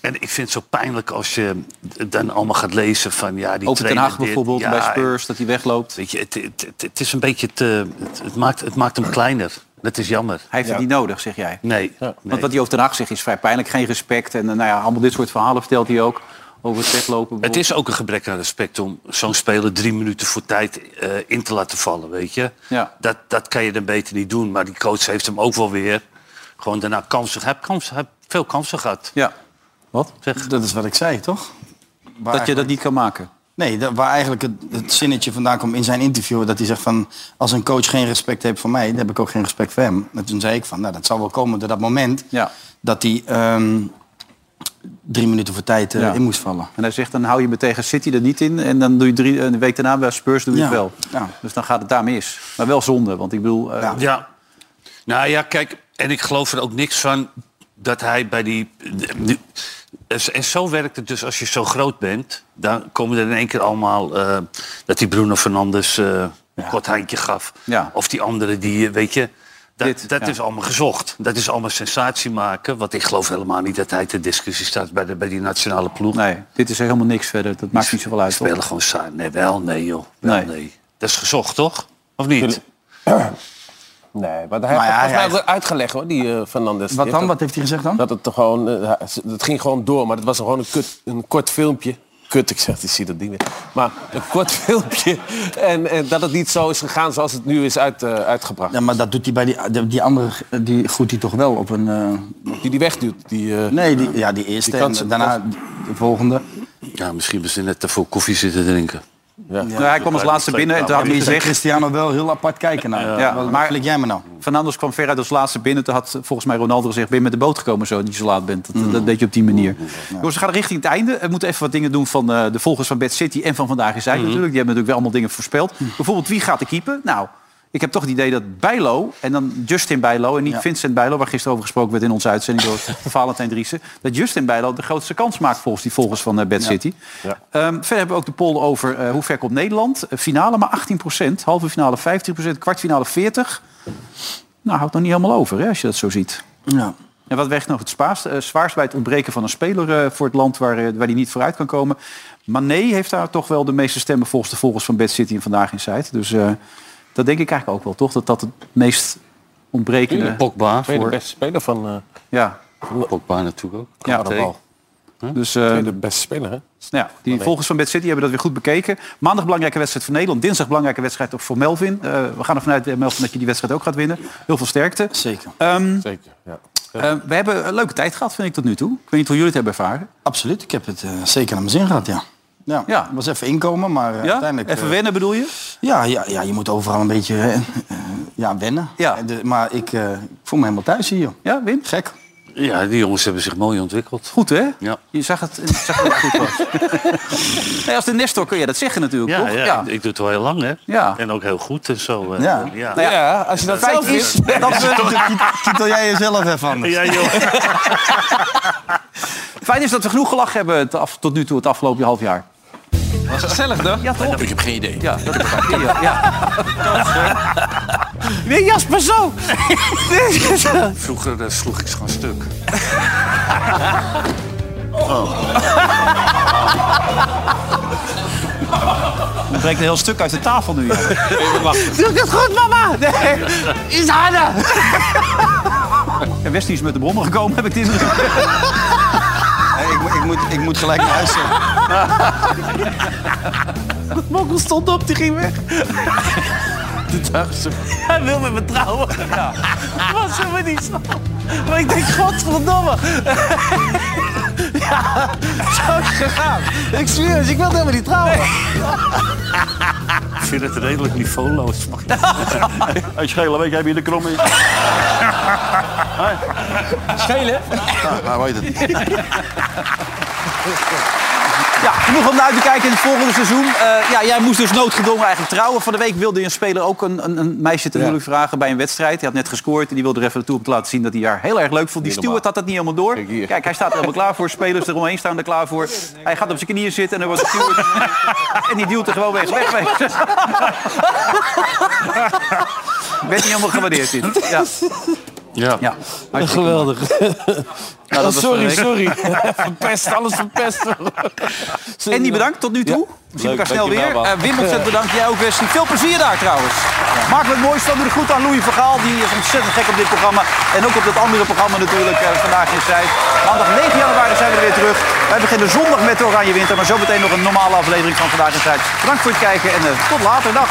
[SPEAKER 5] En ik vind het zo pijnlijk als je het dan allemaal gaat lezen van... Ja, die
[SPEAKER 2] Over Ten
[SPEAKER 5] trainer
[SPEAKER 2] Hag
[SPEAKER 5] dit,
[SPEAKER 2] bijvoorbeeld,
[SPEAKER 5] ja,
[SPEAKER 2] bij
[SPEAKER 5] en-
[SPEAKER 2] Spurs, dat hij wegloopt.
[SPEAKER 5] Weet je, het, het, het, het is een beetje te, het, het maakt, het maakt hem kleiner. Dat is jammer.
[SPEAKER 2] Hij heeft het niet nodig, zeg jij.
[SPEAKER 5] Nee.
[SPEAKER 2] Want wat hij over Den Haag zegt is vrij pijnlijk. Geen respect. En eh, nou ja, allemaal dit soort verhalen vertelt hij ook. Over het weglopen.
[SPEAKER 5] Het is ook een gebrek aan respect om zo'n speler drie minuten voor tijd eh, in te laten vallen, weet je.
[SPEAKER 2] Ja.
[SPEAKER 5] Dat, dat kan je dan beter niet doen. Maar die coach heeft hem ook wel weer gewoon daarna kansen gehad. Hij heeft kans- hij heeft veel kansen gehad.
[SPEAKER 2] Ja. Wat?
[SPEAKER 4] Dat is wat ik zei, toch?
[SPEAKER 2] Dat je dat niet kan maken.
[SPEAKER 4] Nee, dat, waar eigenlijk het, het zinnetje vandaan komt in zijn interview... dat hij zegt van, als een coach geen respect heeft voor mij... dan heb ik ook geen respect voor hem. En toen zei ik van, nou, dat zal wel komen door dat moment... dat hij ehm, drie minuten voor tijd eh,
[SPEAKER 2] Ja.
[SPEAKER 4] in moest vallen.
[SPEAKER 2] En hij zegt, dan hou je me tegen City er niet in. En dan doe je drie, een week daarna bij Spurs doe je het
[SPEAKER 5] Ja.
[SPEAKER 2] wel. Dus dan gaat het daar mis. Maar wel zonde, want ik bedoel... eh,
[SPEAKER 5] Ja. Nou ja, kijk, en ik geloof er ook niks van dat hij bij die... die- En zo werkt het dus als je zo groot bent. Dan komen er in één keer allemaal eh, dat die Bruno Fernandes eh een kort handje gaf.
[SPEAKER 2] Ja.
[SPEAKER 5] Of die andere die, eh, weet je... Dat, dat
[SPEAKER 2] ja.
[SPEAKER 5] is allemaal gezocht. Dat is allemaal sensatie maken. Want ik geloof helemaal niet dat hij ter discussie staat bij, de, bij die nationale ploeg.
[SPEAKER 2] Nee, dit is helemaal niks verder. Dat maakt niet zoveel uit.
[SPEAKER 5] Spelen gewoon saai. Nee, wel nee joh. Wel, nee. Dat is gezocht toch? Of niet?
[SPEAKER 3] Nee, maar Nou hij heeft
[SPEAKER 5] Maar ja,
[SPEAKER 3] volgens mij
[SPEAKER 5] hij-
[SPEAKER 3] ook wel uitgelegd hoor, die eh, Fernandes.
[SPEAKER 4] Wat
[SPEAKER 3] Die
[SPEAKER 4] dan?
[SPEAKER 3] heeft
[SPEAKER 4] Wat heeft hij gezegd dan?
[SPEAKER 3] Dat het toch gewoon, eh, hij- het ging gewoon door, maar het was gewoon een, kut, een kort filmpje. Kut, ik zeg, ik zie dat niet meer. Maar een kort filmpje. En, en dat het niet zo is gegaan zoals het nu is uit, eh, uitgebracht.
[SPEAKER 4] Ja, maar dat doet hij bij die, die- die andere, die goed hij toch wel op een... eh,
[SPEAKER 3] die die wegduwt, die...
[SPEAKER 2] eh,
[SPEAKER 4] nee, die, ja, die eerste
[SPEAKER 5] die kansen-
[SPEAKER 4] en daarna de volgende.
[SPEAKER 5] Ja, misschien was hij net te veel koffie zitten drinken. Ja.
[SPEAKER 2] Nou, hij kwam als laatste binnen en toen had hij
[SPEAKER 4] Ja, maar je zag
[SPEAKER 2] gezegd...
[SPEAKER 4] Cristiano wel heel apart kijken naar.
[SPEAKER 2] Ja,
[SPEAKER 4] Wat
[SPEAKER 2] maar-
[SPEAKER 4] flik Eh, jij me nou?
[SPEAKER 2] Fernandes kwam veruit als laatste binnen. Toen had eh, volgens mij Ronaldo gezegd... ben je met de boot gekomen zo, dat je zo laat bent. Dat,
[SPEAKER 4] Mm.
[SPEAKER 2] dat deed je op die manier. Jongens, we gaan richting het einde. We moeten even wat dingen doen van eh, de volgers van Bad City... en van Vandaag
[SPEAKER 4] Mm.
[SPEAKER 2] is Hij
[SPEAKER 5] Mhm.
[SPEAKER 2] natuurlijk. Die hebben natuurlijk wel allemaal dingen voorspeld. Bijvoorbeeld, wie gaat er keeper? Nou, ik heb toch het idee dat Bijlo... en dan Justin Bijlo en niet
[SPEAKER 4] Ja.
[SPEAKER 2] Vincent Bijlo... waar gisteren over gesproken werd in onze uitzending door Valentijn Driessen... dat Justin Bijlo de grootste kans maakt volgens die volgers van eh, Bad
[SPEAKER 4] Ja.
[SPEAKER 2] City.
[SPEAKER 4] Ja.
[SPEAKER 2] Ehm, verder hebben we ook de poll over eh, hoe ver komt Nederland. Eh, finale maar 18%, halve finale 15%, kwartfinale 40%. Nou, houdt nog niet helemaal over hè, als je dat zo ziet.
[SPEAKER 4] Ja.
[SPEAKER 2] En wat weegt nog het zwaarst, eh, zwaarst bij het ontbreken van een speler eh, voor het land waar, eh, waar die niet vooruit kan komen. Mané heeft daar toch wel de meeste stemmen volgens de volgers van Bad City en Vandaag in Zuid. Dus eh, dat denk ik eigenlijk ook wel, toch? Dat dat het meest ontbrekende...
[SPEAKER 5] Tuurlijk, Pogba
[SPEAKER 2] voor-
[SPEAKER 3] Tweede beste speler van... eh
[SPEAKER 2] Ja.
[SPEAKER 5] Pogba natuurlijk ook.
[SPEAKER 2] Ja.
[SPEAKER 3] Carabao.
[SPEAKER 2] Dus, eh,
[SPEAKER 3] Tweede beste speler, hè?
[SPEAKER 2] Nou ja, die
[SPEAKER 3] Mané.
[SPEAKER 2] volgers van Bad City hebben dat weer goed bekeken. Maandag belangrijke wedstrijd voor Nederland. Dinsdag belangrijke wedstrijd ook voor Melvin. Eh, we gaan ervan uit, eh, Melvin, dat je die wedstrijd ook gaat winnen. Heel veel sterkte. Ehm, eh,
[SPEAKER 4] Zeker.
[SPEAKER 3] Zeker, ja.
[SPEAKER 2] we hebben een leuke tijd gehad, vind ik, tot nu toe. Ik weet niet hoe jullie het hebben ervaren.
[SPEAKER 4] Absoluut, ik heb het eh, zeker naar mijn zin gehad, ja. Ja,
[SPEAKER 2] Ja.
[SPEAKER 4] was even inkomen, maar eh,
[SPEAKER 2] Ja?
[SPEAKER 4] uiteindelijk...
[SPEAKER 2] Even
[SPEAKER 4] eh,
[SPEAKER 2] wennen bedoel je?
[SPEAKER 4] Ja, ja, ja, je moet overal een beetje eh, eh, ja, wennen. Ja. maar ik eh, ik voel me helemaal thuis hier. joh.
[SPEAKER 2] Ja, Wim?
[SPEAKER 4] Gek.
[SPEAKER 5] Ja, die jongens hebben zich mooi ontwikkeld.
[SPEAKER 2] Goed, hè?
[SPEAKER 5] Ja.
[SPEAKER 2] Je zag het, je zag dat het goed was. nee, als de Nestor kun je dat zeggen natuurlijk,
[SPEAKER 5] Ja,
[SPEAKER 2] toch?
[SPEAKER 5] ja,
[SPEAKER 2] ja.
[SPEAKER 5] Ik, ik doe het wel heel lang, hè?
[SPEAKER 2] Ja.
[SPEAKER 5] En ook heel goed en zo. eh,
[SPEAKER 2] Ja.
[SPEAKER 5] ja.
[SPEAKER 2] Nou ja, als je dat
[SPEAKER 5] Feit
[SPEAKER 2] zelf
[SPEAKER 5] is,
[SPEAKER 2] doet, dan-
[SPEAKER 4] Titel jij jezelf even anders.
[SPEAKER 5] Ja, joh.
[SPEAKER 2] Fijn is dat we genoeg gelachen hebben het af, tot nu toe het afgelopen half jaar.
[SPEAKER 3] Was gezellig, toch?
[SPEAKER 2] Ja, toch?
[SPEAKER 3] Ik heb geen idee.
[SPEAKER 2] Ja, dat is waar. Ja, ja.
[SPEAKER 3] Nee, Jasper, zo!
[SPEAKER 5] Vroeger eh, sloeg ik ze gewoon stuk.
[SPEAKER 2] Er breekt een heel stuk uit de tafel nu. ja.
[SPEAKER 3] Doe ik het goed, mama? Nee, is harder.
[SPEAKER 2] En Westie is met de brommer gekomen, heb ik dit.
[SPEAKER 4] ik, moet- ik, moet, ik moet gelijk naar huis.
[SPEAKER 3] Mokkel stond op, die ging weg.
[SPEAKER 2] De dag ze.
[SPEAKER 3] Hij wil met me trouwen. Wat ze me niet snappen. Maar ik denk, godverdomme. ja, zo is het gegaan. Ik zweer het, ik wil helemaal niet trouwen.
[SPEAKER 5] Ik vind het redelijk niveauloos. mag ik
[SPEAKER 21] Hey, schele week heb je de krom in.
[SPEAKER 2] Schelen?
[SPEAKER 21] Ja, weet het.
[SPEAKER 2] Ja, genoeg om naar uit te kijken in het volgende seizoen. Eh, ja, jij moest dus noodgedwongen eigenlijk trouwen. Van de week wilde je een speler ook een, een, een meisje ten huwelijk vragen bij een wedstrijd. Die had net gescoord en die wilde er even naartoe om te laten zien dat hij haar heel erg leuk vond. Die Stuart had dat niet helemaal door. Kijk, hij staat er helemaal klaar voor. Spelers eromheen staan er klaar voor. Hij gaat op zijn knieën zitten en dan wordt Stuart. en die duwt er gewoon weg. weg, weg. Werd niet helemaal gewaardeerd dit. Ja.
[SPEAKER 5] Ja.
[SPEAKER 2] ja.
[SPEAKER 5] Geweldig.
[SPEAKER 2] Nou, dat was
[SPEAKER 3] sorry,
[SPEAKER 2] van de
[SPEAKER 3] sorry.
[SPEAKER 2] week.
[SPEAKER 3] verpest, alles verpest.
[SPEAKER 2] Andy, bedankt tot nu toe. We zien
[SPEAKER 3] Leuk,
[SPEAKER 2] elkaar snel weer.
[SPEAKER 3] dankjewel,
[SPEAKER 2] Eh
[SPEAKER 3] man.
[SPEAKER 2] Wim, ontzettend bedankt. Jij ook, Wesley. Veel plezier daar trouwens. Maak het mooiste van de goed aan Louis Vergaal. Die is ontzettend gek op dit programma. En ook op dat andere programma natuurlijk eh, vandaag in tijd. Maandag 9 januari zijn we weer terug. Wij beginnen zondag met de Oranje Winter. Maar zometeen nog een normale aflevering van Vandaag in tijd. Bedankt voor het kijken en eh, tot later. Dag.